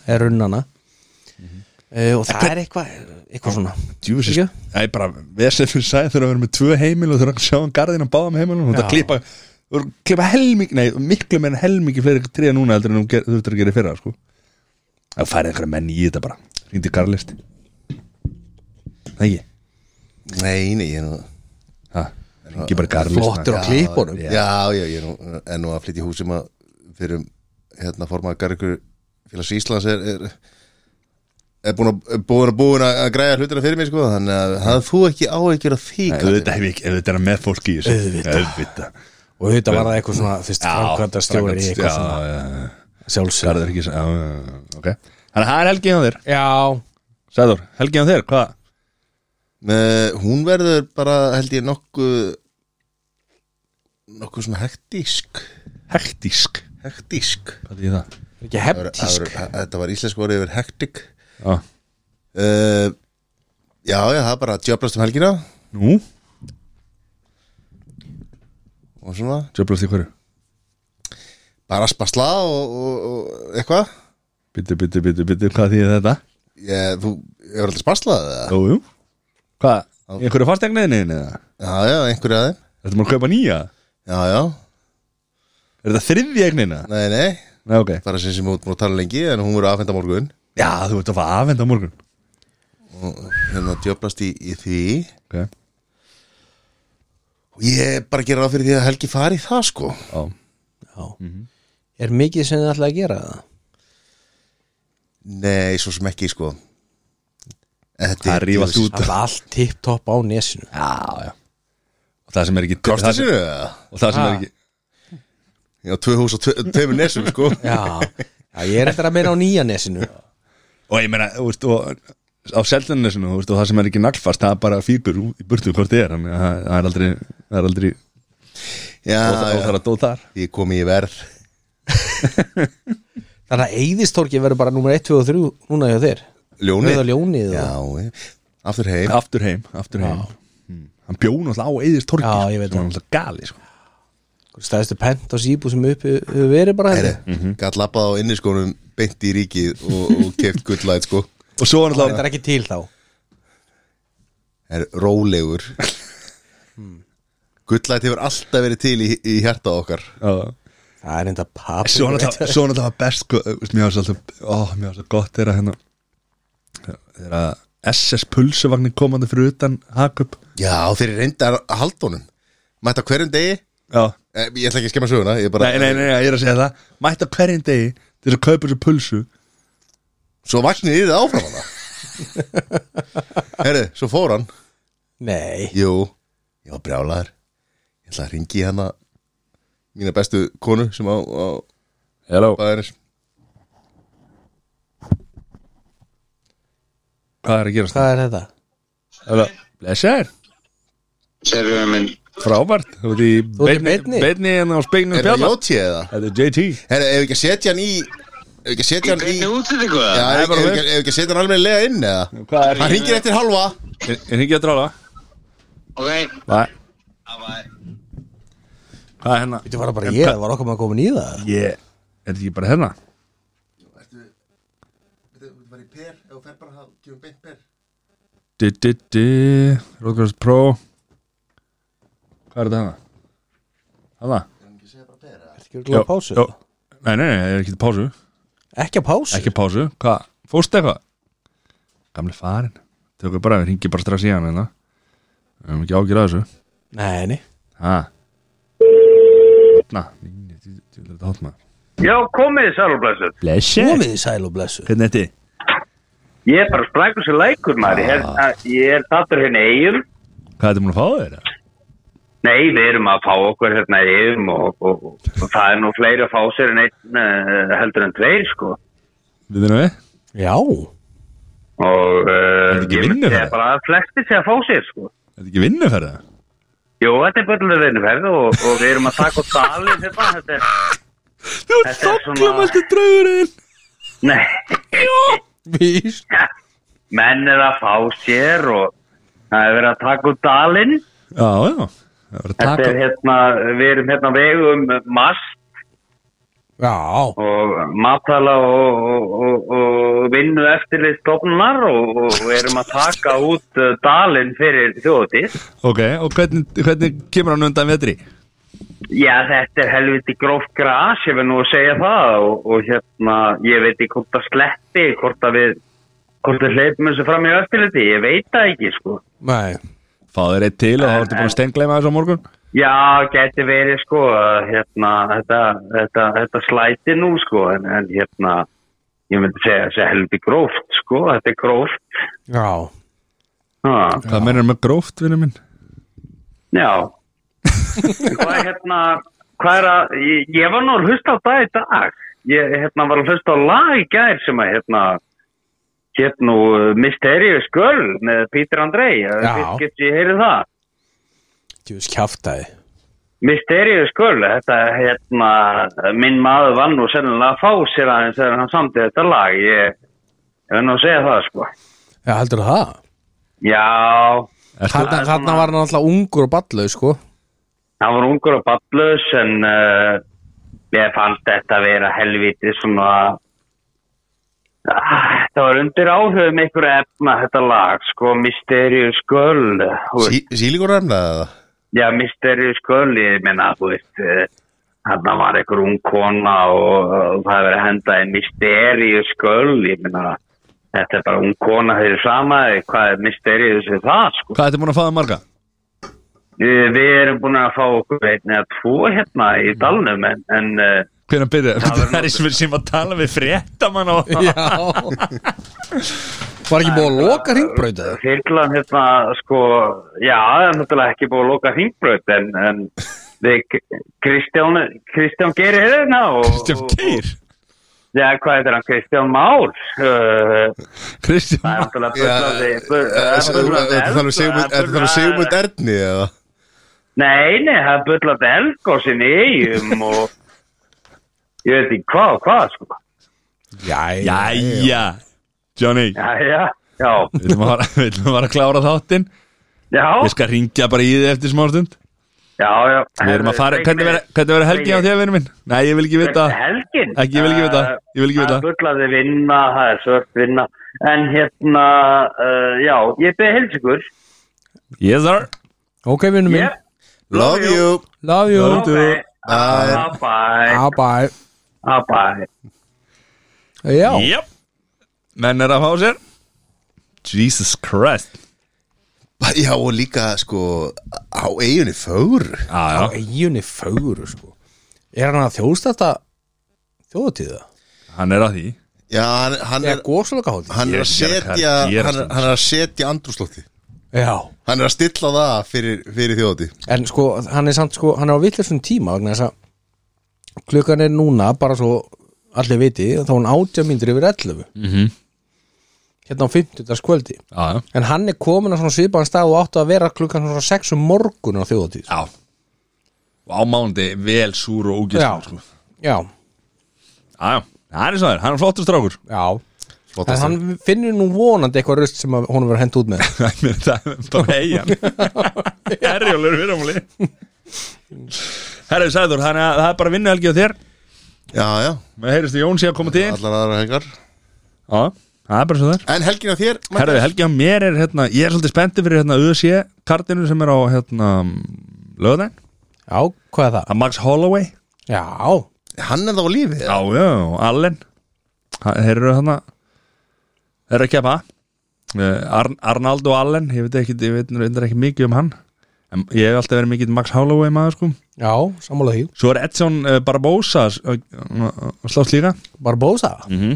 B: eða runnana uh, og það er eitthvað eitthvað svona
C: djúfisins,
B: Ekki?
C: það er bara vesið fyrir sæð þurfa að vera með tvö heimil og þurfa að sjá um garðin að báða með heimilum og það
B: Já.
C: klippa þú þurfa að klippa helming, nei, miklu meira en helmingi fleiri tríða núna heldur en þú ger- þurftir að gera í fyrra sko. það færið einhverja menn í þetta bara ringdi garðlist það ekki,
A: Nei, nei, ég er nú
C: það ringi bara garðlist
B: flottur á klippunum
A: Ah, Já, já, ég er nú, er nú að flytja í hús sem að fyrir um, hérna formaða Gargur félags Íslands er, er, er búin að búin að, búin að, að græja hlutina fyrir mig sko, þannig að hafði þú ekki áhyggjur af því
C: ef
A: Kalli?
C: þetta hef ekki, ef þetta er með fólki í þessu
B: Auðvitað.
C: auðvitað
B: og þetta var það eitthvað svona þú veist, framkvæmda stjóri
C: framkvæmdastjóri,
B: eitthvað svona
C: já, já, já.
B: sjálfsög
C: garður er ekki já, já, já, ok, þannig að það er helgið á þér
B: já,
C: Sæður, helgið á þér, hvað?
A: Eh, Hún verður bara held ég nokkuð nokkuð svona hektísk
C: hektísk,
A: hektísk
C: hvað er það?
B: ekki
A: Það voru- það
B: heftísk
A: voru- Þetta var íslensk orðið yfir hektik
C: Já.
A: uh, Já, já, það er bara að djöflast um helgina
C: Nú,
A: og svona,
C: djöflast í hverju?
A: bara spasla og, og, og eitthvað
C: Bittu, bittu, bittu, bittu, hvað þýðir þetta?
A: Ég, þú, ég var alltaf spaslað eða?
C: Jú, jú Hvað, í einhverju fastegnaðinni eða?
A: Já, já, einhverju aðeim
C: Þetta maður að kaupa nýja?
A: Já, já,
C: Er þetta þriðja eignina?
A: nei, nei
C: Nei, ok
A: Það er sem sem út búin að tala lengi en hún verður aðfenda morgun
C: Já, þú ert að fara aðvenda á morgun
A: og hérna djöflast í, í því
C: Ok,
A: og ég bara gera ráð fyrir því að Helgi fari í það sko
C: á
B: Mhm. er mikið sem þið ætlaði að gera það
A: Nei, svo sem ekki sko En Þetta
C: Það rífast út.
B: Það var allt tipptopp á nesinu
C: Já, já Og það sem er ekki
A: Kosta
C: það sem-
A: sér það?
C: Og það sem er
B: Ha.
C: ekki
A: Já, tvö hús og tve- tveimur nesum sko
B: Já, já ég er eftir að meina á nýja nesinu
C: Og ég meina, þú veist, og á seldunisinu, þú veist, og það sem er ekki naglfast það er bara fíkur ú- í burtu hvort þið er þannig að það- það er aldrei, það er aldrei
A: Já,
B: Ah,
C: og það og það
A: já,
C: er að dóð þar
A: ég kom í verð
B: Þannig að Eyðistorki verður bara nummer 1, 2 og 3 núna hjá þér
A: Ljónið
B: Rauða ljónið
A: Já,
B: og-
A: ég- aftur heim
C: aftur heim, aftur heim Mm. hann bjóð náttúrulega á Eðis Torki
B: Já, ég veit
C: það var
B: það.
C: náttúrulega gali sko.
B: Stæðistu pent á síbú sem uppi hefur verið bara
A: Heri,
B: þetta
A: Gat lappað á inniskónum beint í ríkið og, og keft gullæð sko
C: og svo var
B: Þetta
C: náttúrulega
B: er ekki til þá
A: er rólegur Gullæð hefur alltaf verið til í, í hjarta okkar
C: Já.
B: Það er enda papp
C: svo var náttúrulega svo var náttúrulega best sko, þú veist, mér var svolítið ó, mér var svolítið gott þeirra hérna þeirra SS pulsuvagnin komandi fyrir utan Hakup
A: Já, þeir eru reyndar að halda honum Mæta á hverjum degi
C: já,
A: Eh, Ég ætla ekki að skemma söguna Ég bara,
C: nei, nei, nei, nei, ég er að segja það mætt á hverjum degi til að kaupa þessu pulsu
A: Svo vagnir þið áfram hana Herri, svo fór hann
B: Nei,
A: Jú, ég var brjálaður Ég ætla að ringi hana Mína bestu konu sem á, á
C: hello,
A: bæðinir
C: hvað er að gera
B: hvað er þetta?
C: það? blessaður,
D: Serfið minn,
C: frábært þú ert í
B: Þú ert í beinni?
C: beinni en á spenginu
A: Er það jóti eða?
C: þetta er JT
A: Herri, ef ekki að setja hann í Ef ekki að setja hann í
D: hvernig
A: Já,
D: út þetta hvað?
A: ef ekki- ef ekki ef ekki að setja hann alveg lega inn eða
C: hvað er
A: Hann ringir eftir halva
C: ég? er ekki að drála?
D: Ok,
C: Nei.
D: bye
C: Hvað er hérna?
B: Þetta var bara ég, það var okkar maður komin í það
C: Ég, er þetta ekki bara hérna?
A: Þetta var í per, ef þú fer bara að gefa beint per
C: Du, du, du, Roadgrass Pro Hvað er þetta hérna? Hérna?
B: Ertu ekki að pásu?
C: Jó. Nei, nei, nei, ég er ekki til pásu
B: Ekki að pásu?
C: Ekki pásu, hvað? Fórstu eitthvað? Gamli farin Tökum bara, við ringi bara strax í hann hérna Við höfum ekki ágjur að þessu
B: Nei, nei
C: Ha? Na, ég vil þetta hátma
E: Já, komið sælublæsum.
C: Blessi
B: Komið í sæl og blessu
C: Hvernig er þetta?
E: Ég er bara splækur sem lækur maður. Ég
C: Ah.
E: er, ég er tattur hérna eigum.
C: Hvað er þetta múin að fá þér?
E: Nei, við erum að fá okkur hérna eigum og, og, og, það er nú fleiri að fá eh, sér en einn uh, heldur en tveir sko.
C: Við þurfum við?
B: Já,
E: og
C: Er
E: uh,
C: þetta ekki
E: ég myndi
C: vinnuferð?
E: segja bara að flesti sé að fá sér sko.
C: Þetta er ekki vinnuferða
E: Jú, þetta er börnlega vinnuferð og, og við erum að taka út dali þetta, þetta er,
C: Þú
E: ert Þetta er svona- þokkalamastur
C: draugurinn
E: nei,
B: Vís
E: menn er að fá sér og það er verið að taka út dalinn
C: Já, já Það var að
E: þetta
C: taka
E: er hérna, við erum hérna á vegu um mast
B: Já
E: og matala og, og, og, og vinnu eftirlið stofnunar og, og og erum að taka út uh, dalinn fyrir þjóðutíð.
C: Ok, og hvernig, hvernig kemur hann undan vetri?
E: Já, þetta er helviti gróft gras, ég vil nú að segja það og, og hérna, ég veit ekki hvort það sleppi, hvort að við, hvort við hleypum þessu fram í eftirliti, ég veit það ekki, sko.
B: Nei
C: Fá þér eitt til og þá ertu búin að stengleima þessu á morgun
E: Já, geti verið sko, að, hérna, þetta, þetta, þetta slæti nú sko, en, en hérna, ég myndi segja þessi heldi gróft sko, þetta er gróft.
B: Já
E: Ha,
C: Hvað mennir með gróft, vinnu minn?
E: já. hvað er hérna, hvað er að, ég, ég var nú að hlusta á það í dag, ég hérna var að hlusta á lag í gær sem að hérna, hérna uh, Mysterious Girl með Peter Andrei,
B: Já.
E: getur ég heyrið það?
B: Djús kjaftaði
E: Mysterious Girl, þetta hérna, minn maður vann og sennilega að fá sér aðeins þegar hann samtið þetta lag, ég, ég verð nú að segja það sko.
B: Já, heldur það?
E: Já,
B: Þarna, þarna var hann alltaf ungur og ballau, sko
E: hann var ungur og bablus en uh, ég fannst þetta að vera helviti svona, ah, það var undir áhugum einhverja efna þetta lag sko, Mysterious Girl, þú veist.
A: sí, Sílíkurarm eða?
E: Já, Mysterious Girl, ég meina, þú veist, hann var einhver ung kona og eh, það hefur verið að henda í Mysterious Girl, ég meina, þetta er bara ung kona þeir eru sama, eh, hvað er Mysterious við það, sko?
C: Hvað ertu búin að fá það marga?
E: Eh, Við erum búin að fá okkur einn eða tvo hérna í dalnum, en, en eh,
C: Hvernig byrja?
E: Það verður
C: Það er sem, sem að tala við fréttamann og
B: Já Var ekki búið að loka hringbrauta?
E: þyrlan hérna, sko, já, það er náttúrulega ekki búin að loka hringbraut, en, en við, Kristján, Kristján Geir er hérna og...
C: Kristján
E: og-
C: Geir
E: Já, hvað heitir hann? Kristján Már? Uh, það er
C: Kristján
E: náttúrulega
A: Já,
E: bullandi.
C: eh,
E: bu-
A: Eh, Er
E: það er bullandi
A: þetta
E: eldgos-
A: þannig
C: um-
A: Sigmund- er þetta þannig
E: það er
A: Sigmund
E: bullandi-
A: Erni eða?
E: Nei, nei, það er bullandi eldgósin í eigum og ég veit ekki hvað og hvað, sko.
B: Jæja
C: Jæja Johnny,
E: Já, já, já,
C: við ætlum að fara- við ætlum að fara að klára þáttinn
E: já,
C: Ég skal ringja bara í þið eftir smá stund
E: já, já.
C: Við erum að fara, hvernig verður- hvernig verður helgi á þér, vinnu minn? Nei, ég vil ekki vita
E: Helgin?
C: Ekki, ég vil ekki vita,
E: Eh,
C: ég vil ekki vita.
E: Það er bullandi vinna, það er svört vinna. En hérna, uh, já, ég beði helsingur.
C: Yes, sir
B: Ok, vinnum minn
E: Yep.
A: Love you
B: Love you
E: Okay.
A: Bye.
E: Bye.
B: Ah, bye
E: Bye. Bye.
B: Já
C: Jep Menn er að fá sér Jesus Christ
A: Já og líka sko á eiginni fögur
B: Á
C: Já, já,
B: eiginni fögur, sko Er hann að þjóðst þetta þjóðatíða?
C: hann er að því
A: Já hann, hann
B: Já,
A: er
B: góðsvöldaka hótti
A: Hann er að
C: Ég gerði
A: setja hann,
C: hvað gerist
A: er-
C: þarna?
A: hann er að setja andrúslótti
B: Já
A: Hann er að stilla það fyrir, fyrir þjóti
B: En sko, hann er samt sko, hann er á vitlisum tíma vegna þess að klukkan er núna bara svo allir viti þá er hún átja myndur yfir 11
C: Mhm.
B: hérna á 50. kvöldi
C: Já, já
B: en hann er komin á svona svipaðan stað og áttu að vera klukkan svona 6 um morgun á þjóðatíð
C: Já Og á mánundi vel súr og ógæstum
B: Já.
C: sko.
B: Já,
C: Já, já Það er svo þér, hann er flottur strákur
B: já En hann finnur nú vonandi eitthvað röst sem að honum verður hent út með
C: Það er bara eigin Herjólur virðamúli Herri, sagður, þannig að það er bara vinnuhelgi á þér
A: Já já
C: Með heyrist þið Jón síðan koma til Já,
A: Allar aðra helgar
C: það er bara svo þér
A: En helgin á þér Matthías?
C: Herðu, helgi á mér er hérna Ég er svolítið spenntið fyrir hérna USC kartinu sem er á hérna lögðan
B: Já, hvað er það?
C: Það er Max Holloway
B: Já,
A: Hann er þá á lífi
C: Já, já, og Allen Það- Þeir eru þarna Þeir eru að kepa Ar Arnaldo Allen, ég veit ekki ég veit reyndar ekki mikið um hann en ég hef alltaf verið mikið Max Holloway maður sko
B: já, sammála því
C: Svo er Edson eh, Barbosa s- að að slást líka
B: Barbosa
C: Mhm.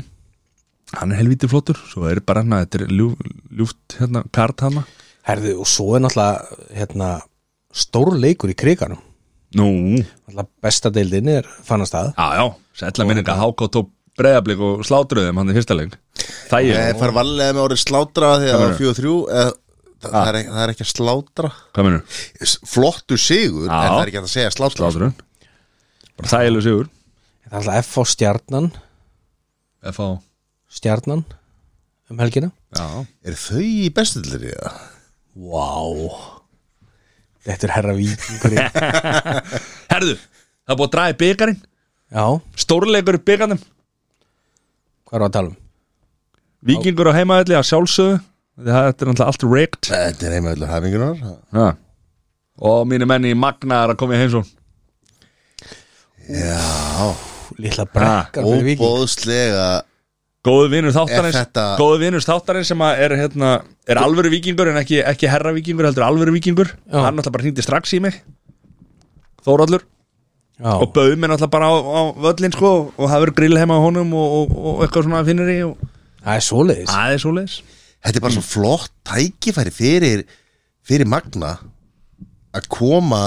C: Hann er helvítið flottur Svo er bara hann að þetta er ljúf, ljúft hérna, kart hana
B: Herðu, og svo er náttúrulega hérna, stór leikur í kriganum
C: Nú,
B: Alltaf besta deildin er fannast að
C: Já, já, sætla minninga hákátt og breyðablík og slátruðum hann í fyrsta leik
A: Það
C: þægir
A: er fara varlega Eh, með orðið slátra þegar það var 4-3 eh, það, það, er ekki- það er ekki að slátra
C: Hvað minnur?
A: Flottu sigur, en
C: Já.
A: það er ekki hægt að segja slátra
C: Sláturinn Bara þægileg sigur
B: Það er alltaf F á stjarnan
C: F.A.
B: Stjarnan um helgina
C: Já
A: Er þau í bestuðlir í það?
B: Vá Þetta er herra víkingur í-
C: Herðu, það er búið að draga í byggarinn
B: Já,
C: Stórleikur í byggarnum
B: hvað er að tala um?
C: Víkingur á heimaðalli að sjálfsögðu Það þetta er náttúrulega allt rigged
A: Þetta er heimavöldur hafingunar
C: ja. Og mínu menni í Magna er að koma í heimsón
B: Lilla brekkar fyrir víking
A: Óbóðslega
C: Góðu vinur þáttarins
A: Er þetta-
C: Góðu vinur þáttarins sem að er, hérna, er alvöru vikingur En ekki, ekki herra vikingur, heldur alvöru vikingur Hann náttúrulega bara hringdi strax í mig Þórallur
B: Já,
C: Og bauð mér náttúrulega bara á, á völlin sko Og það verður grill heima á honum Og, og, og eitthvað svona finnir í og...
B: það er svoleiðis
C: Það er svoleiðis
A: Þetta er bara svo flott tækifæri fyrir, fyrir Magna að koma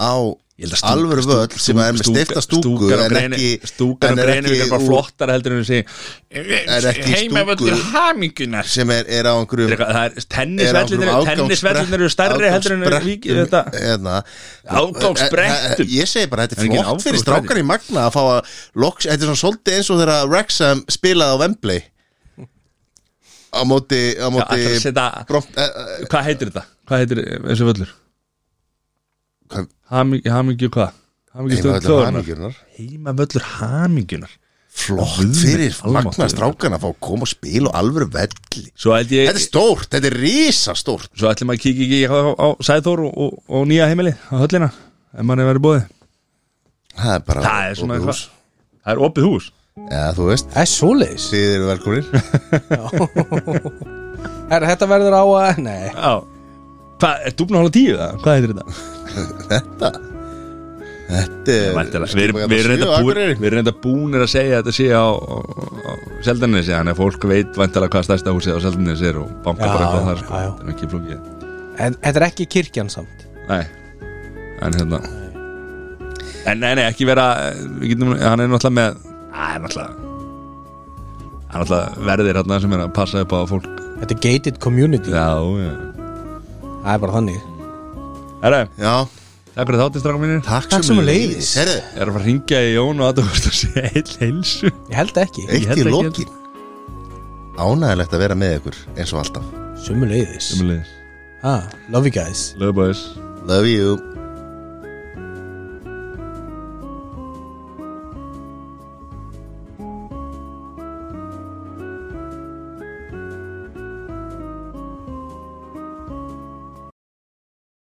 A: á
C: Ég held að stúk-
A: alvöru
C: stúk-
A: völl sem er með
C: stúk-
A: steifta stúku
C: stúkar og
A: en
C: greini,
A: ekki,
C: stúkar
A: en
C: og
A: er
C: greinu er bara
A: úr-
C: flottar heldur en þessi
A: ekki
C: heimavöldur
A: stúku-
C: hamingunar
A: sem er, er á einhverjum
C: það er
A: er á einhverjum
C: tennisvellinir tennisvellinir eru stærri heldur en
A: afgangsbrekkum-
C: vík- þetta
A: hérna.
C: Afgangsbrekkum.
A: Eh, eh, Ég segi bara, þetta
C: Það
A: er
C: er engin
A: flott fyrir
C: afgangsbrekkur.
A: strákan í Magna að fá að loks, þetta er svona svolítið eins og þegar Rexham spilaði á Wembley á móti á móti
C: ætlarðu að setja-
A: Bront- eh, eh,
C: hvað heitir þetta? hvað heitir þessi völlur?
A: Hvað-
C: hamingju hamingju hvað? hamingju
A: heima
C: stöðu
A: þetta
C: þjóðurnar
A: hamingjunar.
C: heimavöllur hamingunar
A: flott fyrir
C: almáttugur.
A: Magna strákan að fá að koma og spila á alvöru velli
C: svo held ég
A: Þetta er stórt, þetta er risastórt
C: svo ætlum að kíkja ekki á, á Sæþór og, og, og nýja heimili á höllina ef mann er verið bóði
A: Það er bara
C: það er svona
A: opið
C: eitthvað
A: hús.
C: það er opið hús
A: Já, þú veist,
B: Það er svoleiðis
A: þið eru velkomin
B: Herra, Þetta verður á að, nei
C: já hvað, er dúfna hóla tíu það? hvað heitir þetta?
A: Þetta Þetta er
C: Væntanlega. Við erum- við erum reynda búin, við erum reynda búinir að segja að þetta sé á, á, á Seldanesi Þannig að fólk veit vantilega hvað stærsta húsið á Seldanesi er og banka
B: Já,
C: bara eitthvað
B: já,
C: þar sko.
B: já, já.
C: Það er ekki flókið
B: En þetta er ekki kirkjan samt
C: Nei, en hérna En nei, nei, ekki vera við getum, Hann er náttúrulega með Æ, hann er náttúrulega Hann er náttúrulega verðir hérna sem er að passa upp á að fólk
B: Þetta er gated community
C: Já, já
B: Það er bara þannig
C: Herra,
A: Já,
C: takk fyrir þáttist, strákum mínir
A: takk,
B: Takk sömuleiðis.
A: Herðu,
C: Ég er að fara að ringja í Jón og aðtöfust að sé heil heilsu
B: Ég held ekki,
C: Ég
A: eitt
C: held
A: í
C: ekki
A: lokin Ánægilegt að vera með ykkur eins og alltaf
B: sumuleiðis
C: Sumulegis
B: ah, Love you guys
C: Lögbæðis
A: Love you